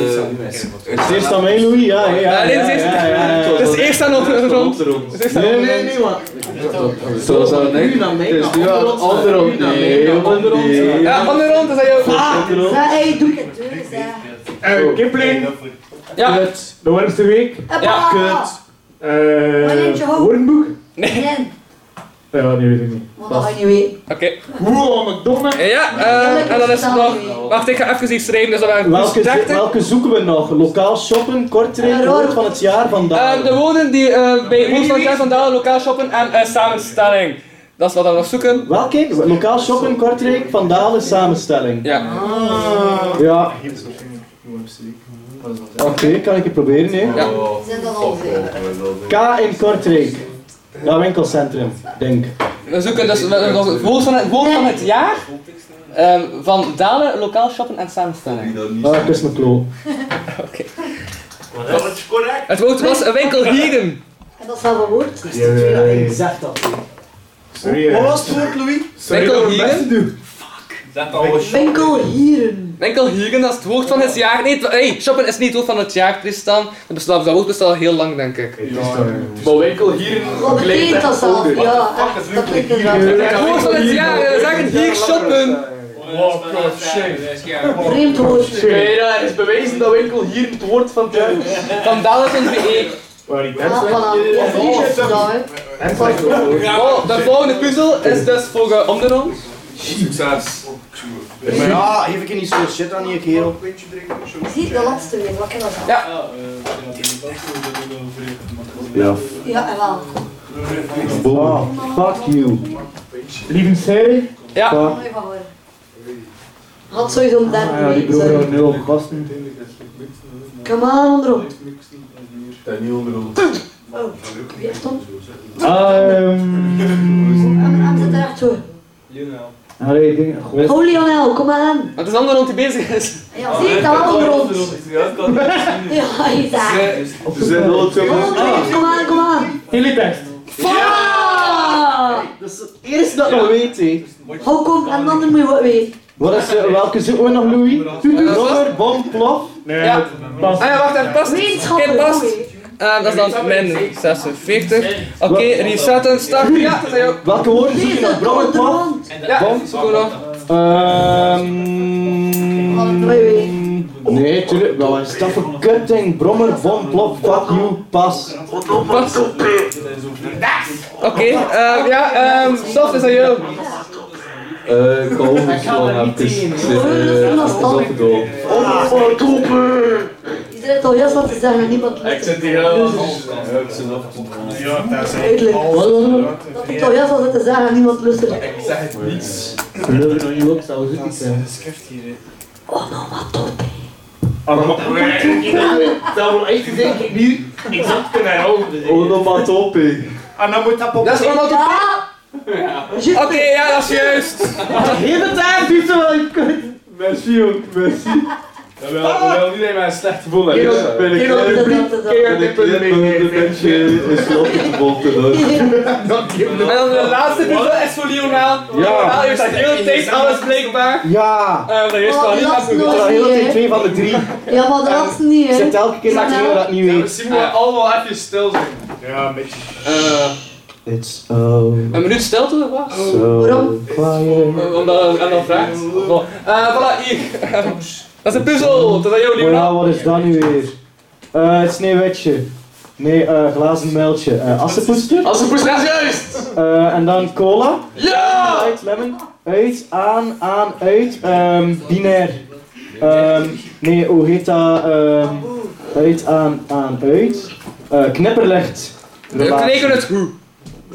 Het eerst aan mij, Louis? Ja, ja, ja.
Ah, nee,
ja,
het is
ja, ja, ja.
het is eerst aan de rond. Het is eerst aan
Nee,
de
nee,
rond.
nee, maar...
Zo zou
Nu
ik.
naar mij,
Dus nu aan
naar
de
onder
andere rond.
ons, Ah. naar mij,
Nee,
naar
aan de
onder ons.
andere rond.
Ja, van de rond, dat is jouw...
Ah.
Ja, hey, doe het dus, hè.
Eh, Kipling,
Ja.
de warmste week.
Hoppa.
Eh,
Wanneer je hoofd-
Woordenboek.
Nee.
Eh, Ja, nee, weet ik niet.
Dat ga je niet weten.
Oké.
Wow, McDonald's.
Ja, eh, en dan is het nog... Wacht, ik ga even iets schrijven, dus dat waren
Welke, zo-
30.
welke zoeken we nog? Lokaal shoppen, kortrijk, rood van het jaar vandaag.
Ehm, er wonen die eh, bij Woens van Kerk vandaan lokaal shoppen en eh, samenstelling. Dat is wat we nog zoeken.
eh,
Welke? Lokaal shoppen, Kortrijk, Van Dalen, samenstelling.
Ja.
Ja. Oké, kan ik het proberen, nee?
Zijn dat al veel?
K in Kortrijk. Dat winkelcentrum, denk.
We zoeken dus we- we- woens van, het- woens van het jaar. ehm, van Dalen, lokaal shoppen en samenstelling.
Ah, kus mijn klo.
Dat is correct. Het woord was een winkel Heden.
En dat is wel verwoord.
Ik zeg dat niet.
Eh, Sorry, eh.
Wat was
het woord, Louis?
Sorry
Winkel
dat ik mijn best
Hieren.
Winkel Hieren.
Winkel Hieren, dat is het woord van het jaar. Nee, het- hey, shoppen is niet het woord van het jaar, Tristan. Dat, bestaat, dat woord bestaat al heel lang, denk ik.
Maar winkel hier
Wat betekent dat zelf? Ja, echt, dat klinkt inderdaad.
Het woord van het jaar, eh, zeg het hier, shoppen.
Oh god, shit.
Vreemd woord.
Oké, dat is bewezen dat winkel hier het woord van het jaar is.
Van Dalen tot BE.
Waar die
Ja, voilà. Dat is niet zo gedaan, hè.
Oh, de volgende puzzel is dus voor eh, om de rond.
Succes. Maar ja, geef ik je niet zoveel shit aan je kerel.
Zie, de laatste weer, wat kan dat zijn?
Ja.
eh,
Ja.
Ja, en wel.
Ah,
Fuck you.
Lieve serie?
Ja.
Mooi van hoor. Had sowieso een derde
Ah, ja, die
mee,
broer
sorry.
had nul op gasten.
Come on, onderom.
Dat niet onderhoog.
Oh, wie heeft dan?
Ehm.
Aan de draad hoor.
Allee, ik denk- goh.
Oh, Lionel, kom maar aan.
Het is om de rond die bezig is.
Ja, zie, dat wel onderom. [LAUGHS] Ja, is daar.
Ze zijn alle twee
Onderom, kom aan, kom aan.
Teletext.
Ah!
Dat is het eerste dat we weten. hè.
Hoe komt en dan moet je wat weten.
Wat is, eh, welke zoeken we nog, Louis? Robber, bom, plof.
Nee,
Ja.
dat past.
Ah ja, wacht even, past.
Wetenschappen,
Oké, past.
oké.
Eh, dat is dan min 46. Oké, resetten, start. Ja, dat zijn ook.
Welke woorden zoek je nog? Brom en plof?
Ja, zoeken we nog.
Ehm. Nee, tuurlijk. Wel, wat is dat voor kutting? Brommer, bom, plof, fuck you, pas.
Pas. Oké, eh, ja, ehm, Sof is aan jou.
Eh, ik ga overslaan even. Ik zit eh, op dat gedoe.
Je zei het al heel snel te zeggen en niemand Dus- luistert.
Ik zit hier
Ja, dat is
Duidelijk. Dat ik al heel snel zit te zeggen en niemand luistert.
Ik zeg het niets.
Geloof ik nog niet op, zou ze niet zijn.
Schrift hier, hè.
Oh,
Dat wil echt denk ik nu. Ik zat kunnen herhouden.
Oh, Onomatopee.
En dan Ah, nou moet dat op...
Dat is allemaal te
Ja!
Oké, ja, dat is juist.
Hele tijd doet ze wel een kut.
Merci jong, merci. Dat wil, dat wil niet dat je mij een slecht gevoel hebt.
Ja, ben ik
Dat
ben
is
ik-
dat, dat is dat.
ben ik een beetje in slot gebonden hoor.
En dan de laatste puzzel is voor Lionel. Lionel heeft de hele tijd alles blijkbaar.
Ja.
Eh, dat is
Oh,
wel niet
dat is
afgekomen.
Dat
nooit
is al heel de
niet,
tijd
hè.
twee van de drie.
Ja, maar dat is niet, hè.
Zit elke keer dat ik heel dat niet weet.
Misschien moeten we allemaal even stil zijn.
Ja, een beetje.
Eh,
It's oh
Een minuut stilte, wat?
so
Waarom?
quiet.
Eh, Omdat hij dan vraagt. Bon.
Oh.
Eh, voilà, hier. [LAUGHS] Dat is een puzzel. Dat is aan jou,
Maar
Lionel.
ja, wat is dat nu weer? Eh, het sneeuwwitje. Nee, eh glazen muiltje. Eh assenpoester.
Als het voor is juist!
Eh, en dan cola.
Ja!
Uit, lemon. Uit, aan, aan, uit. Ehm binair. Ehm, nee, hoe heet dat? Ehm, uit, aan, aan, uit. Eh knipperlicht.
We kneken het goed.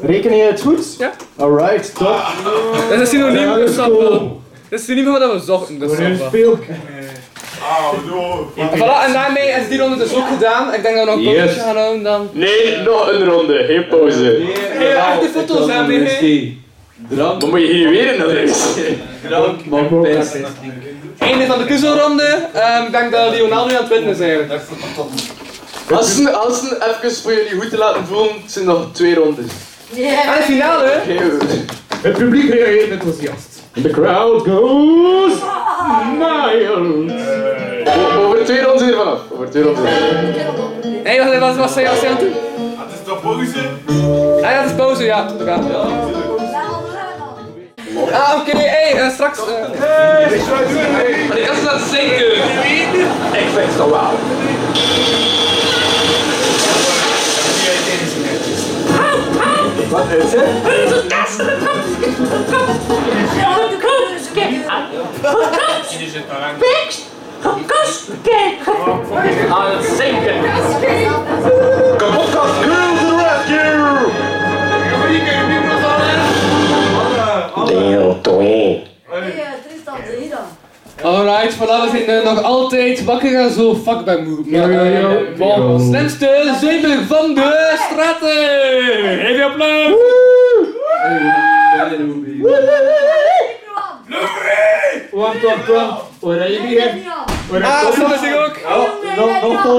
Reken je het goed?
Ja.
Alright, top.
Dat is een synoniem
Ja,
voor
dat is
samba.
cool.
Dat is synoniem voor wat we zochten, dus
Voor een
samba.
speel.
Voilà, en daarmee is die ronde dus ook gedaan. Ik denk dat we nog een
Yes.
fotootje gaan houden dan.
Nee, nog een ronde, geen pauze.
Hey, echte foto's aan mee.
Dan moet je hier weer in adres.
Einde van de puzzelronde. Ehm, ik denk dat Lionel nu aan het winnen is eigenlijk.
Als het, als het even voor jullie goed te laten voelen, het zijn nog twee rondes.
En de finale, hè?
Het publiek reageert enthousiast.
The crowd goes mild. O- Over twee ronden zijn we er vanaf. Over twee ronden. zijn we er
Hé, hey, wat, wat, wat zei je als je aan toe? Ah, ja, dat is pauze, ja. Dat gaat. Ah, oké, hey, eh, straks. eh. Maar ik had ze laten zinken.
vanaf. Ik vind het wel wauw.
Ja,
Wat is het?
dit is een test! Kastkijk! Aan het zinken!
Kapotkast, girl to the rescue!
Deel 2.
Alright, vandaag zijn we eh, nog altijd wakker en zo vakbaar moe. Ja, ja, ja. Eh, Slimste zeven van de straten! Geef je applaus!
Wacht, wacht, wacht. Oranje bier.
Ah, dat is ook.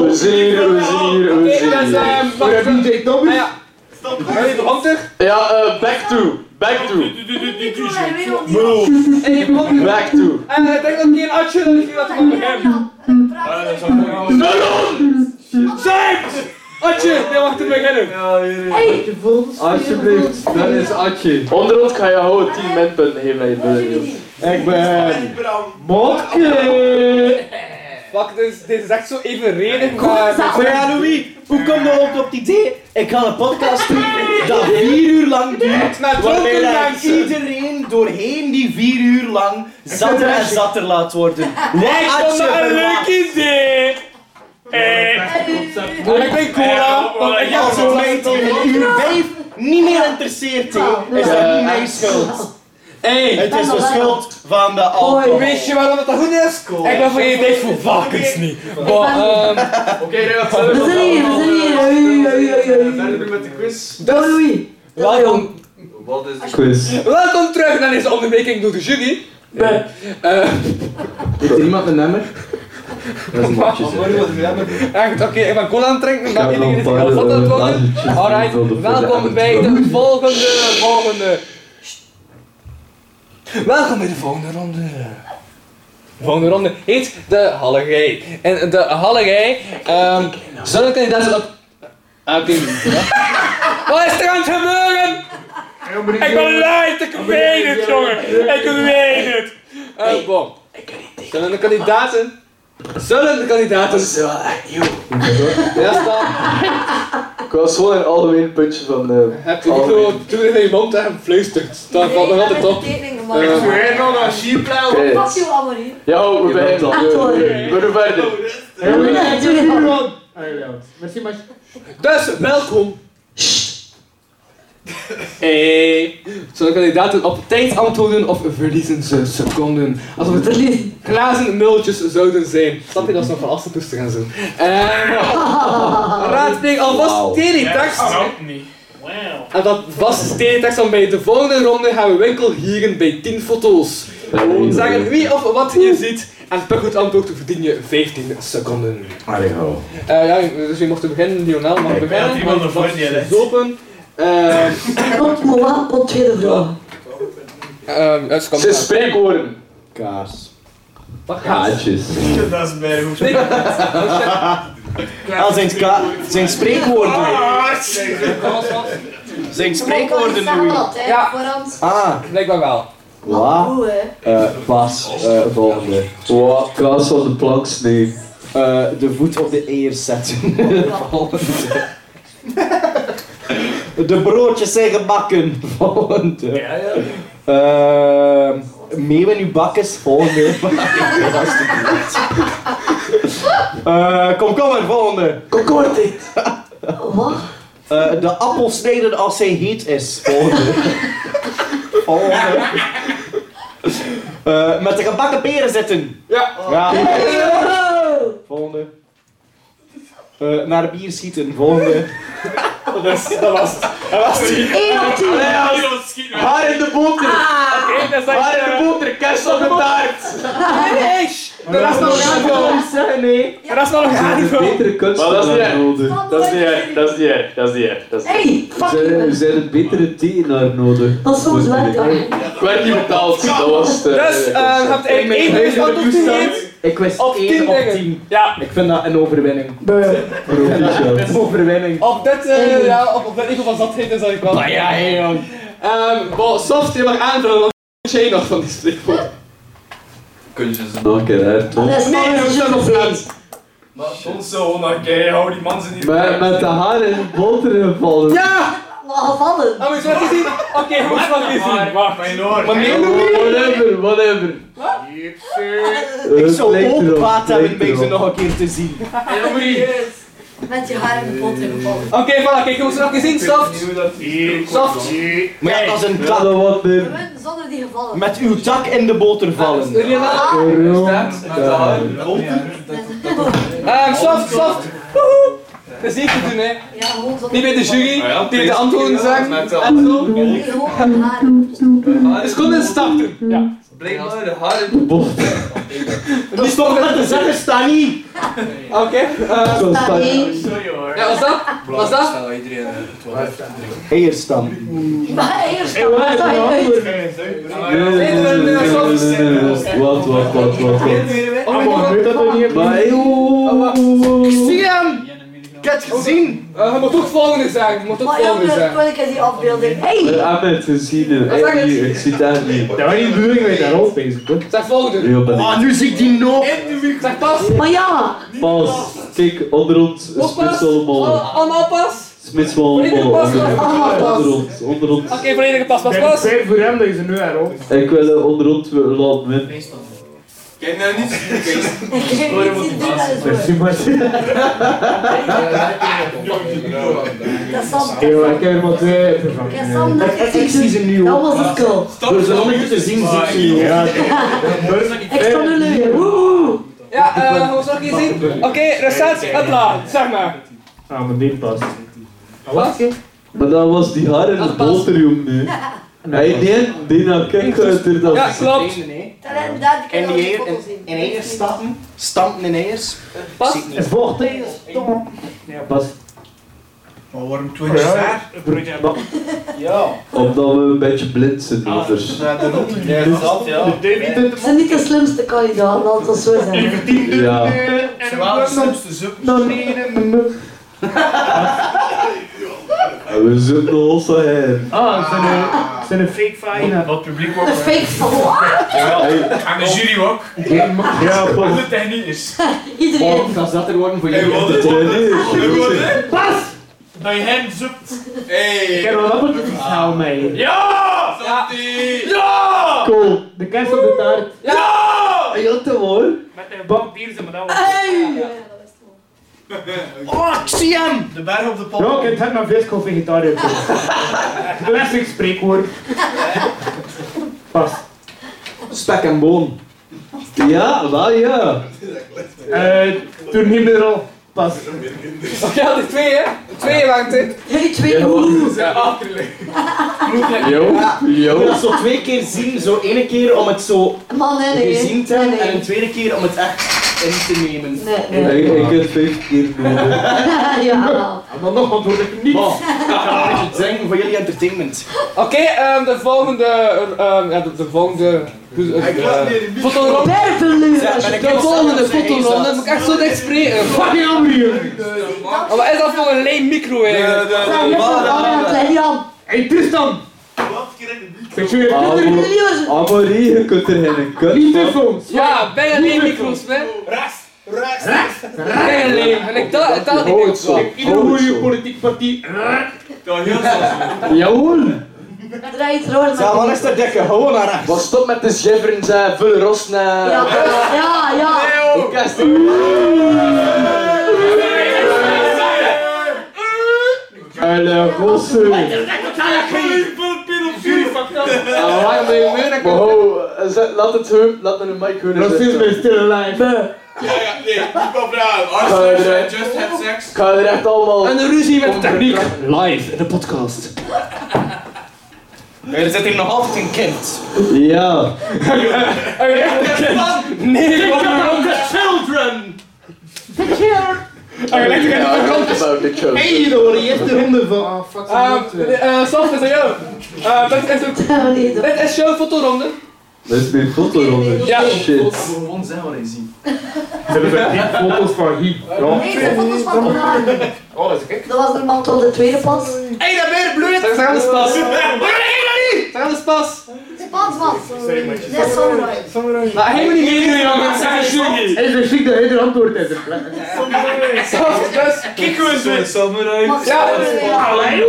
We zien hier, we zien hier, we zien
hier.
Oranje bier, ik dan
eh, ah, Ja. Ben je behandig?
Ja, eh, back to. Back to.
En je behandig?
Back to.
En Eh, ik denk dat ik hier een atje dat ik hier laat maken. Melon! Zijn! Atje! Nee, wacht, ik beginnen.
Hey! Alsjeblieft, dat is Atje. Onderhand ga je gewoon 10 minpunten geven aan je broer. Ik ben...
Motke! Fuck, dit is, dit is echt zo evenredig, maar...
Maar ja, Louis, hoe kom je op het idee? Ik ga een podcast doen dat vier uur lang duurt,
Met
waarbij
dronken
dat
mensen.
iedereen doorheen die vier uur lang zatter
[LAUGHS]
en zatter laat worden.
Lijkt me
Atje,
een leuk idee!
En ik ben cola, want ik heb zo'n meid die in uur vijf niet meer interesseert,
Oh,
hè. is dat
Eh,
niet mijn schuld.
Hey,
het is de schuld van de alcohol.
Weet je waarom het dat goed is? Ik ben van je dicht voor varkens niet. Maar,
eh,
ehm... Oké,
We zijn hier, we zijn hier.
Verder met de quiz. Doei! Welkom. Wat is de quiz? Welkom terug naar deze onderbreking door de jury. Eh, Nee.
Heeft er iemand een nummer?
Dat is een matje, Echt, oké, ik ben cola aan het drinken, maar iedereen is heel zot aan
eh,
het worden. Alright, welkom bij de volgende, volgende. Welkom bij de volgende ronde. De volgende ronde heet de Hallerij. En de Hallerij, ehm, zullen kandidaten op... Ah, oké. [LAUGHS] Wat is er aan het gebeuren? Ik ben light, ik weet het, jongen. Ik weet het. Eh, bon. Zullen de kandidaten... Zullen de kandidaten... Ja, staan.
Ik was gewoon een algemeen puntje van... eh,
Heb je niet zo... Doe het in je mond en fluistert. Dat valt nog altijd op.
Ik
zweer nog naar
Oké.
Fuck you, Amory.
Ja, we
Je bent
beginnen.
al-
We- we- We doen verder.
Oh,
Merci, maar.
Dus, welkom. Hey. Zullen kandidaten op tijd antwoorden of verliezen ze seconden? Alsof het glazen multjes zouden zijn. Snap je dat is nog van afstand gaan zo? Ehm, Raadpleeg alvast teletext.
niet. Wauw.
En dat vaste teletext dan bij de volgende ronde gaan we winkelhieren bij 10 foto's. Gewoon zeggen wie of wat je ziet en per goed antwoord verdien je 15 seconden.
Allee, ho.
Eh, ja, dus je mocht beginnen, Lionel mag beginnen.
had iemand
want
ervoor
dat is dus
neerlegd.
Open. Ehm
Komt Moa, komt tweede vrouw.
ehm, ja, ze komt
Ze
aan.
spreekwoorden. Kaas.
Wat gaat?
Kaatjes.
Dat is bij hoe
Ah, zijn, ka- zijn spreekwoorden. Zijn spreekwoorden, Louis.
Ja. Voorhand.
Ah.
Blijkbaar wel.
Wat?
Oeh, hè.
Eh, pas. Eh, volgende. Wat? Kaas van de plank sneeuw.
Eh, de voet op de eer zetten. Volgende. [LAUGHS] de broodjes zijn gebakken. Volgende. Ja, ja. meeuwen in uw bakkes. [LAUGHS] Volgende. Eh, kom, kom maar, volgende. Kom, kom maar, dit.
Wat?
Eh, de appel snijden als hij heet is. Volgende. volgende. Eh, met de gebakken peren zitten.
Ja.
Volgende. Eh, naar bier schieten. Volgende. dat, is, dat was Dat was die.
Eén op tien.
Allee, ja. Haar Ah, in de boter.
Oké, dat is
Haar in de boter. Kerst op de taart.
Nee,
Maar dat is nog
niet
nee.
Dat is nog
Betere kunst. Maar dat is niet erg. Dat is niet erg. Dat is niet erg. Dat is niet erg. Dat is niet
Hey,
erg.
fuck
Er
you.
zijn een betere tekenaar nodig. Dus-
Dat is soms werk, hoor.
Ik werd niet betaald, dat was het.
Dus, eh, je hebt één één
weet
dus
wat
antwoord
ik doe
gegeven.
Ik wist
Op
1
tien
op
dingen.
10.
Ja.
Ik vind dat een overwinning. Een overwinning.
Op dit, eh, ja, op, op dit niveau van zatheid is dat ik wel.
Maar ja, hé,
jong. Ehm, bon, soft, je mag aanvullen, want wat jij nog van die spreekwoord?
Oh,
Kun je ze nog een keer uit, toch?
Nee, dat is nog plaats.
Maar soms zo, maar kijk, hou die man zijn hier.
Met, met de haar in de boter gevallen.
Ja!
Gevallen.
Oh, moet je wat zien? Oké, moet je wat zien?
Wacht, mijn oor.
Whatever, whatever.
Wat? keer. Sir.
Ik
Het
zou
lijkt
ook
erop,
baat hebben
lijkt
bij ze
erop.
nog een keer te zien.
Met je haar in de pot in
Oké, voilà, kijk, je moet ze nog gezien, soft. Soft.
Maar ja, dat is een
Ja,
dak.
Zonder die gevallen.
Met uw dak in de boter vallen.
Ehm, soft, soft. Woehoe. Dat is niet te doen, hè. Niet bij de jury, tegen de antwoorden zeggen. En zo. Dus kom eens starten. Ja.
Blijkbaar de harde
[LAUGHS] Dat is toch net te zeggen, Stani. Oké. eh,
Zo, Stani.
Ja, was dat? Was dat?
iedereen het wel heeft.
Eerst dan.
Maar eerst
Hey, wat is dat
uit.
Wat, wat, wat, wat, wat.
Oh, maar gebeurt dat toch niet?
Maar
Oh,
Ik zie hem! Ik heb het gezien! je moet toch volgende zeggen, je moet toch
Maar
volgende
jongen,
zeggen.
wil ik eens die afbeelding. Hey!
Eh, Ahmed, we zien hem.
Wat zeg
Hey,
je?
hier, ik zie daar niet.
Dat was niet de bedoeling dat je daarop bezig bent.
Zeg volgende.
Heel benieuwd.
Ah, nu zie ik die nog! Zeg pas!
Maar ja!
Pas, kijk, onder ons, smits allemaal.
Allemaal pas!
Smits allemaal.
Pas, pas, pas, pas.
Onder ons, onder ons.
Oké, volledige pas, pas,
Het
pas!
zijn voor hem dat je ze nu erop.
Ik wil eh, onder ons weer laten winnen.
Kijk nou niet zo
Merci, Martin.
Dat Sam.
Heel ik heb er maar twee uit van.
Ja, Sam, dat
Ik- Ik zie ze nu
Dat
ook.
was het cool.
Door ze nog niet te zien, zie ik ze nu. Ja,
Ik sta nu leugen. Woehoe!
Ja, eh, hoe zal ik je zien? Oké, restaat, upla, zeg maar.
Ah, maar die past.
Wat?
Maar dat was die haar in de boter, jongen. nu. Hij neemt die naar kijk uit er dan.
Ja, klopt.
Dat kan
In
ik
die eer,
niet
in, in eiers stappen. Stampen in eiers.
Pas.
Zie ik niet.
Vocht tegen stom.
Pas.
Maar waarom toen je daar? Ja.
Omdat we een beetje blind zijn, anders.
Ja, de rond. Ja, dat ja.
Ze zijn niet de slimste kandidaat, laat het zo zeggen.
Ja.
Zowel soms de zuppen.
Nou, nee, nee, nee, nee.
En we zitten al zo heen.
Ah, ze zijn een- ze zijn een fake vagina.
Dat publiek
Een fake verhaal.
En de jury ook.
Geen ma- Ja, pas.
De techniekers.
Iedereen.
Dat is dat er worden voor
Hey,
jullie.
wat
op de
is-
training.
Pas!
Dat je hem zoekt.
Ik heb wel een appeltje gehaald mee.
Ja!
Ja!
Ja!
Cool. De kerst op de taart.
Ja!
Heel te hoor.
Met een bak bier zijn we dat
Hey!
Oh, ik zie hem!
De berg op de pop.
Ja, ik heb het naar visco vegetariër.
[LAUGHS]
voor. Classic spreekwoord. Pas.
Spek en boon.
Ja, wel ja.
Eh, toen niet meer al. Pas.
Oké, had die twee, hè? Twee waren het, hè?
Jullie twee woehoe!
Ja, achterlijk.
Yo,
Je
yo.
moet zo twee keer zien. Zo één keer om het zo
Man, nee, nee.
gezien te
Nee,
hebben
nee.
en een tweede keer om het echt in te nemen.
Nee, nee.
Ik, ik heb vijf keer nodig.
Ja.
Maar nog wat hoor ik niet. Wow. Het zingen voor jullie entertainment.
Oké, ehm, de volgende. ehm, ja, de, de volgende. eh, Fotoronde.
Werveleur.
ben ik
De
nog
volgende
zelfs mee
fotoronde.
zat.
Moet ik echt zo dicht spreken?
Fucking ambier!
Oh, wat is dat voor een leem micro eigenlijk?
Ja, je hebt een aan het leggen, Jan.
Hey Tristan! Ik zie je
Ah,
Jullie
maar-
liefers.
ah, maar hier, je kunt er geen kut van.
telefoons!
Ja, bijna leem micro's, man. Bijna leem. En ik dacht, dat niet meer zo.
Iedere goede politiek partij.
Jawohl.
Draai het rood
Ja, wat is dat dikke? Gewoon naar rechts.
Wat stop met de jeffrens en eh, vullen ros
Ja,
naar...
ja, ja.
Alle gossen.
Waarom ben je meer? Maar ho, eh, zet- laat het hun, laat me een mic hun
Racisme is still alive.
just had sex.
Ik ga er echt allemaal...
En de ruzie met de techniek.
Live in de podcast.
Er zit hier nog altijd een kind.
Ja.
Nee, wat een
From the children!
About the show.
Hey, dat wordt de eerste ronde van. Ah, fuck.
Ehm, Sof, is aan jou. Ehm, Dit is ook-
[LAUGHS]
dit is jouw fotoronde.
Dat is mijn foto onder.
Ja.
Shit.
Gewoon zeggen wat hij ziet.
Ze hebben zo'n diep foto's van hier. Ja.
Nee, de foto's van vandaag.
Oh, dat is gek.
Dat was normaal tot de tweede pas.
Hey, daar ben je bloed! Zeg aan de spas. Zeg aan de spas.
Spans was. Net samurai.
Maar helemaal niet meedoen, jongen. Zeg aan
Hey, ze ziek dat hij er antwoord uit heeft.
Sof, dus.
Kijk hoe het
Maar
Ja.
samurai.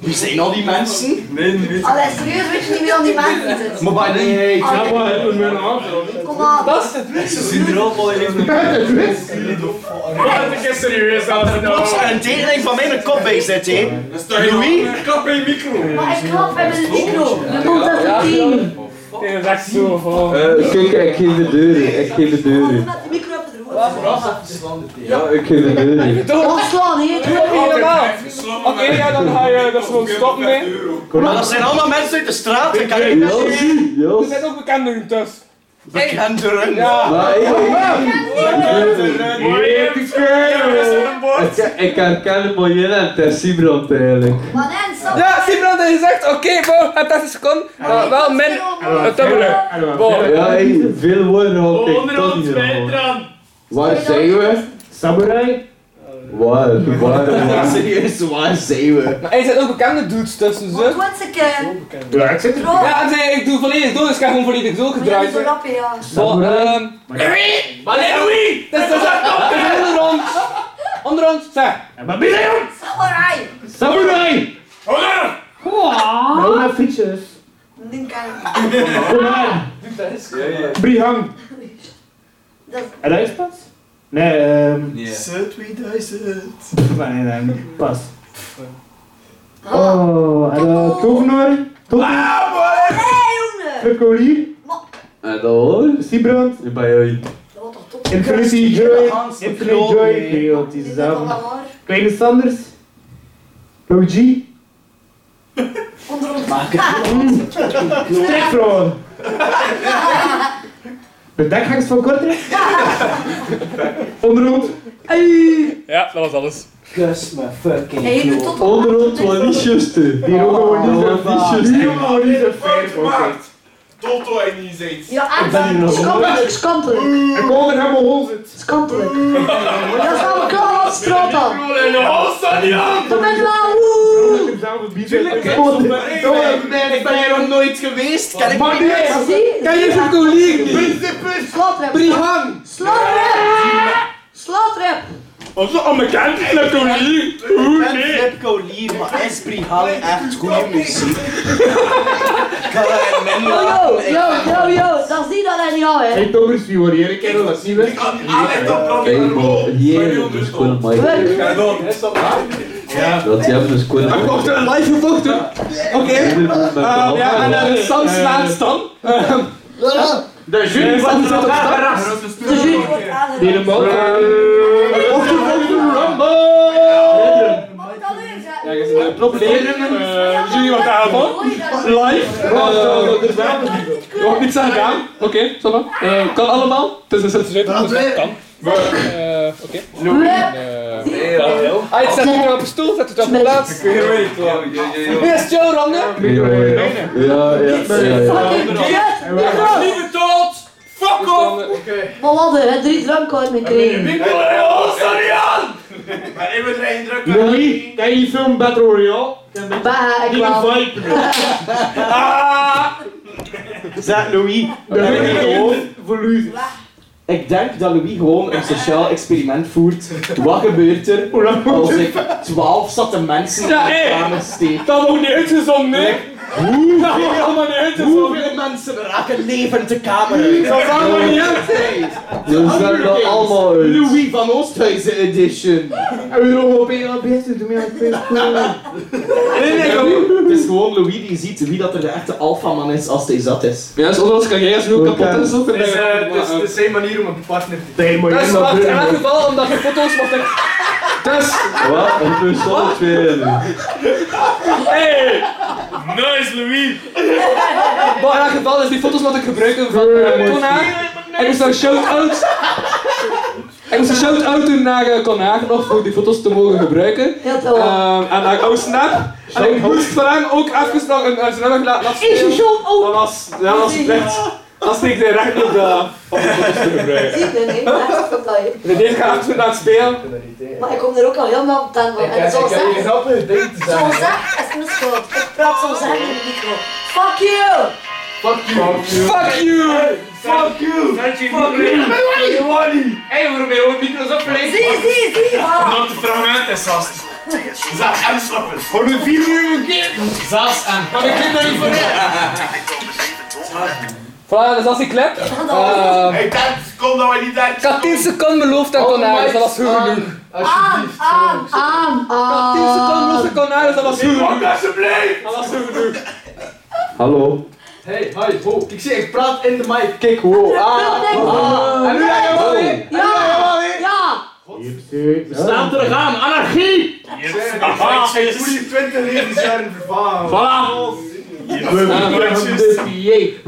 Wie zijn al die mensen? Nee, niet.
Allee, serieus, weet je niet meer aan die mensen zit?
[LAUGHS] Maar bij nee, ik
Ah,
wel hebben mijn
Kom aan.
Dat is het wist. Ze zien er al van in.
Het wist.
Wat ik is serieus aan het een tekening van mijn kop bij zit, hè? Dat is toch Louis? Klap bij micro.
Maar ik klap bij mijn micro. De mond is een tien.
Nee, dat is zo van.
Eh, kijk, ik geef de deuren. Ik geef de deuren.
Met de micro op de roer.
Ja, ik geef de deuren.
Ontslaan, hier. Doe het niet.
Oké, ja, dan ga je dat gewoon stoppen mee.
Maar dat zijn allemaal mensen uit de straat. Ik kan
Ja,
niet
Er zijn ook bekenden dus.
Bekenderen.
Ja.
Maar ik-
Ah.
Ik,
eh,
ik herken het miljoen en het is Sibrand eigenlijk.
Ja, Ah, Simran heeft gezegd, oké, bro, het is seconden, maar wel min het dubbele. Wow.
Ja, ik, veel woorden had ik
Onderhand
tot niet
spijtran.
Waar zijn we?
Samurai?
Waar, waar, waar?
Serieus, waar zijn we?
Maar hij zit ook bekende dudes tussen ze.
Doe het een keer.
Ja, ik zit
er-
Ja, nee, ik doe volledig door, dus ik ga gewoon volledig
Maar je
doorgedraaid.
bent zo rap, ja.
Zo, ehm. Maar nee, Louis! Dat is dat is onder ons! Onder ons, zeg!
Maar binnen jong!
Samurai.
Samurai!
Hola!
Nou, naar frietjes.
Nu kan ik
Kom maar. Brihang.
Dat is-
En dat is pas? Nee, ehm...
Zo 2000.
Nee, nee, nee, pas. Oh, en eh, tovenaar? Tovenaar?
Hey, jongen.
Verkolier?
En dan hoor.
Sibrand?
Bij jullie.
Infinity Joy? Infinity Joy? Nee, joh, het is dezelfde. Kleine Sanders? Logie?
Onder ons.
Maak Strijkvrouwen? De dekhangst van [LAUGHS] Kortrijk? Onderhoofd? Hey.
Ja, dat was alles.
Kus me fucking
Hey, je doet tot
Onderhand was niet juiste.
Die roken we niet zo
niet
Die roken we niet zo fair, oké.
Toto en niet eens.
Ja,
Ik ben hier
echt.
nog
Skampelijk, skampelijk.
Ik kom er helemaal hol zitten.
Skampelijk. Dat is allemaal klaar aan straat dan.
En de hals staat niet aan!
Dat ben ik wel, woe.
Ik ben hier nog nooit geweest. Kan ik
Maar
niet
nee,
weten?
zie.
Kan je zo'n collega niet?
Slaatrap.
Brihang.
Slaatrap. Slaatrap.
Onze onbekend in de collega. Hoe nee? Ik heb collega, maar is Brihang echt goede muziek? Kan er een
Yo, yo, yo, yo, yo. Dat zie dat hij niet al, hè.
Hey, Thomas, wie hoor je? Ik ken dat niet weg.
Kijk, maar hier is gewoon Mike.
Ga door.
Ja. Dat die hebben dus gewoon.
Hij
Mike.
kocht een live gevochten! Oké. Ehm, Ja, en eh, Sam slaat Stan. Ehm,
De jury
eh,
van
Sam
de
staat op Stan.
De jury wordt aangeraakt.
Helemaal.
Ja, ik heb een probleem. Eh, Jullie wat daarvan? Live. Eh, Je mag niets aan gedaan. Oké, ça va. Eh, Kan allemaal. Het is een censurate, dus dat kan. Eh, Oké.
Nee,
Hij Ah, zet het weer op een stoel, zet het op een plaats. Wie is Joe Ronde?
Ja, ja, ja, ja.
Fucking kut. Micro.
Lieve dood! Fuck off! Oké.
Maar wat, hè, hij drie drankkaarten gekregen.
Ik wil een hals staat niet aan! Maar ik wil geen druk aan.
Louis, ken je die film Battle Royale?
Bah, ik
Die een
wel.
vibe. bro.
Zeg Louis.
Dat heb ik gewoon voor Louis.
Ik denk dat Louis gewoon een sociaal experiment voert. Wat gebeurt er als ik 12 zatte mensen in
Ja,
de
hé.
kamer steek?
Dat wordt niet uitgezonden, hè?
Hoe-
Dat wordt allemaal niet uitgezonden.
Hoeveel mensen raken levend de kamer uit?
Dat is allemaal niet uit.
We zijn er allemaal uit.
Louis van Oosthuizen edition.
En we doen op één best te doen, ja, ik vind het cool.
Nee, nee, gewoon- Het is gewoon Louis die ziet wie dat er de echte alfaman is als hij zat is.
Ja, dus anders kan jij zo kapot is ook een
Het is, eh, het is- het is zijn manier om een partner te
Nee, maar
Dat
je
is
mag
wacht, in elk
doen.
geval, omdat je foto's mag ik. Dus,
Wat? En toen stond het weer in.
hey!
Nice Louis!
Maar in elk geval, dus die foto's mag ik gebruiken van eh, Conna. Ik moest een shout-out. Ik moest een shout-out doen naar uh, nog voor die foto's te mogen gebruiken.
Heel tof.
Ehm, en naar Oud Snap. En ik moest van hem ook even nog een, een nummer laten
Is je
afspelen.
shot ook?
Dat was, dat was slecht. Dat steekt hij recht op de, op de foto's te gebruiken.
Zie je, nee, maar dat is ook al, hè.
Dus deze gaat even naar het spelen.
Maar ik kom er ook al heel nauw op aan. hoor. En zoals dat,
grappige dingen te
zoals dat is mijn schuld. Ik praat soms echt in de micro. Fuck you!
Fuck you!
Fuck you! Zet je micro in. Hey, waarom ben je ook micro's opgelegd?
Zie, zie, zie! voilà.
Omdat de fragment is vast. Zelfs en slappen.
Voor de vier miljoen keer.
Zelfs en.
Maar ik
kan daar niet Voilà, dus als ik klep.
Ehm, Hey, dat komt dat wij niet uit.
Ik had 10 seconden beloofd aan Conaris, dus dat was goed genoeg.
Aan, aan, aan, aan.
10 seconden beloofd aan Conaris, dus dat was goed genoeg.
Alsjeblieft.
Dat was goed genoeg.
Hallo.
Hey, hi, ho. Ik zie, ik praat in de mic. Kijk, wow. Ah, ah. En nu ga je wel in.
Ja, ja.
We staan terug aan. Anarchie!
Aha,
Ah,
ik zie die 20 levensjaren vervangen.
Voilà.
We verkrachten de PA,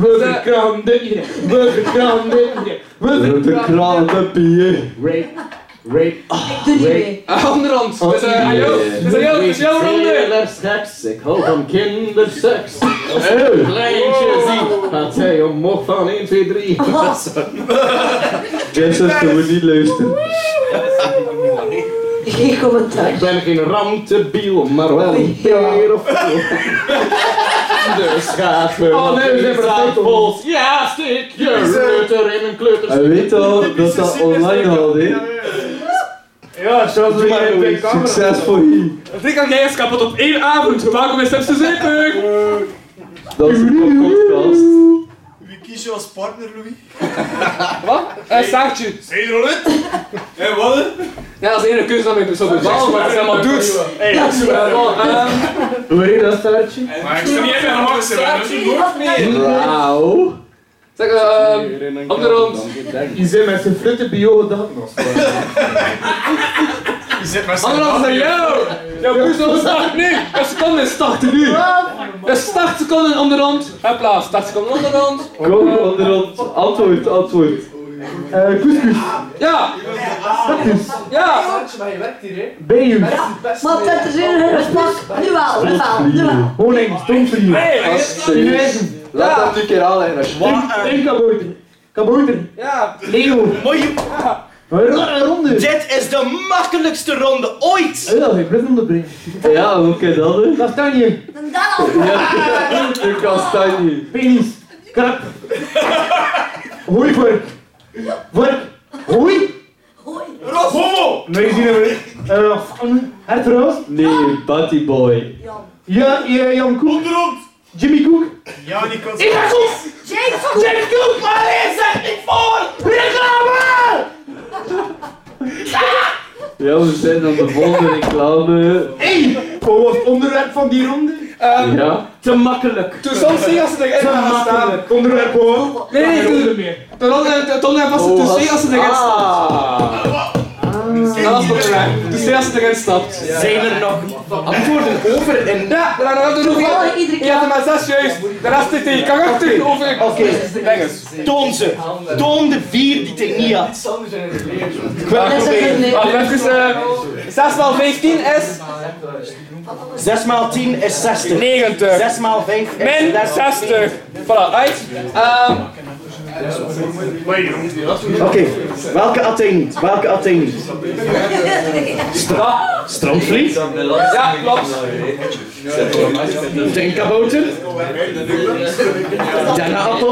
we
Dus,
verkrachten de iedereen, we verkrachten de iedereen, we verkrachten de PA. Rape, rape,
Ik doe niet mee.
Ah, Onderhand. Dus, eh,
Yeah.
ajo. Dus, ajo, dus jouw ronde.
Kinderseks, ik hou van kinderseks. Een kleintje ziet, gaat zij omhoog van 1, 2, 3.
Jessers, we moeten niet luisteren.
Geen commentaar.
Ik ben geen ramtebiel, maar wel een keer of Dus gaat me
Oh, nee, we zijn perfect, hoor.
vol. Ja, stik je
Is, eh,
ruiter in een kleuter.
Hij weet al dat dat online had, hè.
Ja, zoals we
Maar
hier in de camera.
Succes voor hier.
Rick en Gijs kapot op één avond. Welkom bij Stefse Zeepuk.
Dat is een podcast.
Wie kies je als partner, Louis?
Wat? Eh, Een staartje.
Zijn er al uit? Hé, wat?
Ja, dat is de enige keuze dat ik dus op de bal, maar het is helemaal doet.
Hey,
Ja, super. Ehm,
Hoor je dat staartje?
Maar ik sta niet even aan de
staartje, wat meer?
Wauw.
Zeg, ehm, op de rond.
Je zit met zijn flutte bio dat nog.
Je zit maar
Anderhalf naar jou! Jouw boezem start nu! Een seconde starten nu! Een start seconden onderhand! Hopla, start seconden onderhand!
Kom, onderhand. Antwoord, antwoord.
Eh, couscous.
Ja! Ja!
Maar je werkt hier, hè?
Bijus.
Maar op dat er zin in een pak. Nu wel, nu wel, nu wel.
Honing, stoomvlier. Chinezen.
Laat dat nu een keer aanleggen, alsjeblieft.
Een kabouter. Kabouter.
Ja!
Leeuw.
Mooie...
Een ro- een ronde.
Dit is de makkelijkste ronde ooit!
Ja, ik blijf om de brein.
Ja, hoe kan dat, hè?
Kastanje.
En dan al.
Een kastanje.
Penis. Krap. Hoi, vork. Vork. Hoi.
Homo!
Nee, zien we. Eh, Hertrouws.
Nee, Batty Boy.
Ja, ja, Jan Koek.
Onderhand.
Jimmy Koek.
Ja, die kan...
Ik ga goed.
James.
Jimmy Koek.
Maar hij zegt niet voor!
Reclame!
Ja, we zijn aan de volgende reclame. Ehm,
Hey, wat was het onderwerp van die ronde?
Ja.
Te makkelijk.
Toen soms zie je als ze erin gaan staan.
Het onderwerp hoor.
Nee, nee, eh,
Geen
toen.
ronde meer.
Toen was het toen
Oh,
zie je als ze
Ah.
erin stapt. Dat was het probleem. Toen zie je als ze erin stapt.
Zijn er nog antwoorden over in...
Ja, daar gaan we nog
Toevallig iedere
Je
keer.
had er maar zes juist. De rest zit in je karakter. Over.
Oké, toon ze. Toon de vier die het niet had.
Dat is het niet.
Wacht, even. eh, 6 x 15 is
6 x 10 is 60.
90.
6 x 5 is
Min 60. Voilà, uit. Ehm,
Oké, welke at hij niet? Welke at hij niet? Strandvliet?
ja, klopt.
Drinkabouter? Dennenappel?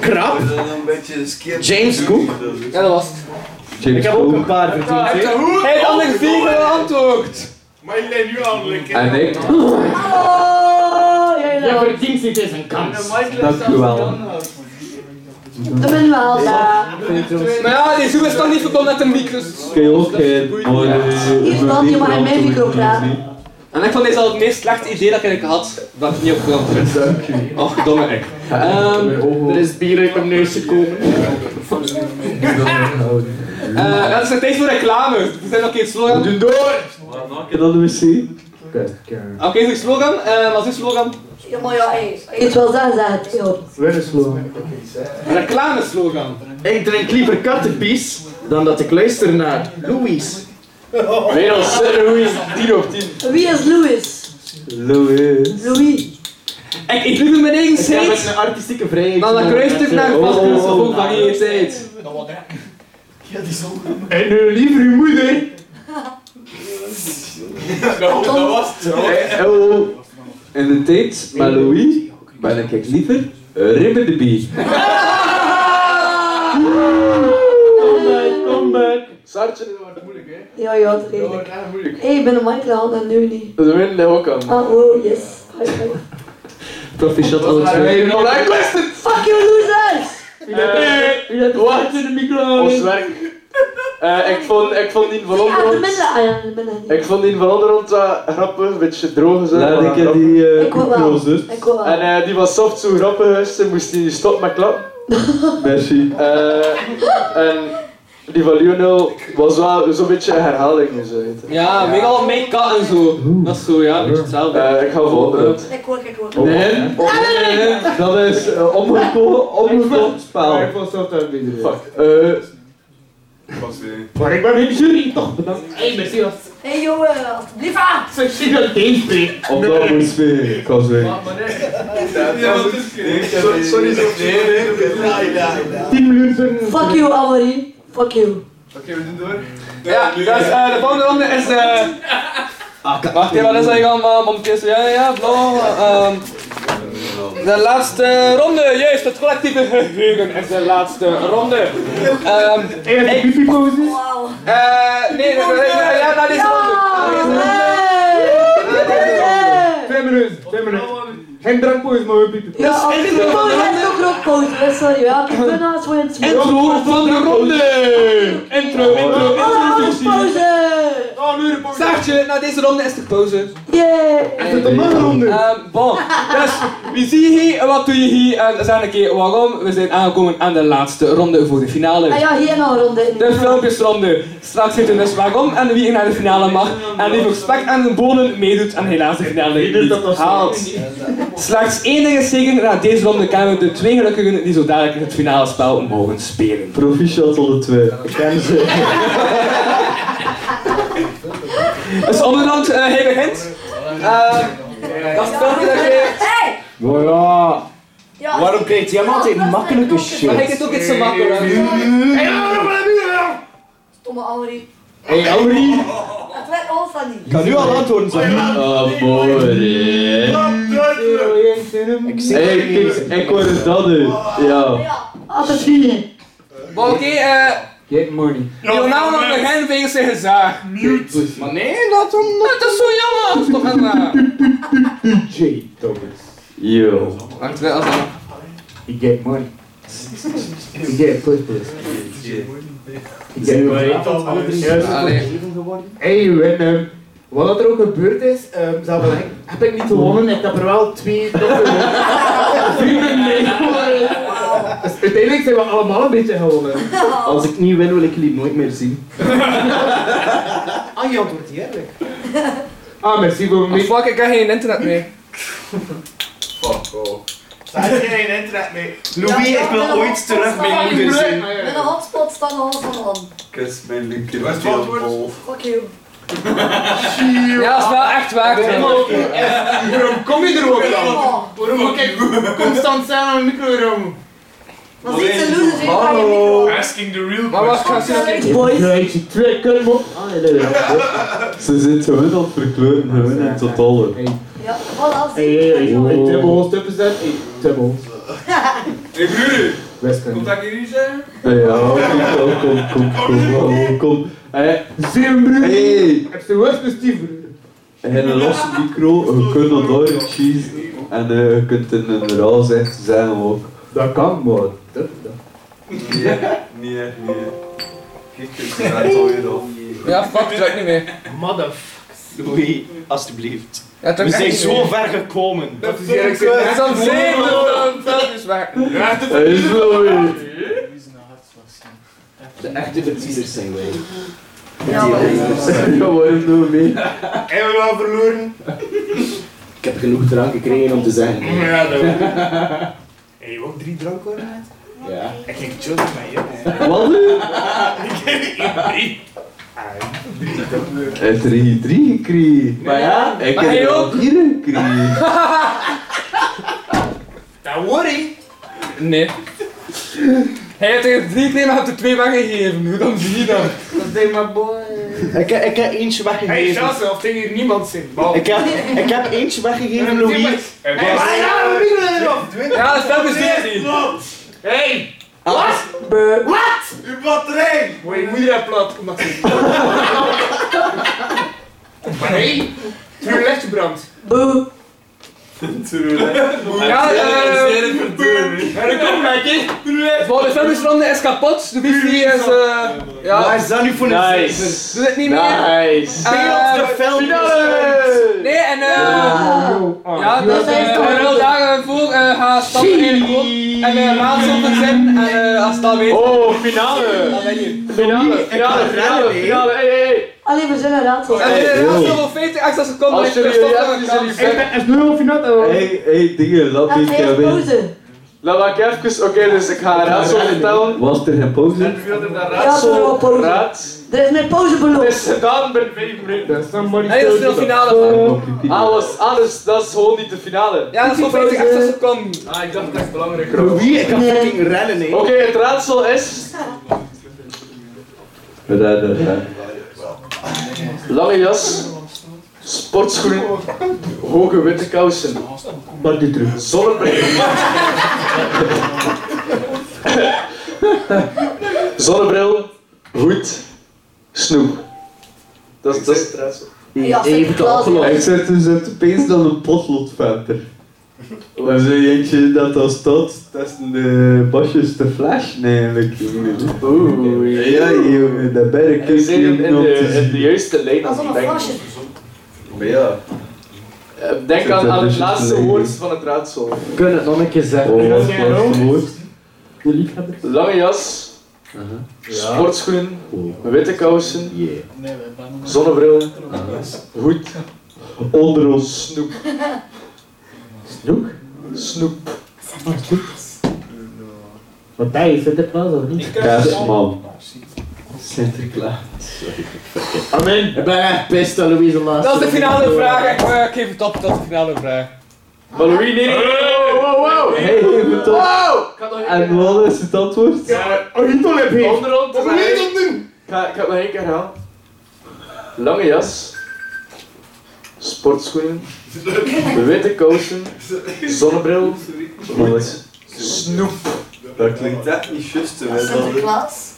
Krab? James Cook?
Ja, dat was het.
Ik
James
heb ook
Cook.
een paar verdiend.
Hij heeft al een vier geantwoord.
Maar je bent nu al lekker.
En ik.
Hallo. Jij
Je
dan.
verdient dit is een kans.
Dank u wel.
eh, Manuelda.
Maar ja, die zoek is toch niet verbonden met een dus- micro.
Oké, oké.
Hier staat niet maar in mijn micro praten.
En ik vond deze al het meest slechte idee dat ik eigenlijk had, dat ik niet opgekomen ben. Dank u. Och, domme ik. Ehm,
Er is bier uit mijn neus
[LAUGHS]
gekomen.
eh, dat is het tijd voor reclame. We zijn nog geen slogan. Oké,
Kan dat we zien?
goede slogan. Eh, wat is uw slogan?
Ja, maar ja, hey. Het wel dat, dat. joh.
Reclame slogan.
Ik drink liever kattenpies dan dat ik luister naar Louis.
Weer als Louis 10 op 10.
Wie is Louis?
Louis.
Louis.
Ik eet liever mijn eigen
Ik heb met
scheet
mijn artistieke vrijheid.
dan dat kruisstuk naar
Oh,
vast is
oh,
of
oh.
van je tijd.
En eh, liever uw moeder.
Nou, dat was het.
Hallo. In de tijd met Louis ben ik liever Ribbe de Bier.
Comeback, comeback.
startje, dat wordt moeilijk, hè?
Ja, ja, dat
Dat
weet
wordt
ik.
echt moeilijk.
Hé, ik ben een Minecraft en nu niet.
Dat winnen ligt ook aan.
Ah, oh, yes. High five.
Profi shot alle twee.
Fuck you losers!
Eh,
Wacht in de micro! Ons werk. Eh, ik, vond, ik vond die van
Ja, de
onder
midden. Ah ja, de midden.
Ik vond die van onder ons wat grappig, een beetje droog zo.
Laat ik in
die
Ik wil wel. Ik wil wel.
En eh, die was soft zo grappig, dus ze moest die stop met klappen. [LAUGHS] Merci. en die van Lionel was wel zo'n beetje een herhaling. Zo, weet je.
Ja, mega al mijn kat en zo. Dat is zo, ja, een beetje hetzelfde.
Eh, ik ga voor onderhoud.
Ik hoor, ik hoor.
Nee, dat is uh, omgekomen, omgekomen spel.
Ik was zelf daar binnen.
Fuck. Eh
Maar ik ben in de jury, toch? Bedankt.
Hé, Messias. Hé, jongen, alsjeblieft. ah.
Ik zie dat deze spreekt.
Of dat moet spelen, ik was weg.
Sorry, sorry.
Tien minuten. Fuck you, Amory. Fuck you.
Oké, we doen door. Ja, dus eh, de volgende ronde is. eh wacht, hé, wat is dat hier allemaal? Momentjes, ja, ja, ja, bla. ehm, de laatste ronde, juist, het collectieve geheugen is de laatste ronde. Ehm ik- Eh, nee, nee, nee, nee, ja, naar deze ronde. Naar deze ronde.
Twee minuten, twee minuten. Geen drankpoes, maar we bieden.
Ja, als je het mooi hebt, ook nog poot. Sorry, ja, ik ben naast voor het
Intro van de ronde! Intro, intro, intro.
Ah, Pauze!
Oh, nu de pauze.
Saartje, na deze ronde is de pauze.
Yay!
Is het een mannenronde? bon, dus wie zie je hier en wat doe je hier? En zeg een keer waarom. We zijn aangekomen aan de laatste ronde voor de finale.
Ah ja, hier nou een ronde.
De filmpjesronde. Straks weten we dus waarom en wie er naar de finale mag. En die voor spek en de bonen meedoet en helaas de finale niet haalt. Slechts één ding is zeker, na deze ronde kennen we de twee gelukkigen die zo dadelijk in het finale spel mogen spelen.
Proficiat alle twee. Ik ken ze.
Dus onderhand, eh hij begint. Eh, dat is het filmpje dat je...
Hey!
Maar ja.
Ja.
Ah, Waarom krijgt jij altijd makkelijke shit?
Maar ik het ook iets zo makkelijk.
Stomme Amory.
Hey, Auri.
Het werd al van die.
kan nu al antwoorden zijn.
Oh, Hey, kijk, ik hoor dat dus. Ja.
Altijd vrienden.
Maar oké, eh...
Get money.
Leonardo begint wegens zijn gezaag. Mute. Maar nee, dat, dat is zo jammer. Dat is toch een... eh,
J. Thomas.
Yo.
Wacht, wel, als dat-
You get money. You get push push. You get money. Hey, en ehm, wat er ook gebeurd is, ehm, zou wel zeggen, heb ik niet gewonnen, ik heb er wel twee dokters- vrienden mee gewonnen. Dus uiteindelijk zijn we allemaal een beetje gewonnen.
Als ik niet win, wil ik jullie nooit meer zien.
Ah, je antwoordt eerlijk. Ah, merci voor
Ah, Fuck, ik heb geen internet meer.
Fuck off. Daar heb je geen internet mee.
Louis, ik wil ooit terug mijn moeder zien.
Met een hotspot staan we alles van aan.
Kus mijn linker.
Wat is het antwoord?
Fuck you.
Ja, dat is wel echt waar.
Waarom kom je er ook dan? Waarom moet ik constant zijn aan de micro room?
Maar ziet ze losers even aan je micro.
Asking the real
Maar wacht, ga
question.
zien.
Krijg trekken, man. Ah, nee, nee, nee.
Ze zit gewoon aan het verkleuren, gewoon in totale.
Ja, voilà.
Hey, hey, hey, hey,
Oh.
Tibbels, Tibbels, dat. Hey, Tibbels.
Hey broer,
Western.
komt dat hier niet zijn?
Ja, kom, kom, kom, kom, kom, kom. Hé,
Zeven broer.
hey,
Heb je worst gestieven?
en een losse micro, je kunt dat daar cheese en eh, je kunt in een raal echt zijn ook.
Dat kan, maar. dat- dat-
Nee, nee, nee. Kijk, ik ben daar zo weer op.
Ja, fuck, trek niet meer.
Motherfuck. Louis, alstublieft.
Ja, trek
We zijn
echt niet
zo
meer.
ver gekomen.
Dat is hier, ik zit net aan het zeven, dan dat is waar.
Hij is wel weer.
De echte verliezers zijn wij.
Ja, maar-
Ja, waarom doen we mee?
Hebben we wel verloren?
Ik heb genoeg drank gekregen om te zeggen.
Ja, dat Hey, je ook drie drank hoor net?
Ja.
Ik ging chillen met je.
Wat?
Ik heb hier drie.
Hij heeft er hier drie gekregen.
Maar ja,
Ik
Maar
heb
hij
er
ook.
ook hier gekregen.
Dat worry.
Nee. Hij heeft er drie keer, maar hebt er twee weggegeven. Hoe dan zie je dat?
Dat is maar boy.
Ik, ik heb eentje
Hey,
weggegeven.
Jansen, of tegen hier niemand zin. Bal.
Ik heb, ik heb eentje weggegeven, Louis.
Hey, waar
ja,
gaan we
we
nu
winnen erop.
Ja, dat is telkens die.
Hey!
Hey!
Wat? Wat? Uw batterij!
Maar je moeder heeft plat, omdat
[LAUGHS]
ze... Maar hey, Trulet gebrand. Boe.
Ja, eh... Ja, dat komt, Mikey. Het volgende film is van is kapot. De wifi is... eh, ja.
Waar is dat nu voor een
Nice.
zeven?
Doe het niet meer.
Nice.
Eh,
Beeld de film. dus
finale. Nee, en... eh,
Ah,
ja, dat is een heel dagen voor. eh, Ga stappen in de grond. En eh, raadsel te zetten. En eh, als dat weet...
Oh, finale.
Dan ben je.
Finale, finale, finale, finale, hey, hey.
Allee, we zijn een raadsel.
En eh, raadsel voor 50 extra seconden.
Als jullie jullie
Ik ben stoppen
hebben,
met
jullie
de eh, kans.
zijn-
Het is nu of not, hoor.
Hey, hey, dingen, laat me een keer winnen.
Nou, Laat ik even, oké, dus ik ga een raadsel vertellen.
Was er geen pauze?
Raadsel, raad.
Er is mijn pauze beloofd.
Het is gedaan binnen vijf minuten.
Nee, dat is de finale van.
Alles, alles, dat is gewoon niet de finale.
Ja, dat is voor 50 extra seconden. Ah, ik dacht dat is belangrijk.
Voor wie? Ik
kan fucking rennen, nee.
Oké, het raadsel is... Lange jas, sportschoenen, hoge witte kousen. Bardietru. Zonnebril. [LAUGHS] Zonnebril, hoed, snoep. Dat is dat is het raadsel.
Ja, Ik zet dus het opeens dan een potlood verder.
Oh.
En zo eentje dat als staat, testen de basjes te flashen eigenlijk, jongen. Oeh. Ja, jongen, daar ben ik
En
niet
zit hem in
op te
de, in de
zien.
juiste lijn als ik denk.
Maar ja.
Eh, Denk aan, aan het laatste woord van het raadsel.
Kunnen het nog een keer zeggen?
Oh, wat was het woord?
Lange jas, sportschoenen, witte kousen, zonnebril, hoed,
Onder ons.
snoep.
Snoek?
Snoep.
Wat hij is, het wel of niet?
Kerstman. Sinterklaas.
Amen. Ik ben echt pissed dat Louise de laatste.
Dat is de finale vraag. Ik, eh, Ik geef het op, dat is de finale vraag.
Maar Louis, nee, nee.
Oh,
Wow, wow, wow.
Hey, hey, goed op. En wat is het antwoord?
Oh,
Onder ons. Ik ga ik ga het nog één keer herhalen. Lange jas, sportschoenen, witte kousen, zonnebril, hoed, snoep.
Dat klinkt echt niet juist, hè. Dat-
Sinterklaas.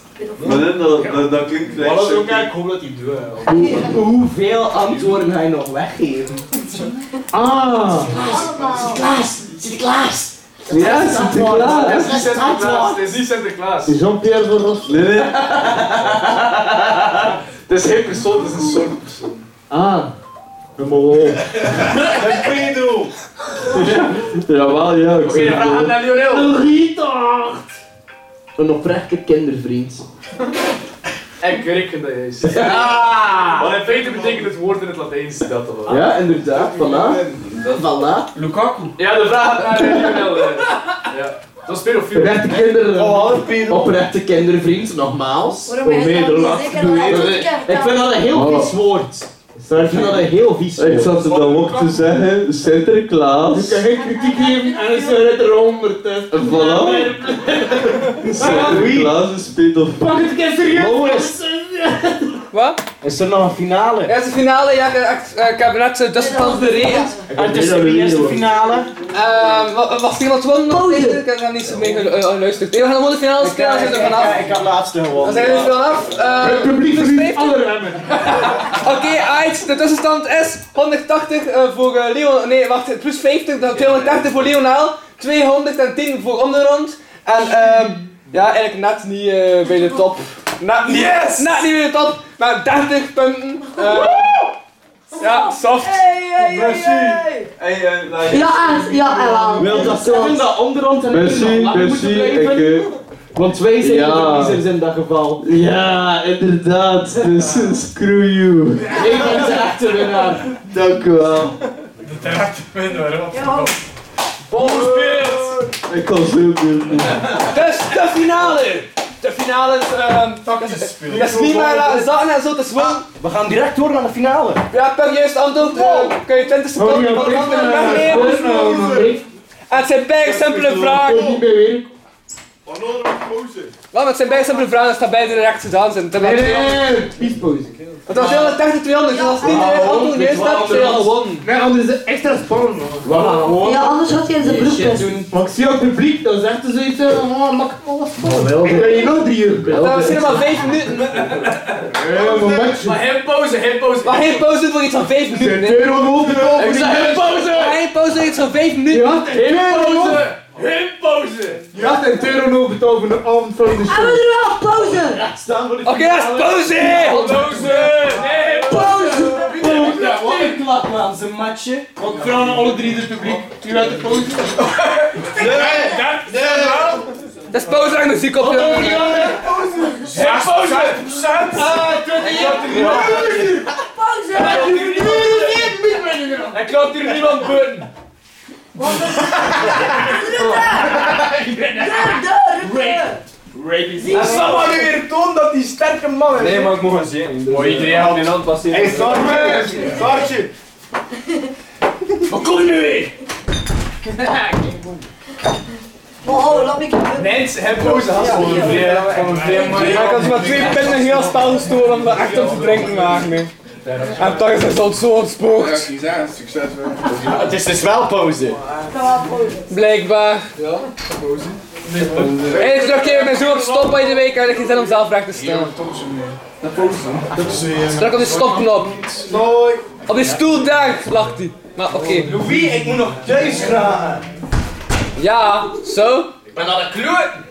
Maar nee, dat, dat, dat klinkt gelijk.
Wat is ook
zo.
eigenlijk, ik hoop dat die doet.
Hoe- hoeveel antwoorden ga je nog weggeven? Ah!
Sinterklaas. Sinterklaas.
Ja, Sinterklaas.
Het is niet Sinterklaas, het is niet Sinterklaas.
Jean-Pierre van Rossum.
Nee, nee.
Het is geen persoon, het is een soort persoon.
Ah. Nummer [LAUGHS] 1.
Een pedo.
[LAUGHS] Jawel, ja. ik zeg het wel.
naar Lionel.
Een retard! Een oprechte kindervriend.
En krikken, dat is. Wat Ah. in feite betekent het woord in het Latijns dat wel.
Ja, inderdaad, voilà. Voilà.
Lukaku. Ja, de vraag gaat naar Lionel. eh. Ja. Dat is pedofiel.
Oprechte kinderen. Oprechte kindervriend, nogmaals.
Waarom ben je dan
Oh, nee,
niet
dat
zeker
laat ik
dat
doen.
hij het niet
Ik vind dat een heel
verteld?
vies woord. Ik vind dat een heel vies woord.
Ik zat er dan ook te dus zeggen, Sinterklaas.
Ik kan geen kritiek geven en is er er 100. hè.
En voilà. Sinterklaas is pedofiel.
Pak het een keer serieus.
Jongens. Wat?
Is er nog een finale?
Ja, het is de finale. Ja, ik, ik- ik heb net eh, tussenstand bereden.
Het is de eerste finale.
Ehm, wa- was er iemand gewonnen? Ik ik heb daar niet zo mee gelu- eh, geluisterd. Nee, we gaan gewoon de finale spelen, dan zijn we er vanaf.
eh, Ik had laatste
Dan
gewonnen.
zijn we er vanaf. Eh,
Het publiek verliest
50.
alle remmen.
Oké, uit. De tussenstand is 180 eh, voor eh, Leon. Nee, wacht, plus 50, dan 280 voor Leonel. 210 voor Onderhand. En ehm, ja, eigenlijk net niet eh, bij de top. Net niet,
Yes!
net niet bij de top, maar 30 punten. Eh, ja, soft.
Hey, eh, nou,
Ja, eh, ja, eh, wel.
Wil dat zeggen dat onderhand en
Merci,
nog lang moeten
merci. Ik,
blijven?
eh,
Want wij zijn
Ja.
de verliezers in dat geval.
ja, inderdaad. Dus eh, screw you.
Ik ben de echte winnaar.
Dank u wel. Ik was heel benieuwd.
Dus de finale! De finale is. ehm, dat is niet meer laten zakken en zo te zwang.
Ah, We gaan direct door naar de finale.
Ja, per juist antwoord eh, kun je 20 seconden van de andere wegnemen. En het zijn bijna simpele vragen.
Onnodige gozer.
Wel, met zijn bijzondere vragen dat staat beide recht gedaan zijn.
Nee, nee, nee, nee.
Het was 280 200, dat was niet de antwoord. Nee, dat is
Nee, anders is het extra spannend.
We gaan gewoon-
Ja, anders had je in zijn
Nee,
broek
shit
best.
doen. Maar ik zie ook het publiek, dat is echt zoiets van, oh, mak me wat
Maar wel-
Ik nou, ben hier nog drie uur bij.
Dat was misschien maar 5 minuten.
eh,
Maar geen pauze, geen pauze.
Maar geen pauze voor iets van 5 minuten.
Zijn euro over de
Ik zei geen pauze! Geen pauze voor iets van 5 minuten.
Ja, geen pauze.
Geen pauze.
Je had een euro over de over de avond van de
Hebben
show.
we er wel pauze?
Staan voor de
Oké, dat is pauze!
Pauze. Nee,
Pauze!
Wat een klap, man. Zijn matje.
Want vooral naar alle drie het publiek. U uit de pauze. Nee, dat is Oh, normaal.
Dat is pauze aan muziek op. jongen.
Geen pauze. Ah, dat is Hij klapt hier niemand buiten.
Rapids.
Dat zal maar weer tonen dat die sterke man is.
Nee, maar ik mocht hem zien. Dus,
Mooi,
eh,
iedereen had-
hand in hand passeren.
Hey, Saartje! Saartje! Wat kom je nu weer?
Oh, laat me kijken.
Mensen hebben boze haast voor een vleer. Van een vleer, maar
Ik had maar twee pinnen en heel spel gestolen om dat echt op te drinken maken. nee. En toch is het al zo ontspookt.
Succes,
Het is dus wel pauze.
Blijkbaar. Ja, pauze. Hey, het is nog keer met zo'n stop bij de week en ik zin om zelf recht te stellen.
eh,
Druk op die stopknop. Op die stoel daar lacht hij. Maar oké.
Wie? Ik moet nog thuis gaan.
Ja, zo?
Ik ben aan de kleur.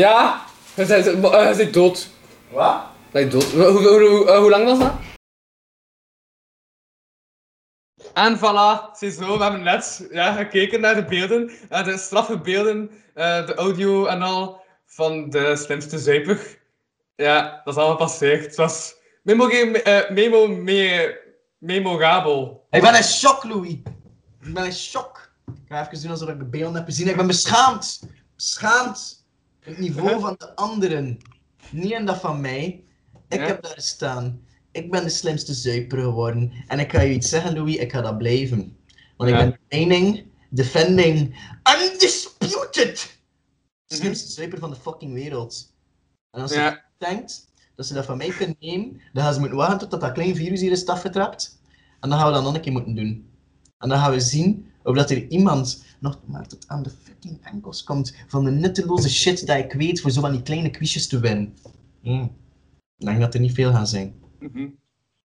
Ja? Hij zei- zei- maar, eh, hij zei dood.
Wat?
Hij zei dood. Hoe, hoe, hoe- eh, hoe lang was dat?
En voilà, ziezo, we hebben net ja, gekeken naar de beelden, naar de straffe beelden, eh, de audio en al van de slimste zuiper. Ja, dat is allemaal gepasseerd. Het was memo, eh memo, me, memorabel.
Ik ben in shock, Louis. Ik ben in shock. Ik ga even doen alsof ik de beelden heb gezien. Ik ben beschaamd. Beschaamd. Het
[LAUGHS]
niveau van de anderen. Niet en dat van mij. Ik
Ja.
heb daar staan. Ik ben de slimste zuiper geworden. En ik ga je iets zeggen, Louis. Ik ga dat blijven. Want
Ja.
ik ben de mening, defending, undisputed. De slimste zuiper van de fucking wereld. En als
Ja.
je denkt dat ze dat van mij kunnen nemen, dan gaan ze moeten wachten tot dat klein virus hier is afgetrapt. En dan gaan we dat nog een keer moeten doen. En dan gaan we zien of dat er iemand nog maar tot aan de fucking enkels komt van de nutteloze shit dat ik weet voor zo van die kleine quizjes te winnen. Hm. Ik denk dat er niet veel gaan zijn.
Mhm.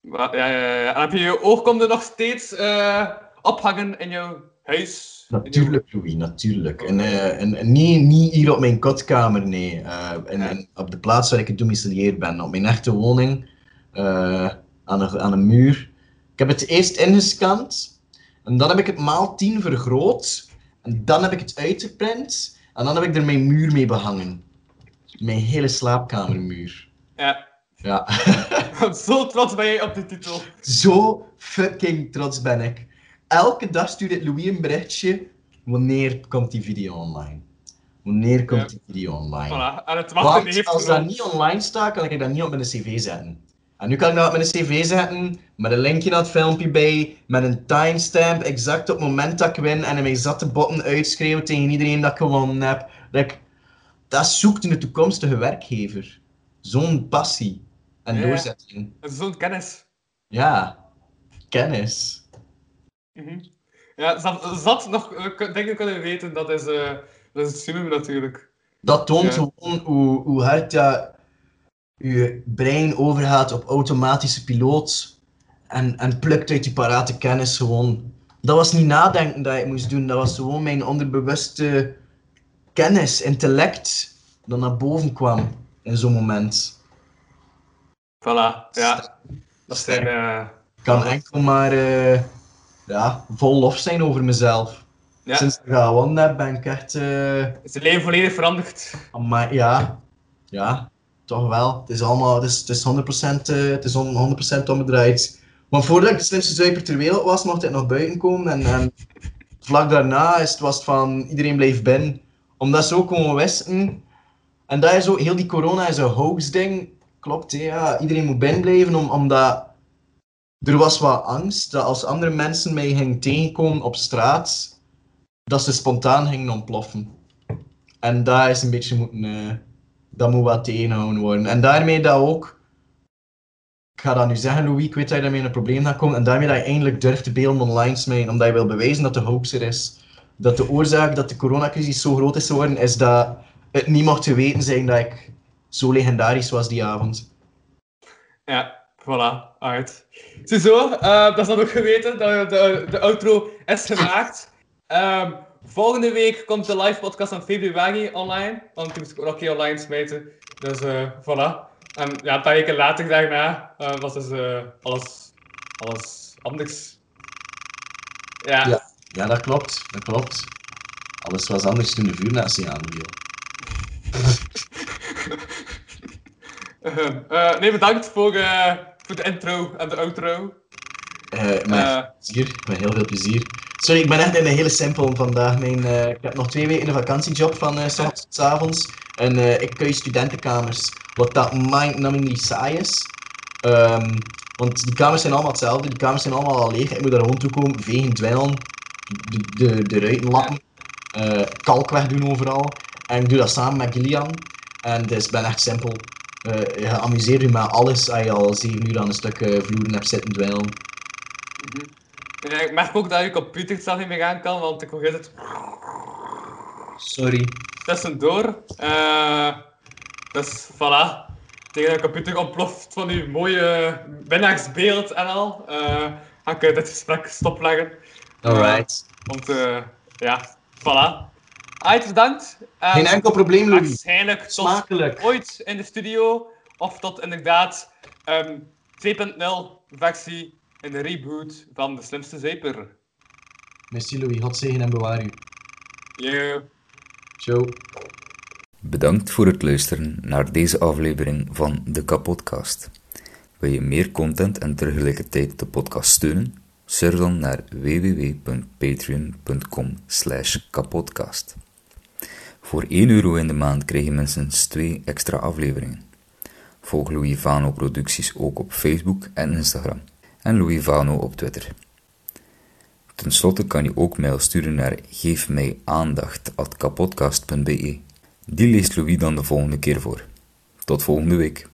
Maar, ja, ja, ja. En heb je je oogkonden nog steeds eh, ophangen in jouw huis?
Natuurlijk, Louis, natuurlijk. En, eh, en, en niet, niet hier op mijn kotkamer, nee. Eh, en, en op de plaats waar ik gedomicileerd ben, op mijn echte woning, eh, aan, een, aan een muur. Ik heb het eerst ingescand, en dan heb ik het maal 10 vergroot, en dan heb ik het uitgeprint, en dan heb ik er mijn muur mee behangen. Mijn hele slaapkamermuur.
Ja. [LAUGHS]
Ja,
Zo trots ben jij op de titel.
zo fucking trots ben ik. Elke dag stuurt ik Louis een berichtje. Wanneer komt die video online? Wanneer komt die video online?
Voilà. En het wachten
Want
heeft
als dat
genomen.
niet online staat, kan ik dat niet op mijn cv zetten. En nu kan ik dat op mijn cv zetten, met een linkje naar het filmpje bij, met een timestamp, exact op het moment dat ik win, en in mijn zatte botten uitschreeuwen tegen iedereen dat ik gewonnen heb. Like, dat zoekt een toekomstige werkgever. Zo'n passie en
Ja, ja.
doorzetting.
Dat is Zo'n kennis.
Ja, kennis.
Mhm. Ja, zat, zat nog eh, kun- dingen kunnen weten, dat is, eh, dat is het summum natuurlijk.
Dat toont
Ja.
gewoon hoe, hoe hard dat je brein overgaat op automatische piloot en, en plukt uit die parate kennis gewoon. Dat was niet nadenken dat ik moest doen, dat was gewoon mijn onderbewuste kennis, intellect, dat naar boven kwam in zo'n moment.
Voilà, ja. Dat zijn... eh,
Ik kan enkel maar eh, ja, vol lof zijn over mezelf.
Ja.
Sinds ik dat gewonnen heb, ben ik echt... eh,
zijn leven volledig veranderd.
Maar ja, ja, toch wel. Het is allemaal, het is, het is 100%, eh, het is on- 100% omgedraaid. Want voordat ik de slimste zuiper ter wereld was, mocht ik nog buiten komen. En, en vlak daarna is het, was het van iedereen blijft binnen. Omdat ze ook gewoon wisten. En daar is ook heel die corona is een hoax-ding. Klopt, hè, ja. Iedereen moet binnen blijven, om, omdat er was wat angst dat als andere mensen mij gingen tegenkomen op straat, dat ze spontaan gingen ontploffen. En daar is een beetje moeten, eh, dat moet wat tegenhouden worden. En daarmee dat ook, ik ga dat nu zeggen Louis, ik weet dat je daarmee in een probleem gaat komen, en daarmee dat je eindelijk durft de beelden online smijten, omdat je wil bewijzen dat de hoax er is. Dat de oorzaak dat de coronacrisis zo groot is geworden, is dat het niet mocht te weten zijn dat ik zo legendarisch was die avond.
Ja, voilà, uit. Ziezo, eh, dat is dan ook geweten, dat de, de outro is gemaakt. Ehm, volgende week komt de live podcast van februari online, want die moest ik ook nog een keer online smijten. Dus eh, voilà. En ja, een paar weken later daarna eh, was dus eh, alles, alles anders. Ja.
ja. Ja, dat klopt, dat klopt. Alles was anders toen de vuurnatie aanviel.
Ehm, [LAUGHS] eh, nee, bedankt voor, eh, voor de intro en de outro.
Eh maar plezier, met heel veel plezier. Sorry, ik ben echt in een hele simpel vandaag. Mijn, eh, ik heb nog twee weken een vakantiejob van eh, s ochtends tot 's avonds. En eh, ik kun studentenkamers, wat dat mind-numbingly saai is. Ehm, want die kamers zijn allemaal hetzelfde, die kamers zijn allemaal al leeg. Ik moet daar gewoon toe komen, vegen, dweilen, de, de, de ruiten lappen, eh, kalk wegdoen overal. En ik doe dat samen met Gillian. En dus ik ben echt simpel. Eh, je amuseert je met alles als je al zeven uur aan een stuk eh, vloeren hebt zitten dweilen.
Ja, ik merk ook dat je computer het zelf niet meer aan kan, want ik hoor heel het
Sorry.
tussendoor. Eh dus voilà. Tegen de computer ontploft van uw mooie winnaarsbeeld en al. eh, ga ik eh, dit gesprek stopleggen.
Alright.
Want eh, ja, voilà. Uit, bedankt. Eh,
Geen enkel probleem, Louis.
Waarschijnlijk tot ooit in de studio. Of tot inderdaad ehm 2.0 versie in de reboot van de slimste zeper.
Merci Louis, God zegen en bewaar u.
Yeah.
Ciao.
Bedankt voor het luisteren naar deze aflevering van de Kapodcast. Wil je meer content en tegelijkertijd de podcast steunen? Surf dan naar www.patreon.com kapodcast. Voor 1 euro in de maand krijg je minstens 2 extra afleveringen. Volg Louis Vano producties ook op Facebook en Instagram en Louis Vano op Twitter. Ten slotte kan je ook mail sturen naar geefmijaandacht.kapodcast.be. Die leest Louis dan de volgende keer voor. Tot volgende week.